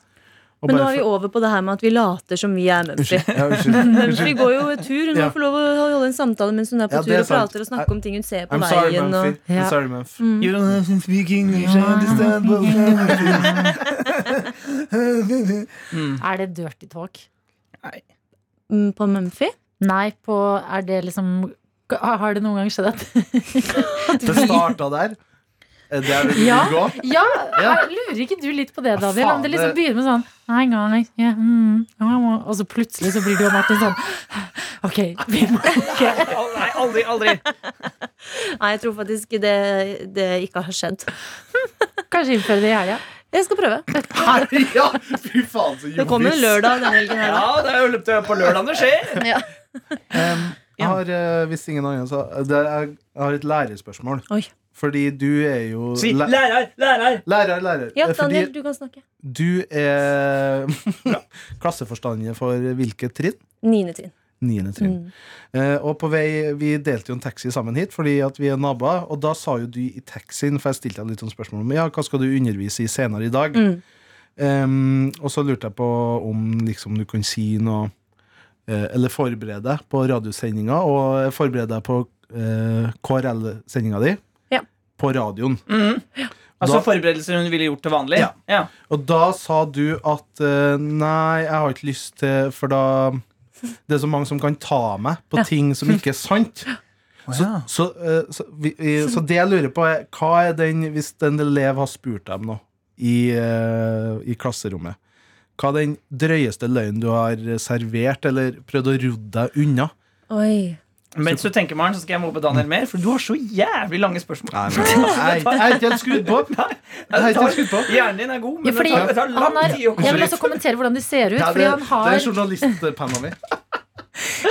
[SPEAKER 4] Og
[SPEAKER 12] Men nå
[SPEAKER 4] bare
[SPEAKER 12] er vi
[SPEAKER 4] for-
[SPEAKER 12] over på det her med at vi later som vi er Mumphy.
[SPEAKER 4] Unnskyld, ja, unnskyld, unnskyld.
[SPEAKER 12] Mumphy går jo tur. Hun
[SPEAKER 4] Ja.
[SPEAKER 12] må få lov å holde en samtale mens hun er på
[SPEAKER 4] Ja, det
[SPEAKER 12] tur
[SPEAKER 4] er
[SPEAKER 12] og
[SPEAKER 4] sant.
[SPEAKER 12] prater og snakker om ting hun ser på
[SPEAKER 4] I'm sorry,
[SPEAKER 12] veien.
[SPEAKER 4] Mumphy.
[SPEAKER 12] og...
[SPEAKER 4] I'm sorry, Mumphy.
[SPEAKER 12] Mm.
[SPEAKER 4] You don't have to speak English, I understand what
[SPEAKER 6] Er det dirty talk?
[SPEAKER 12] Mm, På Mumphy?
[SPEAKER 6] Nei, på Er det liksom Har det noen gang skjedd at
[SPEAKER 4] Det starta der. Er Det er det vi
[SPEAKER 6] ja,
[SPEAKER 4] vil gå.
[SPEAKER 6] ja,
[SPEAKER 4] Ja.
[SPEAKER 6] er- lurer ikke du litt på det, Daniel?
[SPEAKER 4] faen,
[SPEAKER 6] Om det liksom
[SPEAKER 4] det-
[SPEAKER 6] begynner med sånn Hei, guys, yeah, mm, ja, ja», Og så plutselig så blir du og Martin sånn Ok, vi må
[SPEAKER 2] Nei, aldri, aldri.
[SPEAKER 12] Nei, jeg tror faktisk det, det ikke har skjedd.
[SPEAKER 6] Kanskje innføre det i helga.
[SPEAKER 12] Jeg skal prøve.
[SPEAKER 4] ja, fy faen så
[SPEAKER 12] Det kommer en lørdag denne helgen her.
[SPEAKER 2] Ja, det er jo løpt på lørdagen det skjer.
[SPEAKER 12] Ja.
[SPEAKER 4] Jeg har, eh, hvis ingen andre, så, det er, jeg har et lærerspørsmål. Fordi du er jo
[SPEAKER 2] Si
[SPEAKER 4] læ-
[SPEAKER 2] lærer, lærer.
[SPEAKER 4] Lærer, lærer.
[SPEAKER 12] Ja,
[SPEAKER 4] Eh, Fordi
[SPEAKER 12] Daniel, du kan snakke.
[SPEAKER 4] du er klasseforstander for hvilket trinn?
[SPEAKER 12] Niende trinn.
[SPEAKER 4] Niende trinn. Eh, og på vei, Vi delte jo en taxi sammen hit fordi at vi er naboer. Og da sa jo du i taxien, for jeg stilte deg litt sånn spørsmål om ja, hva skal du undervise i senere i dag. Ehm, og så lurte jeg på om liksom, du kan si noe eh, Eller forberede deg på radiosendinga, og forberede deg på eh, KRL-sendinga di
[SPEAKER 12] Ja.
[SPEAKER 4] på radioen.
[SPEAKER 2] Mhm. Altså
[SPEAKER 4] Da-
[SPEAKER 2] forberedelser hun ville gjort til vanlig?
[SPEAKER 4] Ja. Og da sa du at eh, nei, jeg har ikke lyst til For da Det er så mange som kan ta meg på ting som ikke er sant. Så, så, eh, så, vi, eh, så det jeg lurer på, er hva er den Hvis en elev har spurt deg om noe i, eh, i klasserommet, hva er den drøyeste løgnen du har servert eller prøvd å rodde deg unna?
[SPEAKER 12] Oi.
[SPEAKER 2] Mens du tenker, Maren, så skal jeg mobbe Daniel mer, for du har så jævlig lange spørsmål.
[SPEAKER 4] Nei, jeg er ikke helt skrudd på. Jeg er ikke helt skrudd på.
[SPEAKER 2] Hjernen din er god, men
[SPEAKER 6] Ja, fordi
[SPEAKER 2] det, tar, det tar
[SPEAKER 6] han
[SPEAKER 2] lang
[SPEAKER 6] er,
[SPEAKER 2] tid å
[SPEAKER 6] jeg vil også kommentere hvordan de ser ut. Fordi han
[SPEAKER 4] det er
[SPEAKER 6] har,
[SPEAKER 4] journalistpenna mi.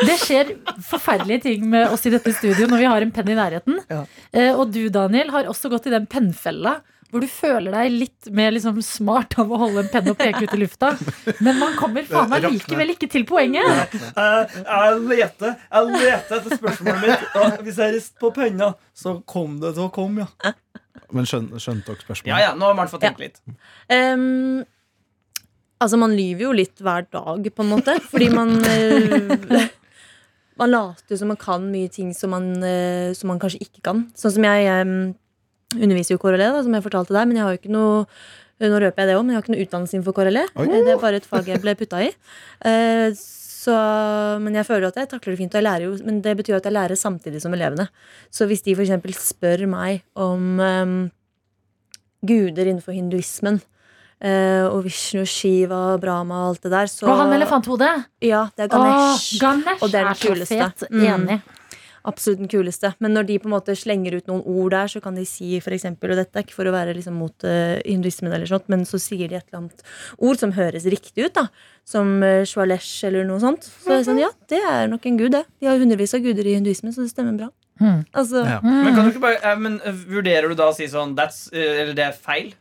[SPEAKER 6] det skjer forferdelige ting med oss i dette studio når vi har en penn i nærheten. Eh, Og du, Daniel, har også gått i den pennfella hvor du føler deg litt mer liksom smart av å holde en penn og peke ut i lufta. Men man kommer faen meg
[SPEAKER 2] Rakner.
[SPEAKER 6] likevel ikke til poenget.
[SPEAKER 2] Eh, Jeg leter Jeg leter etter spørsmålet mitt, og hvis jeg rister på penna, så kom det til å komme, ja.
[SPEAKER 4] Men skjønte, skjønte dere spørsmålet?
[SPEAKER 2] Ja, ja, nå har Maren fått tenke litt.
[SPEAKER 12] Ehm, altså, man lyver jo litt hver dag, på en måte. Fordi man eh, Man later jo som man kan mye ting som man, eh, som man kanskje ikke kan. Sånn som jeg ehm, underviser jo KRLE, da, som jeg fortalte deg, men jeg har jo ikke noe eh, nå røper jeg det også, men jeg har ikke noe utdannelse innenfor KRLE.
[SPEAKER 11] Oi.
[SPEAKER 12] Eh, Det er bare et fag jeg ble putta i. Eh, Så, men jeg føler at jeg takler det fint. Og jeg lærer jo, men det betyr jo at jeg lærer samtidig som elevene. Så hvis de f.eks. spør meg om ehm, guder innenfor hinduismen. eh, og Vishnu, Shiva, Brahma og alt det der. Så
[SPEAKER 6] Og han med elefanthodet.
[SPEAKER 12] Ja, det er Ganesh.
[SPEAKER 6] Åh, Ganesh
[SPEAKER 12] og det er
[SPEAKER 6] er
[SPEAKER 12] den
[SPEAKER 6] så
[SPEAKER 12] kuleste. Mm.
[SPEAKER 6] fet. Enig.
[SPEAKER 12] Absolutt den kuleste. Men når de på en måte slenger ut noen ord der, så kan de si for eksempel, og dette er ikke for å være liksom mot eh, hinduismen, eller sånt, men så sier de et eller annet ord som høres riktig ut, da. Som eh, Shwalesh eller noe sånt. Så er det
[SPEAKER 6] Mhm.
[SPEAKER 12] sånn, ja, det er nok en gud, det. De har hundrevis av guder i hinduismen, så det stemmer bra.
[SPEAKER 6] Mhm.
[SPEAKER 12] Altså,
[SPEAKER 4] Ja.
[SPEAKER 2] Men, kan du ikke bare, eh, men eh, vurderer du da å si sånn That's, eh, eller det er feil?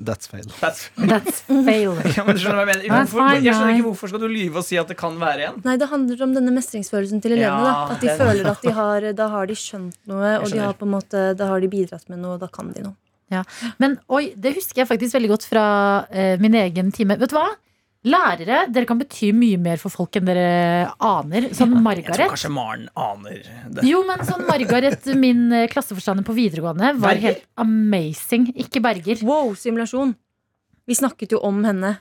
[SPEAKER 4] That's fail.
[SPEAKER 2] That's,
[SPEAKER 6] That's fail.
[SPEAKER 2] Ja, men skjønner du hva jeg, mener?
[SPEAKER 12] That's
[SPEAKER 2] Hvorfor,
[SPEAKER 12] fine,
[SPEAKER 2] jeg skjønner
[SPEAKER 12] nei.
[SPEAKER 2] ikke hvorfor skal du lyve og si at det kan være en?
[SPEAKER 12] Nei, det handler om denne mestringsfølelsen til elevene.
[SPEAKER 2] Ja,
[SPEAKER 12] da. At de
[SPEAKER 2] den-
[SPEAKER 12] føler at de har, da har de skjønt noe,
[SPEAKER 6] Jeg
[SPEAKER 12] og de
[SPEAKER 6] skjønner.
[SPEAKER 12] har på en måte, da har de bidratt med noe, og da kan de noe.
[SPEAKER 6] Ja. Men oi, det husker jeg faktisk veldig godt fra eh, min egen eh, time. Vet du hva? Lærere, dere kan bety mye mer for folk enn dere aner. Sånn
[SPEAKER 2] Jeg tror
[SPEAKER 6] Margaret.
[SPEAKER 2] kanskje Maren aner det.
[SPEAKER 6] Jo, men sånn Margaret, min eh, klasseforstander på videregående, var
[SPEAKER 12] Berger?
[SPEAKER 6] helt amazing. Ikke Berger.
[SPEAKER 12] Wow, simulasjon. Vi snakket jo om henne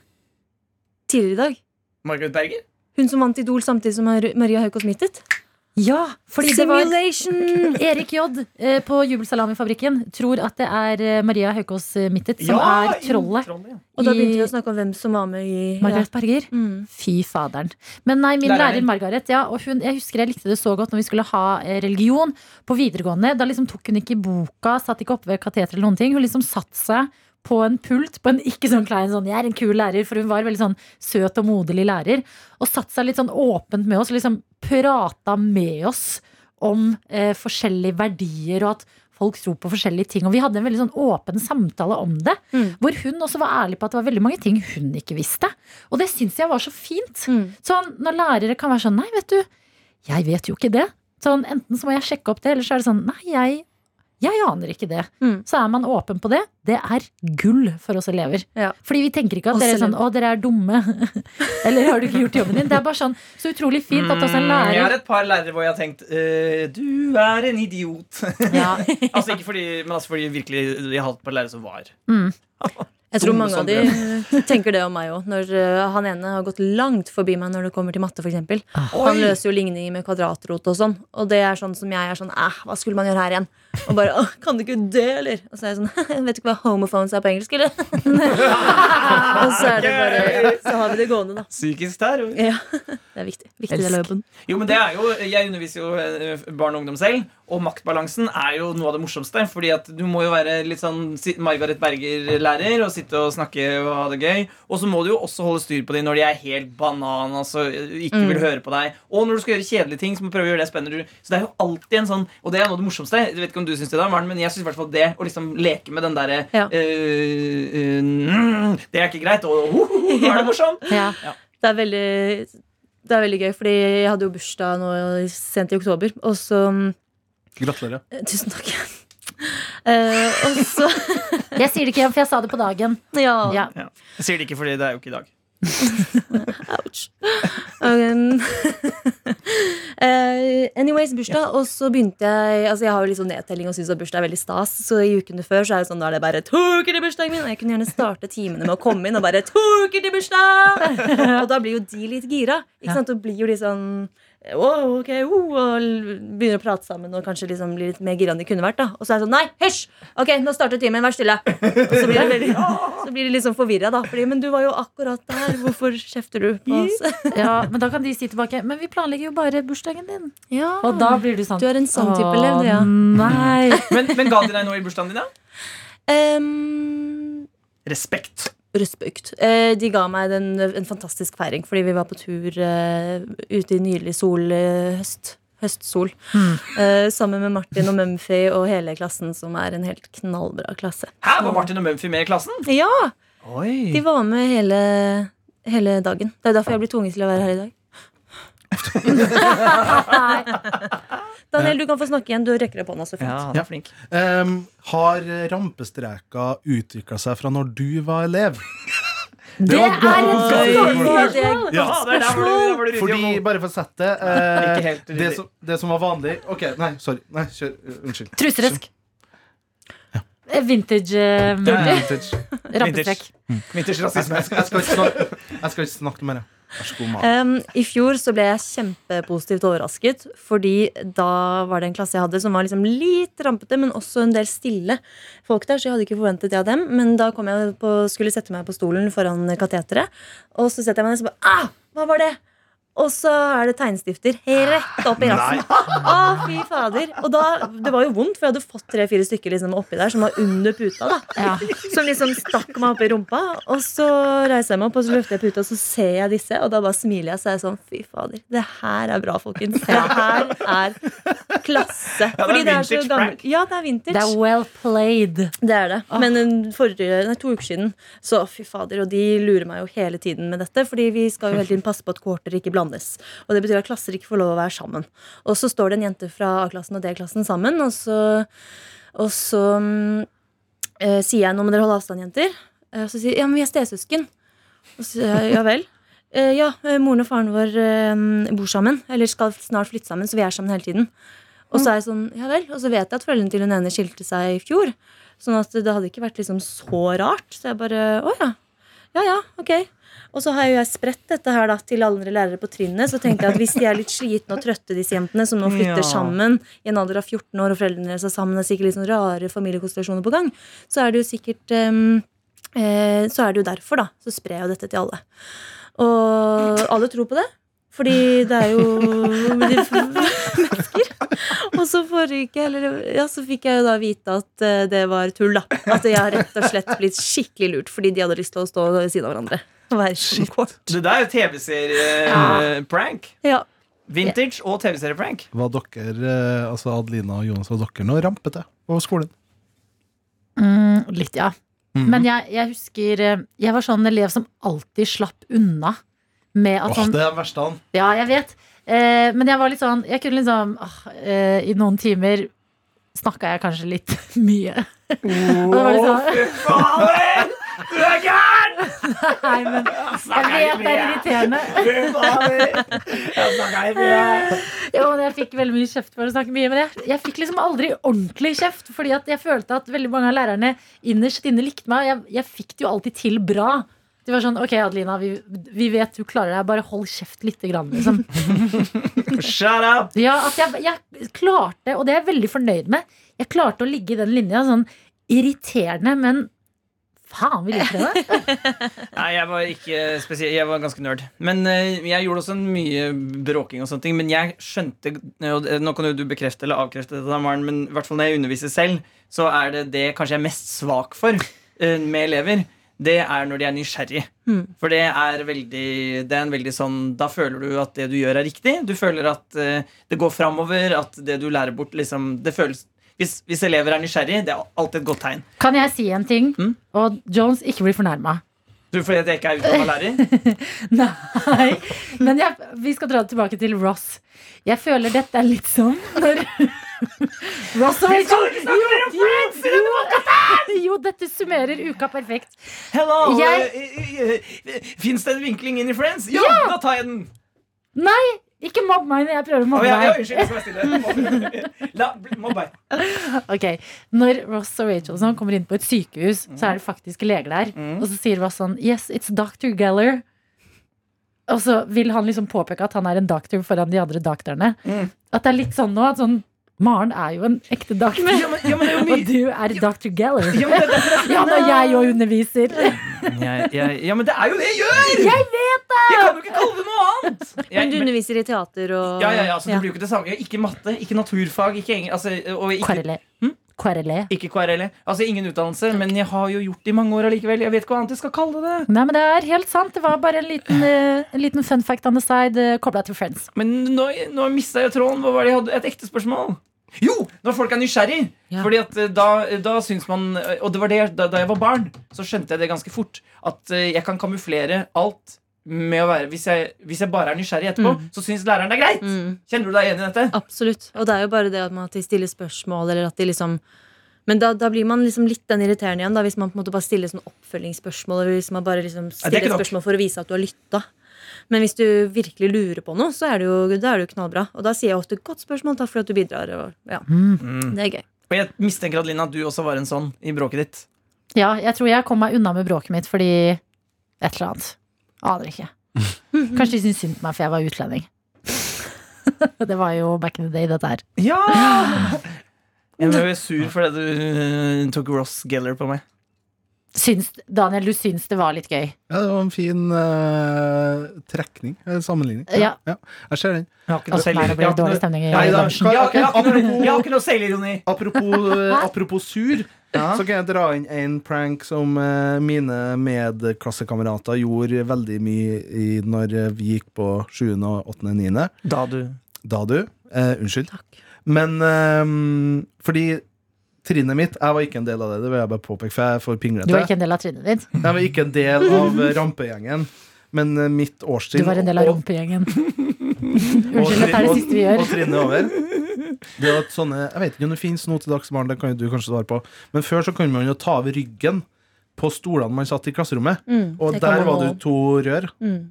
[SPEAKER 12] tidligere i dag.
[SPEAKER 2] Margaret Berger?
[SPEAKER 12] Hun som vant Idol samtidig som Mar- Maria Høyko Smittet.
[SPEAKER 6] Ja, fordi det var
[SPEAKER 12] Simulation!
[SPEAKER 6] Erik J. eh, på Jubelsalamifabrikken tror at det er eh, Maria Haukås eh, Mittet som
[SPEAKER 12] Ja,
[SPEAKER 6] er trollet.
[SPEAKER 2] Trollet, ja.
[SPEAKER 12] Og da begynte vi å snakke om hvem som var med i Mm.
[SPEAKER 6] Margaret Berger. Fy faderen. Men nei, min
[SPEAKER 12] Læreren.
[SPEAKER 6] lærer Margaret, ja, og hun, jeg husker jeg likte det så godt når vi skulle ha eh, religion på videregående. Da liksom tok hun ikke boka, satt ikke oppe ved kateteret eller noen ting. Hun liksom satt seg på en pult, på en ikke sånn klein sånn 'jeg er en kul lærer', for hun var veldig sånn søt og moderlig lærer. Og satt seg litt sånn åpent med oss, og liksom prata med oss om eh, forskjellige verdier, og at folk tror på forskjellige ting. Og vi hadde en veldig sånn åpen samtale om det,
[SPEAKER 12] Mm.
[SPEAKER 6] hvor hun også var ærlig på at det var veldig mange ting hun ikke visste. Og det syns jeg var så fint.
[SPEAKER 12] Mm.
[SPEAKER 6] Sånn, når lærere kan være sånn Nei, vet du, jeg vet jo ikke det. Sånn, enten så må jeg sjekke opp det, eller så er det sånn Nei, jeg, jeg aner ikke det.
[SPEAKER 12] Mm.
[SPEAKER 6] Så er man åpen på det. Det er gull for oss elever. Fordi vi tenker ikke at
[SPEAKER 12] Oss
[SPEAKER 6] dere er sånn
[SPEAKER 12] elever.
[SPEAKER 6] Å, dere er dumme. eller har du ikke gjort jobben din? Det er bare sånn så utrolig fint at også en
[SPEAKER 2] Mm, Jeg
[SPEAKER 6] lærer
[SPEAKER 2] har et par lærere hvor jeg har tenkt eh, Du er en idiot. altså ikke fordi, men altså fordi virkelig jeg har hatt et par lærere som var
[SPEAKER 6] Mm.
[SPEAKER 12] Jeg tror
[SPEAKER 2] Dumme
[SPEAKER 12] mange av
[SPEAKER 2] som
[SPEAKER 12] de tenker det om meg òg. Når eh, han ene har gått langt forbi meg når det kommer til matte, f.eks. Han
[SPEAKER 2] Ah. Oi.
[SPEAKER 12] løser jo ligninger med kvadratrot og sånn. Og det er sånn som jeg er sånn Æh, hva skulle man gjøre her igjen? Og bare Åh, kan du ikke det, eller? Og så er jeg sånn Vet du ikke hva homophones er på engelsk, eller? og så er det bare Så har vi det gående, da.
[SPEAKER 2] Psykisk terror.
[SPEAKER 12] Ja. Det er viktig. Viktig del av jobben.
[SPEAKER 2] Jo, men det er jo, Jeg underviser jo eh, barn og ungdom selv, og maktbalansen er jo noe av det morsomste. Fordi at du må jo være litt sånn si- Margaret Berger-lærer og sitte og snakke og ha det gøy. Og så må du jo også holde styr på dem når de er helt banan altså ikke vil
[SPEAKER 12] Mm.
[SPEAKER 2] høre på deg. Og når du skal gjøre kjedelige ting, så må du prøve å gjøre det spennende. du- Så det er jo alltid en sånn Og det er noe av det morsomste. Jeg vet ikke om du syns det, da, Maren, men jeg syns i hvert fall det. Å liksom leke med den derre
[SPEAKER 12] Ja.
[SPEAKER 2] eh, eh, mm, Det er ikke greit. Og ho, ho, ho, nå er det morsomt.
[SPEAKER 6] Ja.
[SPEAKER 12] Det er veldig det er veldig gøy, fordi jeg hadde jo bursdag nå sent i oktober. Og så
[SPEAKER 4] Gratulerer.
[SPEAKER 12] Eh, Tusen takk. Eh, og så
[SPEAKER 6] Jeg sier det ikke igjen, for jeg sa det på dagen.
[SPEAKER 12] Ja.
[SPEAKER 2] Ja. Jeg sier det ikke fordi det er jo ikke i dag.
[SPEAKER 12] Um, eh, anyways, bursdag. Og så begynte jeg Altså Jeg har jo litt sånn nedtelling og syns at bursdag er veldig stas. Så i ukene før så er det sånn da er det bare to uker til bursdagen min. Og jeg kunne gjerne starte timene med å komme inn og bare to uker til bursdag! Og da blir jo de litt gira. Ikke
[SPEAKER 6] Ja.
[SPEAKER 12] sant? Og blir jo litt sånn Wow, ok, oh, og l- begynner å prate sammen og kanskje liksom blir litt mer gira enn de kunne vært. da Og så er det sånn Nei, hysj! Ok, nå starter timen. Vær stille. Og så blir det veldig så blir de litt sånn forvirra, da. Fordi, men du var jo akkurat der. Hvorfor kjefter du på oss?
[SPEAKER 6] Ja, men da kan de si tilbake Men vi planlegger jo bare bursdagen din.
[SPEAKER 12] Ja.
[SPEAKER 6] Og da blir du sånn.
[SPEAKER 12] Du er en sånn type
[SPEAKER 6] «Åh,
[SPEAKER 12] elev, du, ja.»
[SPEAKER 6] Nei.
[SPEAKER 2] Men, men ga de deg noe i bursdagen din, da?
[SPEAKER 12] Ehm, Em,
[SPEAKER 2] Respekt.
[SPEAKER 12] Respekt. Eh, de ga meg den, en fantastisk feiring fordi vi var på tur eh, ute i nydelig sol eh, høst. Høstsol. Eh, sammen med Martin og Mumphy og hele klassen, som er en helt knallbra klasse.
[SPEAKER 2] Her var Martin og Mumphy med i klassen.
[SPEAKER 12] Ja!
[SPEAKER 2] Oi.
[SPEAKER 12] De var med hele, hele dagen. Det er derfor jeg blir tvunget til å være her i dag. Daniel, du kan få snakke igjen. Du rekker opp hånda så fint.
[SPEAKER 4] Ja. Ehm, har rampestreker utvikla seg fra når du var elev?
[SPEAKER 12] Det
[SPEAKER 4] var
[SPEAKER 12] er
[SPEAKER 4] godt
[SPEAKER 12] et
[SPEAKER 4] spørsmål.
[SPEAKER 12] godt spørsmål. Det er et godt
[SPEAKER 4] Ja.
[SPEAKER 12] spørsmål. Der var du- der var du ryddig og
[SPEAKER 4] Fordi,
[SPEAKER 12] god.
[SPEAKER 4] bare for å sette det eh,
[SPEAKER 12] Ikke helt ryddig.
[SPEAKER 4] det, som, det som var vanlig Ok, nei, sorry. Nei, kjør. Uh, Unnskyld.
[SPEAKER 6] Truserøsk. Eh, Vintage. eh,
[SPEAKER 4] Det er vintage. Mm.
[SPEAKER 6] Rampestrekk.
[SPEAKER 2] Vinters
[SPEAKER 4] rasisme. Jeg, skal- jeg, skal ikke snakke- jeg skal ikke snakke mer. Vær så god, Maren.
[SPEAKER 12] Um, I fjor så ble jeg kjempepositivt overrasket, fordi da var det en klasse jeg hadde som var liksom litt rampete, men også en del stille folk der, så jeg hadde ikke forventet det av dem. Men da kom jeg på, skulle sette meg på stolen foran kateteret, og så setter jeg meg ned og så bare ah, hva var det? Og så er det tegnestifter rett opp i rassen. Å, fy fader. Og da, det var jo vondt, for jeg hadde fått tre-fire stykker liksom oppi der som var under puta. da Som liksom stakk meg opp i rumpa. Og så reiser jeg meg opp og så løfter jeg puta, og så ser jeg disse, og da bare smiler jeg. Så er jeg sånn, fy fader, det her er bra, folkens. Det her er
[SPEAKER 6] Ja, det
[SPEAKER 12] klasse.
[SPEAKER 6] er
[SPEAKER 12] Fordi så
[SPEAKER 6] vintage
[SPEAKER 12] gammel-
[SPEAKER 6] prank.
[SPEAKER 12] Ja, det er vintage.
[SPEAKER 6] Det er well played. Ah.
[SPEAKER 12] Det er det. Men en forrige, nei, to uker siden, så fy fader, og de lurer meg jo hele tiden med dette. Fordi vi skal jo hele tiden passe på at kohorter ikke blandes. Og det betyr at klasser ikke får lov å være sammen. Og så står det en jente fra A-klassen og D-klassen sammen, og så, og så mm, eh, sier jeg nå må dere holde avstand, jenter. Eh, Og så sier jeg ja, men vi er stesøsken. Og så sier jeg ja vel. Eh, ja, eh, moren og faren vår eh, bor sammen, eller skal snart flytte sammen, så vi er sammen hele tiden. Og så er jeg sånn, ja vel, og så vet jeg at foreldrene til hun ene skilte seg i fjor. Sånn at det hadde ikke vært liksom så rart. Så jeg bare å ja. Ja ja, ok. Og så har jo jeg spredt dette her da til alle andre lærere på trinnet. Så tenkte jeg at hvis de er litt slitne og trøtte, disse jentene som nå flytter
[SPEAKER 15] Ja.
[SPEAKER 12] sammen i en alder av 14 år, og foreldrene deres er sammen, det er sikkert litt sånn rare familiekonstellasjoner på gang, så er det jo sikkert ehm, eh, Så er det jo derfor, da. Så sprer jeg jo dette til alle. Og alle tror på det. Fordi det er jo mennesker. Og så forrige uke eller, ja, så fikk jeg jo da vite at eh, det var tull, da. At jeg har rett og slett blitt skikkelig lurt fordi de hadde lyst til å stå ved siden av hverandre. Og være sånn, som kåt.
[SPEAKER 2] Det der er jo TV-serie-prank.
[SPEAKER 12] Ja.
[SPEAKER 2] Vintage og TV-serie-prank.
[SPEAKER 4] Var dere, eh, altså Adelina og Jonas, var dere noe rampete på skolen?
[SPEAKER 6] Mm, litt, ja.
[SPEAKER 4] Mhm.
[SPEAKER 6] Men jeg, jeg husker eh, Jeg var sånn elev som alltid slapp unna. Med at
[SPEAKER 4] Åh,
[SPEAKER 6] sånn,
[SPEAKER 4] det er den verste han.
[SPEAKER 6] Ja, jeg vet. Eh, men jeg var litt sånn Jeg kunne liksom ah, eh, I noen timer snakka jeg kanskje litt mye. Og det var litt sånn
[SPEAKER 2] Du er gæren!
[SPEAKER 6] Nei, men jeg vet det er irriterende. Jo, men jeg fikk veldig mye kjeft for å snakke mye, men jeg, jeg fikk liksom aldri ordentlig kjeft. Fordi at jeg følte at veldig mange av lærerne innerst inne likte meg. og Jeg, jeg fikk det jo alltid til bra. De var sånn OK, Adelina, vi, vi vet du klarer deg. Bare hold kjeft lite grann, liksom.
[SPEAKER 2] Shut up!
[SPEAKER 6] Ja, at jeg, jeg klarte, og det er jeg veldig fornøyd med, jeg klarte å ligge i den linja. Sånn irriterende, men faen, vi liker det.
[SPEAKER 2] Nei, jeg var ikke spesiell Jeg var ganske nerd. Men eh, jeg gjorde også mye bråking og sånne ting. Men jeg skjønte eh, og det- Nå kan jo du bekrefte eller avkrefte dette, Maren, men i hvert fall når jeg underviser selv, så er det det kanskje jeg er mest svak for eh, med elever. Det er når de er nysgjerrig.
[SPEAKER 12] Mm.
[SPEAKER 2] For det er veldig Det er en veldig sånn Da føler du at det du gjør, er riktig. Du føler at eh, det går framover, at det du lærer bort, liksom Det føles hvis, hvis elever er nysgjerrig, det er alltid et godt tegn.
[SPEAKER 6] Kan jeg si en ting? Og Jones, ikke bli fornærma.
[SPEAKER 2] Du, fordi at jeg ikke er utdanna lærer?
[SPEAKER 6] Nei, men jeg, vi skal dra det tilbake til Ross. Jeg føler dette er litt sånn når Ross og
[SPEAKER 15] Vi skal ikke snakke mer om Friends i denne
[SPEAKER 6] jo, jo, dette summerer uka perfekt.
[SPEAKER 2] Hello!
[SPEAKER 6] Jeg-
[SPEAKER 2] eh, Fins det en vinkling inn i Friends? Ja,
[SPEAKER 6] Ja!
[SPEAKER 2] da tar jeg den!
[SPEAKER 6] Nei, ikke mobb meg når jeg prøver å
[SPEAKER 2] Å,
[SPEAKER 6] mobbe
[SPEAKER 2] ja, ja,
[SPEAKER 6] deg.
[SPEAKER 2] unnskyld, jeg skal være stille. La, bli- mobb meg.
[SPEAKER 6] Ok, Når Ross og Rachel sånn kommer inn på et sykehus, så er det faktisk leger der.
[SPEAKER 2] Mm.
[SPEAKER 6] Og så sier Ross sånn Yes, it's Dr. Geller. Og så vil han liksom påpeke at han er en doktor foran de andre doktorene.
[SPEAKER 2] Mm.
[SPEAKER 6] At det er litt sånn nå at sånn Maren er jo en ekte doktor,
[SPEAKER 2] Ja, men- ja, men det er jo mye-
[SPEAKER 6] og du er Dr. Geller.
[SPEAKER 2] Ja, men det er derfor jeg sier
[SPEAKER 6] Ja, når
[SPEAKER 2] det.
[SPEAKER 6] jeg jo underviser.
[SPEAKER 2] Jeg, jeg, ja, men det er jo det jeg gjør!
[SPEAKER 6] Jeg vet det!
[SPEAKER 2] Jeg kan jo ikke kalle det noe annet!
[SPEAKER 12] Men du
[SPEAKER 2] Jeg-
[SPEAKER 12] underviser i teater og
[SPEAKER 2] ja, ja, ja, så det blir jo ikke det samme. Ikke matte, ikke naturfag, ikke engelsk altså, og ikke,
[SPEAKER 6] KRLE. KRLE.
[SPEAKER 2] Ikke KRLE. Altså ingen utdannelse, men jeg har jo gjort det i mange år allikevel. Jeg vet ikke hva annet jeg skal kalle det.
[SPEAKER 6] Nei, men det er helt sant. Det var bare en liten, eh, en liten fun fact on the side kobla til Friends.
[SPEAKER 2] Men nå, nå mista jeg tråden. Hva var det jeg hadde? Et ekte spørsmål. Jo! Når folk er nysgjerrig. Fordi at eh, da, da syns man eh, Og det var det, da, da jeg var barn, så skjønte jeg det ganske fort. At eh, jeg kan kamuflere alt med å være Hvis jeg, hvis jeg bare er nysgjerrig etterpå,
[SPEAKER 12] Mm.
[SPEAKER 2] så syns læreren det er greit. Kjenner du deg igjen i dette?
[SPEAKER 12] Absolutt. Og det er jo bare det at man- at de stiller spørsmål, eller at de liksom men da, da blir man liksom litt den irriterende igjen, da, hvis man på en måte bare stiller sånn oppfølgingsspørsmål. Eller hvis man bare liksom
[SPEAKER 2] Ja, det er
[SPEAKER 12] stiller
[SPEAKER 2] ikke nok.
[SPEAKER 12] spørsmål for å vise at du har lytta. Men hvis du virkelig lurer på noe, så er det jo, da er det jo knallbra. Og da sier jeg ofte 'godt spørsmål, takk for at du bidrar'. Og, ja.
[SPEAKER 2] Mm.
[SPEAKER 12] Det er gøy.
[SPEAKER 2] Og jeg mistenker at Lina, du også var en sånn i bråket ditt.
[SPEAKER 6] Ja, jeg tror jeg kom meg unna med bråket mitt fordi et eller annet. Aner ikke. Kanskje de syntes synd på meg for jeg var utlending. det var jo back in the day, dette her.
[SPEAKER 2] Ja!
[SPEAKER 12] Mm.
[SPEAKER 2] Jeg ble sur fordi du eh, tok Ross Geller på meg.
[SPEAKER 6] Syns, Daniel, du syns det var litt gøy.
[SPEAKER 4] Ja, det var en fin eh, trekning, eller sammenligning.
[SPEAKER 6] Ja.
[SPEAKER 4] Jeg ser den. Altså,
[SPEAKER 6] noe selv- Nei, det ble jeg har ikke dårlig noe- stemning i-
[SPEAKER 4] Nei, da,
[SPEAKER 6] i bransjen.
[SPEAKER 4] jeg har ikke-
[SPEAKER 6] Jeg har ikke noe-
[SPEAKER 2] Jeg har ikke noe selvironi.
[SPEAKER 4] Apropos, eh, apropos sur, så kan jeg dra inn en prank som eh, mine medklassekamerater gjorde veldig mye i når eh, vi gikk på 7., og 8., og 9.
[SPEAKER 2] Da du.
[SPEAKER 4] Da du. Eh, unnskyld. Men eh, fordi trinnet mitt Jeg var ikke en del av det, det vil jeg bare påpeke, for jeg er for pinglete.
[SPEAKER 6] Du var ikke en del av trinnet ditt.
[SPEAKER 4] Jeg var ikke en del av eh, rampegjengen, men eh, mitt
[SPEAKER 6] Du
[SPEAKER 4] årstrinn
[SPEAKER 6] var en del av rumpegjengen. Unnskyld, dette er det siste vi
[SPEAKER 4] og,
[SPEAKER 6] gjør.
[SPEAKER 4] og trinnet over. Det var et sånne, jeg vet ikke om det finnes noe til dags, Maren, det kan jo du kanskje svare på. Men før så kunne man jo ta over ryggen på stolene man satt i klasserommet.
[SPEAKER 15] Mm,
[SPEAKER 4] og
[SPEAKER 15] det kan
[SPEAKER 4] der
[SPEAKER 15] man
[SPEAKER 4] var det
[SPEAKER 15] også.
[SPEAKER 4] to rør.
[SPEAKER 15] Mm.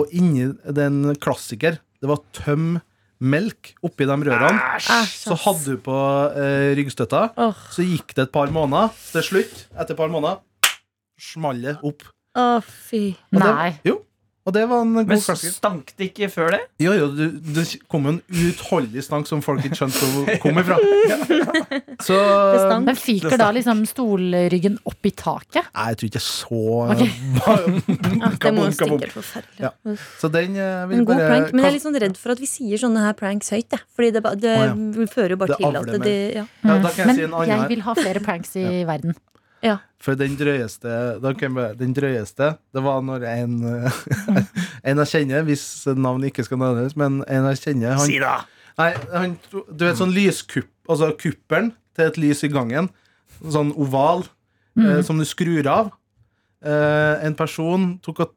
[SPEAKER 4] Og inni den klassiker, det var tøm melk oppi de rørene. så hadde du på eh, ryggstøtta. Så gikk det et par måneder. Til slutt, etter et par måneder, smalt det opp.
[SPEAKER 12] Å, fy.
[SPEAKER 4] Og Det, jo, og det var en god
[SPEAKER 2] Men
[SPEAKER 4] klassiker.
[SPEAKER 2] stank det ikke før det?
[SPEAKER 4] Jo, jo, du, det kom jo en uutholdelig stank som folk ikke skjønte hvor kom ifra. Så,
[SPEAKER 6] Men fyker da liksom stolryggen opp i taket?
[SPEAKER 4] Nei, jeg tror ikke så
[SPEAKER 6] Ok.
[SPEAKER 12] Det må
[SPEAKER 4] Kabom, kabom.
[SPEAKER 12] jo stikke helt forferdelig.
[SPEAKER 4] Ja. Så den eh, vil
[SPEAKER 12] En god
[SPEAKER 4] bare
[SPEAKER 12] prank, men jeg er litt sånn redd for at vi sier sånne her pranks høyt. jeg. Fordi det, ba- det
[SPEAKER 4] Å,
[SPEAKER 12] fører jo bare
[SPEAKER 4] Det
[SPEAKER 12] til
[SPEAKER 4] avler
[SPEAKER 12] at
[SPEAKER 4] mer.
[SPEAKER 12] det ja.
[SPEAKER 4] Ja, da kan jeg
[SPEAKER 6] Men
[SPEAKER 4] si en annen her.
[SPEAKER 6] jeg vil ha flere pranks i verden.
[SPEAKER 4] For den drøyeste, da kan jeg bare- den drøyeste Det var når en eh, En jeg kjenner, hvis navn ikke skal nevnes, men en jeg kjenner han,
[SPEAKER 15] Si da.
[SPEAKER 4] Nei, han, Du vet sånn lyskupp Altså kuppelen til et lys i gangen. Sånn oval eh,
[SPEAKER 15] Mm.
[SPEAKER 4] som du skrur av. Eh, en person tok og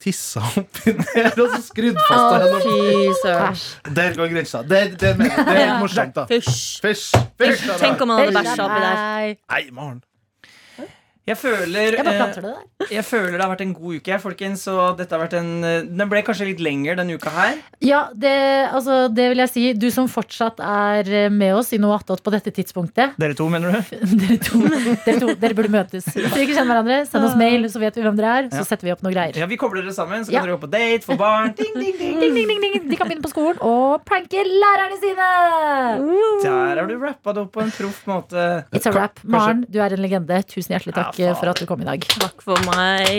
[SPEAKER 4] tissa oppi der, og så skrudde fast
[SPEAKER 12] Å, fy søren.
[SPEAKER 4] den. Der går grensa. Det, det, mener jeg. det er morsomt, da.
[SPEAKER 12] Fysj.
[SPEAKER 4] Fysj.
[SPEAKER 12] Tenk om han hadde bæsja oppi der.
[SPEAKER 4] Nei, Maren.
[SPEAKER 2] Jeg føler,
[SPEAKER 6] Jeg bare
[SPEAKER 2] eh,
[SPEAKER 6] planter det
[SPEAKER 2] jeg føler det har vært en god uke, jeg, folkens. Og dette har vært en, eh, den ble kanskje litt lenger denne uka her.
[SPEAKER 6] Ja, det, altså, det vil jeg si. Du som fortsatt er eh, med oss i noe attåt på dette tidspunktet.
[SPEAKER 2] Dere to, mener du?
[SPEAKER 6] Dere to, dere to dere burde møtes. Hvis dere ikke kjenner hverandre, send oss mail, så vet vi hvem dere er.
[SPEAKER 2] Ja.
[SPEAKER 6] Så setter vi opp noen greier.
[SPEAKER 2] Ja, Vi kobler dere sammen, så
[SPEAKER 6] Ja.
[SPEAKER 2] kan dere gå på date, få barn. Ding, ding, ding, ding, ding,
[SPEAKER 6] ding, ding. De kan begynne på skolen og pranke lærerne sine!
[SPEAKER 2] Der har du rappa det opp på en proff måte.
[SPEAKER 6] It's a wrap. Maren, du er en legende. Tusen hjertelig takk eh,
[SPEAKER 2] Ja, faen.
[SPEAKER 6] for at du kom i dag.
[SPEAKER 12] Takk for meg.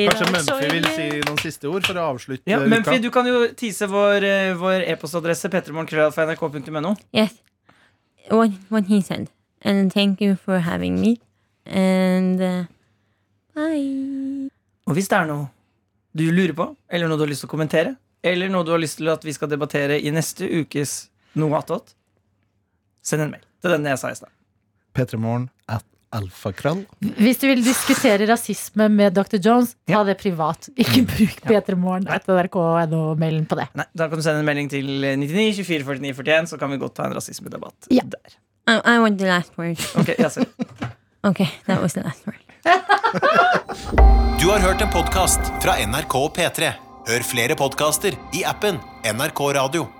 [SPEAKER 4] Kanskje Mumphy vil si noen siste ord for å avslutte
[SPEAKER 2] Ja,
[SPEAKER 4] eh,
[SPEAKER 2] Mumphy,
[SPEAKER 4] uka?
[SPEAKER 2] du kan jo tease vår, eh, vår e-postadresse. p3morgenkrøllalfa.nrk.no.
[SPEAKER 13] Yes. What what he said. And thank you for having me. And uh, bye.
[SPEAKER 2] Og hvis det er noe du lurer på, eller noe du har lyst til å kommentere, eller noe du har lyst til at vi skal debattere i neste ukes Noe attåt, send en mail til den jeg sa i stad.
[SPEAKER 4] P3morgen at alfakrall.
[SPEAKER 6] Hvis du vil diskutere rasisme med Dr. Jones, ta det privat. Ikke bruk p3morgen.nrk.no-mailen på det.
[SPEAKER 2] Nei, Da kan du sende en melding til 99 24 49 41, så kan vi godt ta en rasismedebatt.
[SPEAKER 6] Ja.
[SPEAKER 13] I, I want the last word.
[SPEAKER 2] Ok, jeg ser.
[SPEAKER 13] Okay, that was the last word.
[SPEAKER 1] Du har hørt en podkast fra NRK P3. Hør flere podkaster i appen NRK Radio.